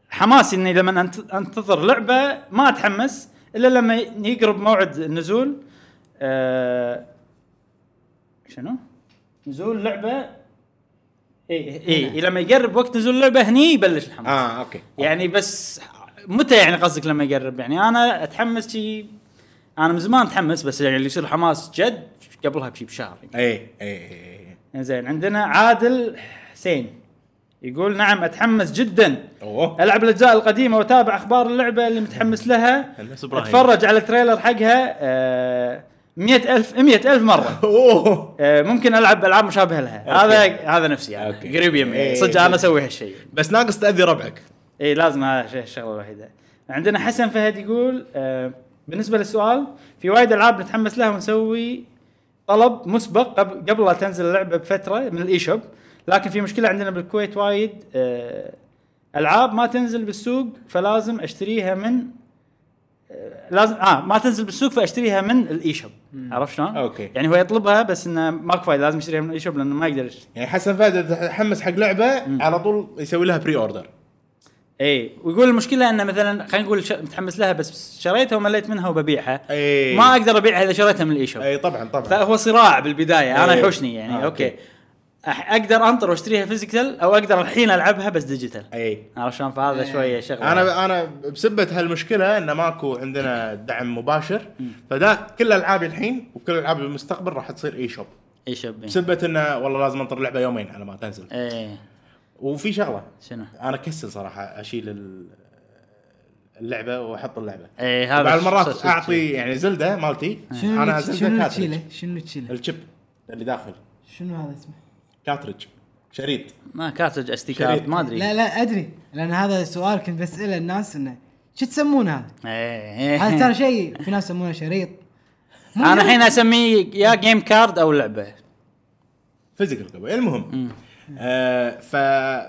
[SPEAKER 1] حماسي اني لما أنت- انتظر لعبه ما اتحمس الا لما يقرب موعد النزول آه، شنو؟ نزول لعبه اي اي لما يقرب وقت نزول اللعبه هني يبلش الحماس
[SPEAKER 3] اه اوكي
[SPEAKER 1] يعني بس متى يعني قصدك لما يقرب يعني انا اتحمس شي انا من زمان اتحمس بس يعني اللي يصير حماس جد قبلها بشي بشهر يعني.
[SPEAKER 3] اي اي اي
[SPEAKER 1] زين عندنا عادل حسين يقول نعم اتحمس جدا
[SPEAKER 3] اوه
[SPEAKER 1] العب الاجزاء القديمه واتابع اخبار اللعبه اللي متحمس لها
[SPEAKER 3] نفس إبراهيم.
[SPEAKER 1] اتفرج على التريلر حقها آه، مئة ألف مئة ألف مرة
[SPEAKER 3] اوه
[SPEAKER 1] آه، ممكن ألعب ألعاب مشابهة لها
[SPEAKER 3] أوكي.
[SPEAKER 1] هذا هذا نفسي أنا.
[SPEAKER 3] أوكي.
[SPEAKER 1] قريب يمي
[SPEAKER 3] إيه.
[SPEAKER 1] صدق أنا أسوي هالشيء
[SPEAKER 3] بس ناقص تاذي ربعك
[SPEAKER 1] اي إيه، لازم هذا الشيء الشغله الوحيده عندنا حسن فهد يقول آه بالنسبه للسؤال في وايد العاب نتحمس لها ونسوي طلب مسبق قبل قبل لا تنزل اللعبه بفتره من الاي شوب لكن في مشكله عندنا بالكويت وايد آه العاب ما تنزل بالسوق فلازم اشتريها من آه، لازم اه ما تنزل بالسوق فاشتريها من الاي شوب عرفت شلون؟
[SPEAKER 3] أوكي.
[SPEAKER 1] يعني هو يطلبها بس انه ماكو فايده لازم يشتريها من الاي شوب لانه ما يقدر يشتري
[SPEAKER 3] يعني حسن فهد تحمس حق لعبه على طول يسوي لها بري اوردر
[SPEAKER 1] اي إيه، ويقول المشكله انه مثلا خلينا نقول ش... متحمس لها بس شريتها ومليت منها وببيعها
[SPEAKER 3] إي.
[SPEAKER 1] ما اقدر ابيعها اذا شريتها من الاي شوب
[SPEAKER 3] اي طبعا طبعا
[SPEAKER 1] فهو صراع بالبدايه انا
[SPEAKER 3] إي.
[SPEAKER 1] يحوشني يعني
[SPEAKER 3] آه،
[SPEAKER 1] اوكي
[SPEAKER 3] أوكي.
[SPEAKER 1] أح- اقدر انطر واشتريها فيزيكال او اقدر الحين العبها بس ديجيتال
[SPEAKER 3] اي
[SPEAKER 1] عرفت شلون فهذا
[SPEAKER 3] إيه.
[SPEAKER 2] إي.
[SPEAKER 1] شويه شغله
[SPEAKER 3] انا انا بسبه هالمشكله ان ماكو عندنا دعم مباشر فدا كل العابي الحين وكل العاب المستقبل راح تصير اي شوب
[SPEAKER 1] اي شوب
[SPEAKER 3] بسبه انه والله لازم انطر لعبه يومين على ما تنزل
[SPEAKER 1] اي
[SPEAKER 3] وفي شغله
[SPEAKER 1] شنو
[SPEAKER 3] انا كسل صراحه اشيل ال- اللعبه واحط اللعبه
[SPEAKER 1] اي هذا
[SPEAKER 3] بعض
[SPEAKER 1] صدق-
[SPEAKER 3] المرات
[SPEAKER 1] صدق
[SPEAKER 3] اعطي يعني زلده مالتي انا
[SPEAKER 2] شنو شنو
[SPEAKER 3] زلده كاترج
[SPEAKER 2] تشيله؟ شنو تشيله؟
[SPEAKER 3] الشيب اللي داخل
[SPEAKER 2] شنو هذا اسمه؟
[SPEAKER 3] كاترج شريط
[SPEAKER 1] ما كاتج اس تي كارد
[SPEAKER 3] شريط.
[SPEAKER 1] ما ادري
[SPEAKER 2] لا لا ادري لان هذا سؤال كنت بساله الناس انه شو تسمون هذا؟
[SPEAKER 1] إي.
[SPEAKER 2] هذا ترى شيء في ناس يسمونه شريط
[SPEAKER 1] انا إيه. الحين اسميه يا جيم كارد او لعبه
[SPEAKER 3] فيزيكال قبل المهم آه ف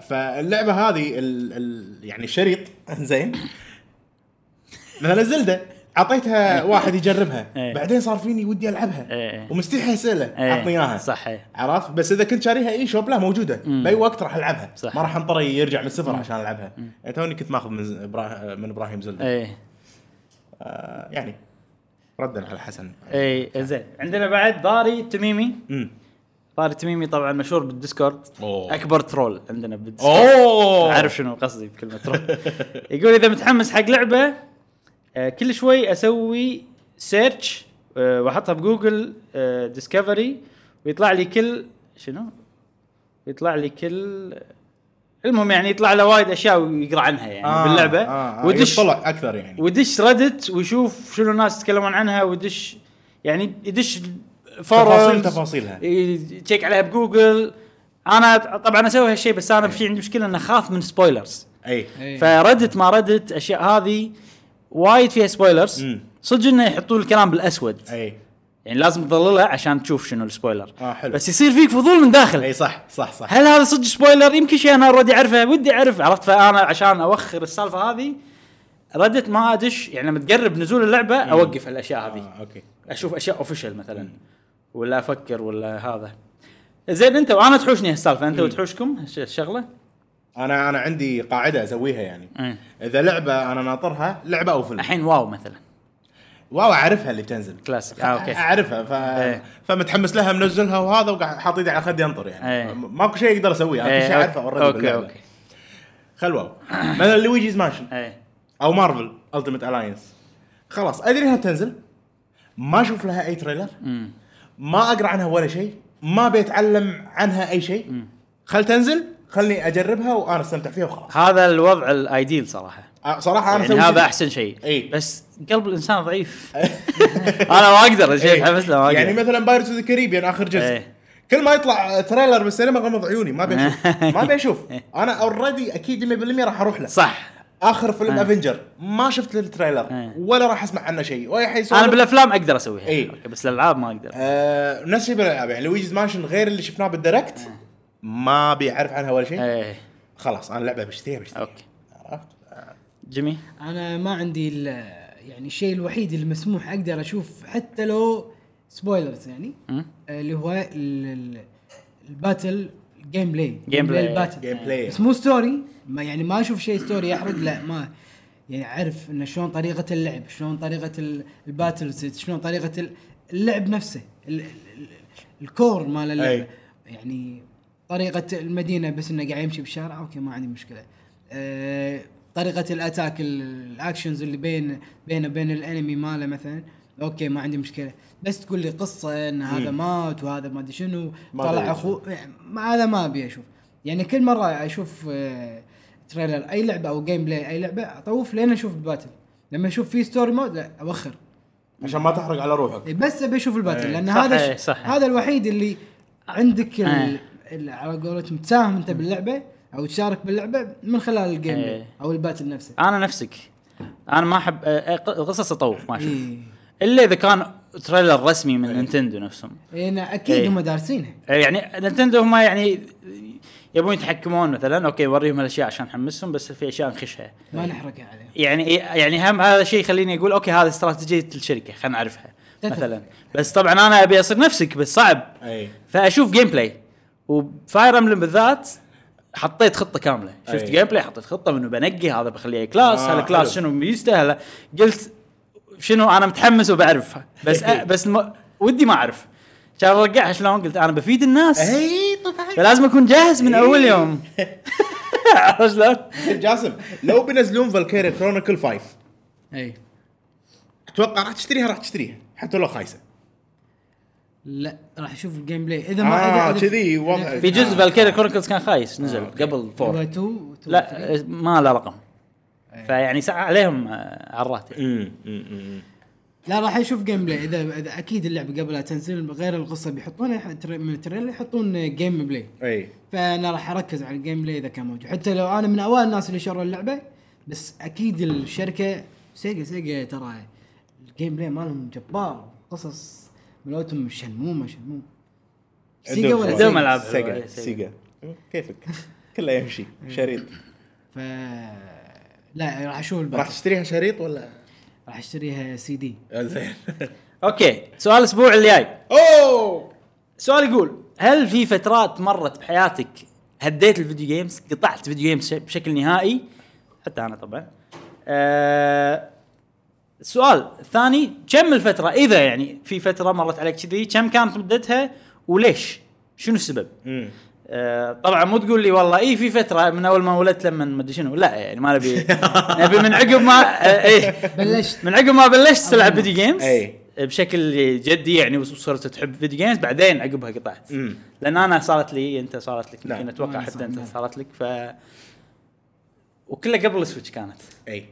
[SPEAKER 3] فاللعبه هذه ال... ال... يعني شريط زين مثلا زلده اعطيتها واحد يجربها
[SPEAKER 1] إيه.
[SPEAKER 3] بعدين صار فيني ودي العبها
[SPEAKER 1] إيه.
[SPEAKER 3] ومستحي اساله
[SPEAKER 1] إيه.
[SPEAKER 3] عطني اياها
[SPEAKER 1] صح، إيه.
[SPEAKER 3] عرفت بس اذا كنت شاريها اي شوب لا موجوده باي وقت راح العبها
[SPEAKER 1] صح.
[SPEAKER 3] ما راح انطر يرجع من الصفر عشان العبها يعني توني كنت ماخذ من ز- إبرا- من ابراهيم زلده
[SPEAKER 1] اي
[SPEAKER 3] آه يعني ردا على حسن
[SPEAKER 1] اي زين عندنا بعد ضاري التميمي
[SPEAKER 3] امم
[SPEAKER 1] طارق التميمي طبعا مشهور بالديسكورد
[SPEAKER 3] أوه.
[SPEAKER 1] اكبر ترول عندنا بالديسكورد
[SPEAKER 3] اوه
[SPEAKER 1] عارف شنو قصدي بكلمه ترول يقول اذا متحمس حق لعبه آه، كل شوي اسوي سيرش آه، واحطها بجوجل آه، ديسكفري ويطلع لي كل شنو؟ ويطلع لي كل المهم يعني يطلع له وايد اشياء ويقرا عنها يعني
[SPEAKER 3] آه،
[SPEAKER 1] باللعبه
[SPEAKER 3] آه آه
[SPEAKER 1] ودش
[SPEAKER 3] طلع اكثر يعني
[SPEAKER 1] ودش ردت ويشوف شنو الناس يتكلمون عنها ودش يعني يدش
[SPEAKER 3] تفاصيل
[SPEAKER 1] forums،
[SPEAKER 3] تفاصيلها
[SPEAKER 1] تشيك عليها بجوجل انا طبعا اسوي هالشيء بس انا في عندي مشكله ان اخاف من سبويلرز
[SPEAKER 3] اي
[SPEAKER 2] إيه.
[SPEAKER 1] فردت ما ردت اشياء هذه وايد فيها سبويلرز
[SPEAKER 3] مم.
[SPEAKER 1] صدق انه يحطون الكلام بالاسود
[SPEAKER 3] اي
[SPEAKER 1] يعني لازم تظللها عشان تشوف شنو السبويلر
[SPEAKER 3] آه، حلو.
[SPEAKER 1] بس يصير فيك فضول من داخل
[SPEAKER 3] اي صح صح صح
[SPEAKER 1] طيب. هل هذا صدق سبويلر يمكن شيء انا اوريدي اعرفه ودي اعرف عرفت فانا عشان اوخر السالفه هذه ردت ما ادش يعني لما تقرب نزول اللعبه اوقف الاشياء هذه
[SPEAKER 3] آه اوكي
[SPEAKER 1] اشوف اشياء اوفيشال مثلا ولا افكر ولا هذا زين انت وانا تحوشني هالسالفه انت وتحوشكم هالش- الشغله
[SPEAKER 3] انا انا عندي قاعده اسويها يعني
[SPEAKER 1] مم.
[SPEAKER 3] اذا لعبه انا ناطرها لعبه او فيلم
[SPEAKER 1] الحين واو مثلا
[SPEAKER 3] واو اعرفها اللي بتنزل
[SPEAKER 1] كلاسيك
[SPEAKER 3] خ-
[SPEAKER 1] آه، اوكي
[SPEAKER 3] اعرفها ف...
[SPEAKER 1] إيه.
[SPEAKER 3] فمتحمس لها منزلها وهذا وقاعد حاط ايدي على خدي انطر يعني
[SPEAKER 1] إيه.
[SPEAKER 3] م- ماكو شيء اقدر اسويه انا كل شيء اعرفه اوريدي
[SPEAKER 1] اوكي
[SPEAKER 3] باللعبه
[SPEAKER 1] اوكي
[SPEAKER 3] خل واو مثلا لويجيز مانشن
[SPEAKER 1] ايه
[SPEAKER 3] او مارفل التيمت الاينس خلاص ادري انها بتنزل ما اشوف لها اي تريلر
[SPEAKER 1] مم.
[SPEAKER 3] ما اقرا عنها ولا شيء ما بيتعلم عنها اي شيء خل تنزل خلني اجربها وانا استمتع فيها وخلاص
[SPEAKER 1] هذا الوضع الايديل صراحه
[SPEAKER 3] أه، صراحه
[SPEAKER 1] يعني
[SPEAKER 3] انا أسوي
[SPEAKER 1] هذا
[SPEAKER 3] كذي.
[SPEAKER 1] احسن شيء
[SPEAKER 3] إيه.
[SPEAKER 1] بس قلب الانسان ضعيف انا ما اقدر شيء
[SPEAKER 3] إيه.
[SPEAKER 1] اتحمس له ما اقدر
[SPEAKER 3] يعني مثلا بايرتس اوف كاريبيان اخر جزء
[SPEAKER 1] إيه.
[SPEAKER 3] كل ما يطلع تريلر بالسينما غمض عيوني ما بشوف ما بشوف انا اوريدي اكيد 100% راح اروح له
[SPEAKER 1] صح
[SPEAKER 3] اخر فيلم
[SPEAKER 1] إيه.
[SPEAKER 3] افنجر ما شفت التريلر
[SPEAKER 1] إيه.
[SPEAKER 3] ولا راح اسمع عنه شيء ولا حيسولف
[SPEAKER 1] انا بالافلام اقدر اسويها
[SPEAKER 3] إيه.
[SPEAKER 1] أوكي، بس الالعاب ما اقدر
[SPEAKER 3] آه نفس الشيء بالالعاب يعني لويجيز مانشن غير اللي شفناه بالدايركت ما بيعرف عنها ولا شيء
[SPEAKER 1] ايه
[SPEAKER 3] خلاص انا لعبه بشتريها بشتريها
[SPEAKER 1] اوكي
[SPEAKER 3] عرفت؟
[SPEAKER 1] جيمي
[SPEAKER 2] انا ما عندي ال- يعني الشيء الوحيد المسموح اقدر اشوف حتى لو سبويلرز يعني
[SPEAKER 1] مم.
[SPEAKER 2] اللي هو ال- ال- الباتل الجيم بلاي
[SPEAKER 1] Game play.
[SPEAKER 2] الباتل
[SPEAKER 3] جيم بلاي
[SPEAKER 2] بس مو ستوري ما يعني ما اشوف شيء ستوري يحرق لا ما يعني اعرف انه شلون طريقه اللعب شلون طريقه ال- الباتلز شلون طريقه ال- اللعب نفسه ال- ال- ال- الكور مال اللعبه
[SPEAKER 3] أي.
[SPEAKER 2] يعني طريقه المدينه بس انه قاعد يمشي بالشارع اوكي ما عندي مشكله أه طريقه الاتاك ال- الاكشنز اللي بين بينه بين الانمي ماله مثلا اوكي ما عندي مشكله بس تقول لي قصه ان هذا
[SPEAKER 3] مم.
[SPEAKER 2] مات وهذا ما ادري شنو
[SPEAKER 3] ما أدري.
[SPEAKER 2] طلع اخوه يعني ما- هذا ما ابي اشوف يعني كل مره اشوف آه، تريلر اي لعبه او جيم بلاي اي لعبه اطوف لين اشوف الباتل لما اشوف في ستوري مود لا اوخر
[SPEAKER 3] عشان ما تحرق على روحك
[SPEAKER 2] بس ابي اشوف الباتل
[SPEAKER 3] إيه.
[SPEAKER 2] لان
[SPEAKER 1] صح،
[SPEAKER 2] هذا
[SPEAKER 1] إيه،
[SPEAKER 2] الش-
[SPEAKER 1] صح.
[SPEAKER 2] هذا الوحيد اللي عندك ال-
[SPEAKER 1] إيه.
[SPEAKER 2] ال- على قولتهم تساهم انت باللعبه او تشارك باللعبه من خلال الجيم بلاي
[SPEAKER 1] إيه.
[SPEAKER 2] او الباتل نفسه
[SPEAKER 1] انا نفسك انا ما احب آه، آه، القصص اطوف ما اشوف
[SPEAKER 2] إيه.
[SPEAKER 1] الا اذا كان تريلر رسمي من نينتندو نفسهم
[SPEAKER 2] إيه، أنا اكيد
[SPEAKER 1] إيه.
[SPEAKER 2] هم دارسينها
[SPEAKER 1] يعني نتندو هم يعني يبون يتحكمون مثلا اوكي وريهم الاشياء عشان نحمسهم بس في اشياء نخشها
[SPEAKER 2] ما نحرقها عليهم
[SPEAKER 1] يعني يعني هم هذا الشيء يخليني اقول اوكي هذه استراتيجيه الشركه خلينا نعرفها
[SPEAKER 2] تتفق.
[SPEAKER 1] مثلا بس طبعا انا ابي اصير نفسك بس صعب
[SPEAKER 3] اي
[SPEAKER 1] فاشوف جيم بلاي وفاير امبلم بالذات حطيت خطه كامله شفت
[SPEAKER 3] أي.
[SPEAKER 1] جيم بلاي حطيت خطه منه بنقي هذا بخليه كلاس
[SPEAKER 3] آه،
[SPEAKER 1] هذا كلاس
[SPEAKER 3] حلو.
[SPEAKER 1] شنو ميزته هلا قلت شنو انا متحمس وبعرفها بس
[SPEAKER 3] إيه.
[SPEAKER 1] أ... بس م... ودي ما اعرف عشان ارجعها شلون قلت انا بفيد الناس
[SPEAKER 3] اي طبعا
[SPEAKER 1] فلازم اكون جاهز من
[SPEAKER 3] إيه.
[SPEAKER 1] اول يوم عرفت شلون؟
[SPEAKER 3] جاسم لو بينزلون فالكيري كرونيكل 5
[SPEAKER 1] إيه.
[SPEAKER 2] اي
[SPEAKER 3] اتوقع راح تشتريها راح تشتريها حتى لو خايسه
[SPEAKER 2] لا راح اشوف الجيم بلاي اذا ما
[SPEAKER 3] اه
[SPEAKER 2] إذا- إذا-
[SPEAKER 3] كذي وضع
[SPEAKER 1] آه، في جزء
[SPEAKER 3] آه.
[SPEAKER 1] فالكيري كرونيكلز كان خايس نزل
[SPEAKER 3] آه، أوكي.
[SPEAKER 1] قبل
[SPEAKER 2] هو
[SPEAKER 1] فور
[SPEAKER 2] 2
[SPEAKER 1] لا آه، ما له رقم
[SPEAKER 3] إيه.
[SPEAKER 2] أي.
[SPEAKER 1] فيعني ساعة عليهم آه، عرات
[SPEAKER 3] أمم، أمم، أمم.
[SPEAKER 2] لا راح اشوف جيم بلاي اذا, إذا اكيد اللعبه قبل لا تنزل غير القصه بيحطونها يح- تر- من التريلر يحطون جيم بلاي
[SPEAKER 3] اي
[SPEAKER 2] فانا راح اركز على الجيم بلاي اذا كان موجود حتى لو انا من اوائل الناس اللي شروا اللعبه بس اكيد الشركه سيجا سيجا ترى الجيم بلاي مالهم جبار قصص ملوتهم شنمومه شنمومه سيجا ولا
[SPEAKER 1] عندهم
[SPEAKER 2] سيجا
[SPEAKER 1] ألعاب
[SPEAKER 3] سيجا
[SPEAKER 1] حلوة.
[SPEAKER 3] سيجا كيفك كله يمشي شريط
[SPEAKER 2] ف لا راح اشوف
[SPEAKER 3] راح
[SPEAKER 2] الباتل
[SPEAKER 3] تشتريها شريط ولا
[SPEAKER 2] راح اشتريها سي دي
[SPEAKER 3] زين
[SPEAKER 1] اوكي سؤال الاسبوع الجاي
[SPEAKER 3] اوه
[SPEAKER 1] سؤال يقول هل في فترات مرت بحياتك هديت الفيديو جيمز قطعت فيديو جيمز ش- بشكل نهائي حتى انا طبعا آه السؤال الثاني كم الفترة إذا يعني في فترة مرت عليك كذي كم كانت مدتها وليش؟ شنو السبب؟
[SPEAKER 3] أمم.
[SPEAKER 1] آه، طبعا مو تقول لي والله اي في فتره من اول ما ولدت لما ما ادري شنو لا يعني ما نبي نبي من عقب ما آه، ايه
[SPEAKER 2] بلشت
[SPEAKER 1] من عقب ما بلشت تلعب فيديو جيمز
[SPEAKER 3] أي.
[SPEAKER 1] بشكل جدي يعني وصرت تحب فيديو جيمز بعدين عقبها قطعت
[SPEAKER 3] أمم.
[SPEAKER 1] لان انا صارت لي انت صارت لك
[SPEAKER 3] نعم.
[SPEAKER 1] يمكن اتوقع
[SPEAKER 2] وأنا
[SPEAKER 1] حتى
[SPEAKER 2] صار-
[SPEAKER 1] انت
[SPEAKER 2] نعم.
[SPEAKER 1] صارت لك ف وكلها قبل السويتش كانت
[SPEAKER 3] اي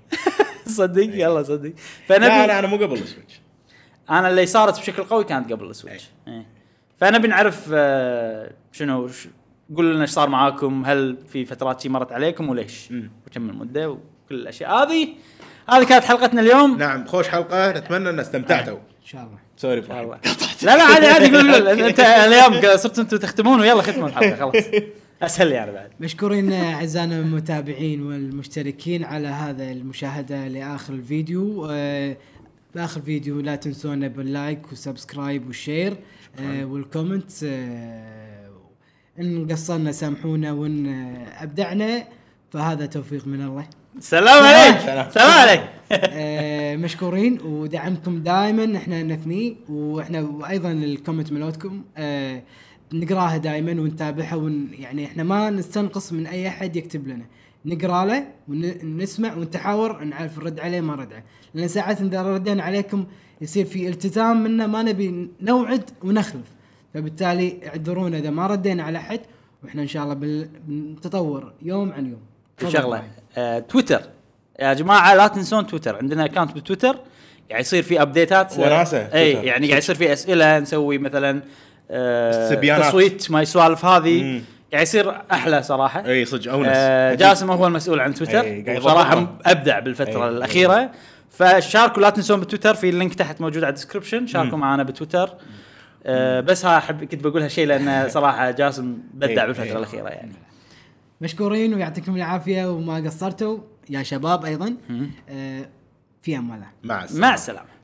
[SPEAKER 1] صدق يلا صدق
[SPEAKER 3] إيه. لا
[SPEAKER 1] فنبي
[SPEAKER 3] لا انا مو قبل السويتش
[SPEAKER 1] انا اللي صارت بشكل قوي كانت قبل السويتش إيه. فنبي نعرف آه، شنو ش- قولوا لنا ايش صار معاكم هل في فترات شي مرت عليكم وليش
[SPEAKER 3] مم.
[SPEAKER 1] وكم المده وكل الاشياء هذه هذه كانت حلقتنا اليوم
[SPEAKER 3] نعم خوش حلقه نتمنى ان استمتعتوا
[SPEAKER 1] آه.
[SPEAKER 2] ان شاء الله
[SPEAKER 3] سوري
[SPEAKER 1] إن شاء
[SPEAKER 3] إبراهيم.
[SPEAKER 1] الله. لا لا عادي عادي قول قول انت اليوم صرتوا انتم تختمون ويلا ختموا الحلقه خلاص اسهل لي انا بعد
[SPEAKER 2] مشكورين اعزائنا المتابعين والمشتركين على هذا المشاهده لاخر الفيديو آه، باخر فيديو لا تنسونا باللايك والسبسكرايب والشير آه، والكومنت آه، ان قصرنا سامحونا وان آه، ابدعنا فهذا توفيق من الله
[SPEAKER 1] سلام عليك
[SPEAKER 3] سلام.
[SPEAKER 1] سلام عليك
[SPEAKER 2] آه، مشكورين ودعمكم دائما احنا نثنيه واحنا وايضا الكومنت ملوتكم آه، نقراها دائما ونتابعها ون يعني احنا ما نستنقص من اي احد يكتب لنا نقرا له ونسمع ونتحاور نعرف نرد عليه ما نرد عليه لان ساعات اذا ردينا عليكم يصير في التزام منا ما نبي نوعد ونخلف فبالتالي اعذرونا اذا ما ردينا على احد واحنا ان شاء الله بال- بنتطور يوم عن يوم
[SPEAKER 1] في شغله آه، تويتر يا جماعه لا تنسون تويتر عندنا اكونت بالتويتر قاع يصير في ابديتات
[SPEAKER 3] وناسة،
[SPEAKER 1] اي
[SPEAKER 3] تويتر.
[SPEAKER 1] يعني قاعد يصير في اسئله نسوي مثلا آه
[SPEAKER 3] استبيانات.
[SPEAKER 1] تصويت ما يسوالف هذه
[SPEAKER 3] مم. إيه،
[SPEAKER 1] قاعد يصير احلى صراحه
[SPEAKER 3] اي صدق
[SPEAKER 1] آه
[SPEAKER 3] اونس
[SPEAKER 1] جاسم هو المسؤول عن تويتر
[SPEAKER 3] إي، إيه، قاعد
[SPEAKER 1] وصراحه
[SPEAKER 3] يضبطها. إيه،
[SPEAKER 1] ابدع بالفتره
[SPEAKER 3] إي.
[SPEAKER 1] الاخيره فشاركوا لا تنسون بالتويتر في اللينك تحت موجود على الديسكربشن شاركوا معنا بتويتر آه بس ها احب كنت بقول هالشيء لان صراحه جاسم بدع
[SPEAKER 3] إي،
[SPEAKER 1] بالفتره
[SPEAKER 3] إي.
[SPEAKER 1] الاخيره يعني
[SPEAKER 2] مشكورين ويعطيكم العافيه وما قصرتوا يا شباب ايضا آه في امان الله
[SPEAKER 3] مع السلامه
[SPEAKER 1] مع السلامه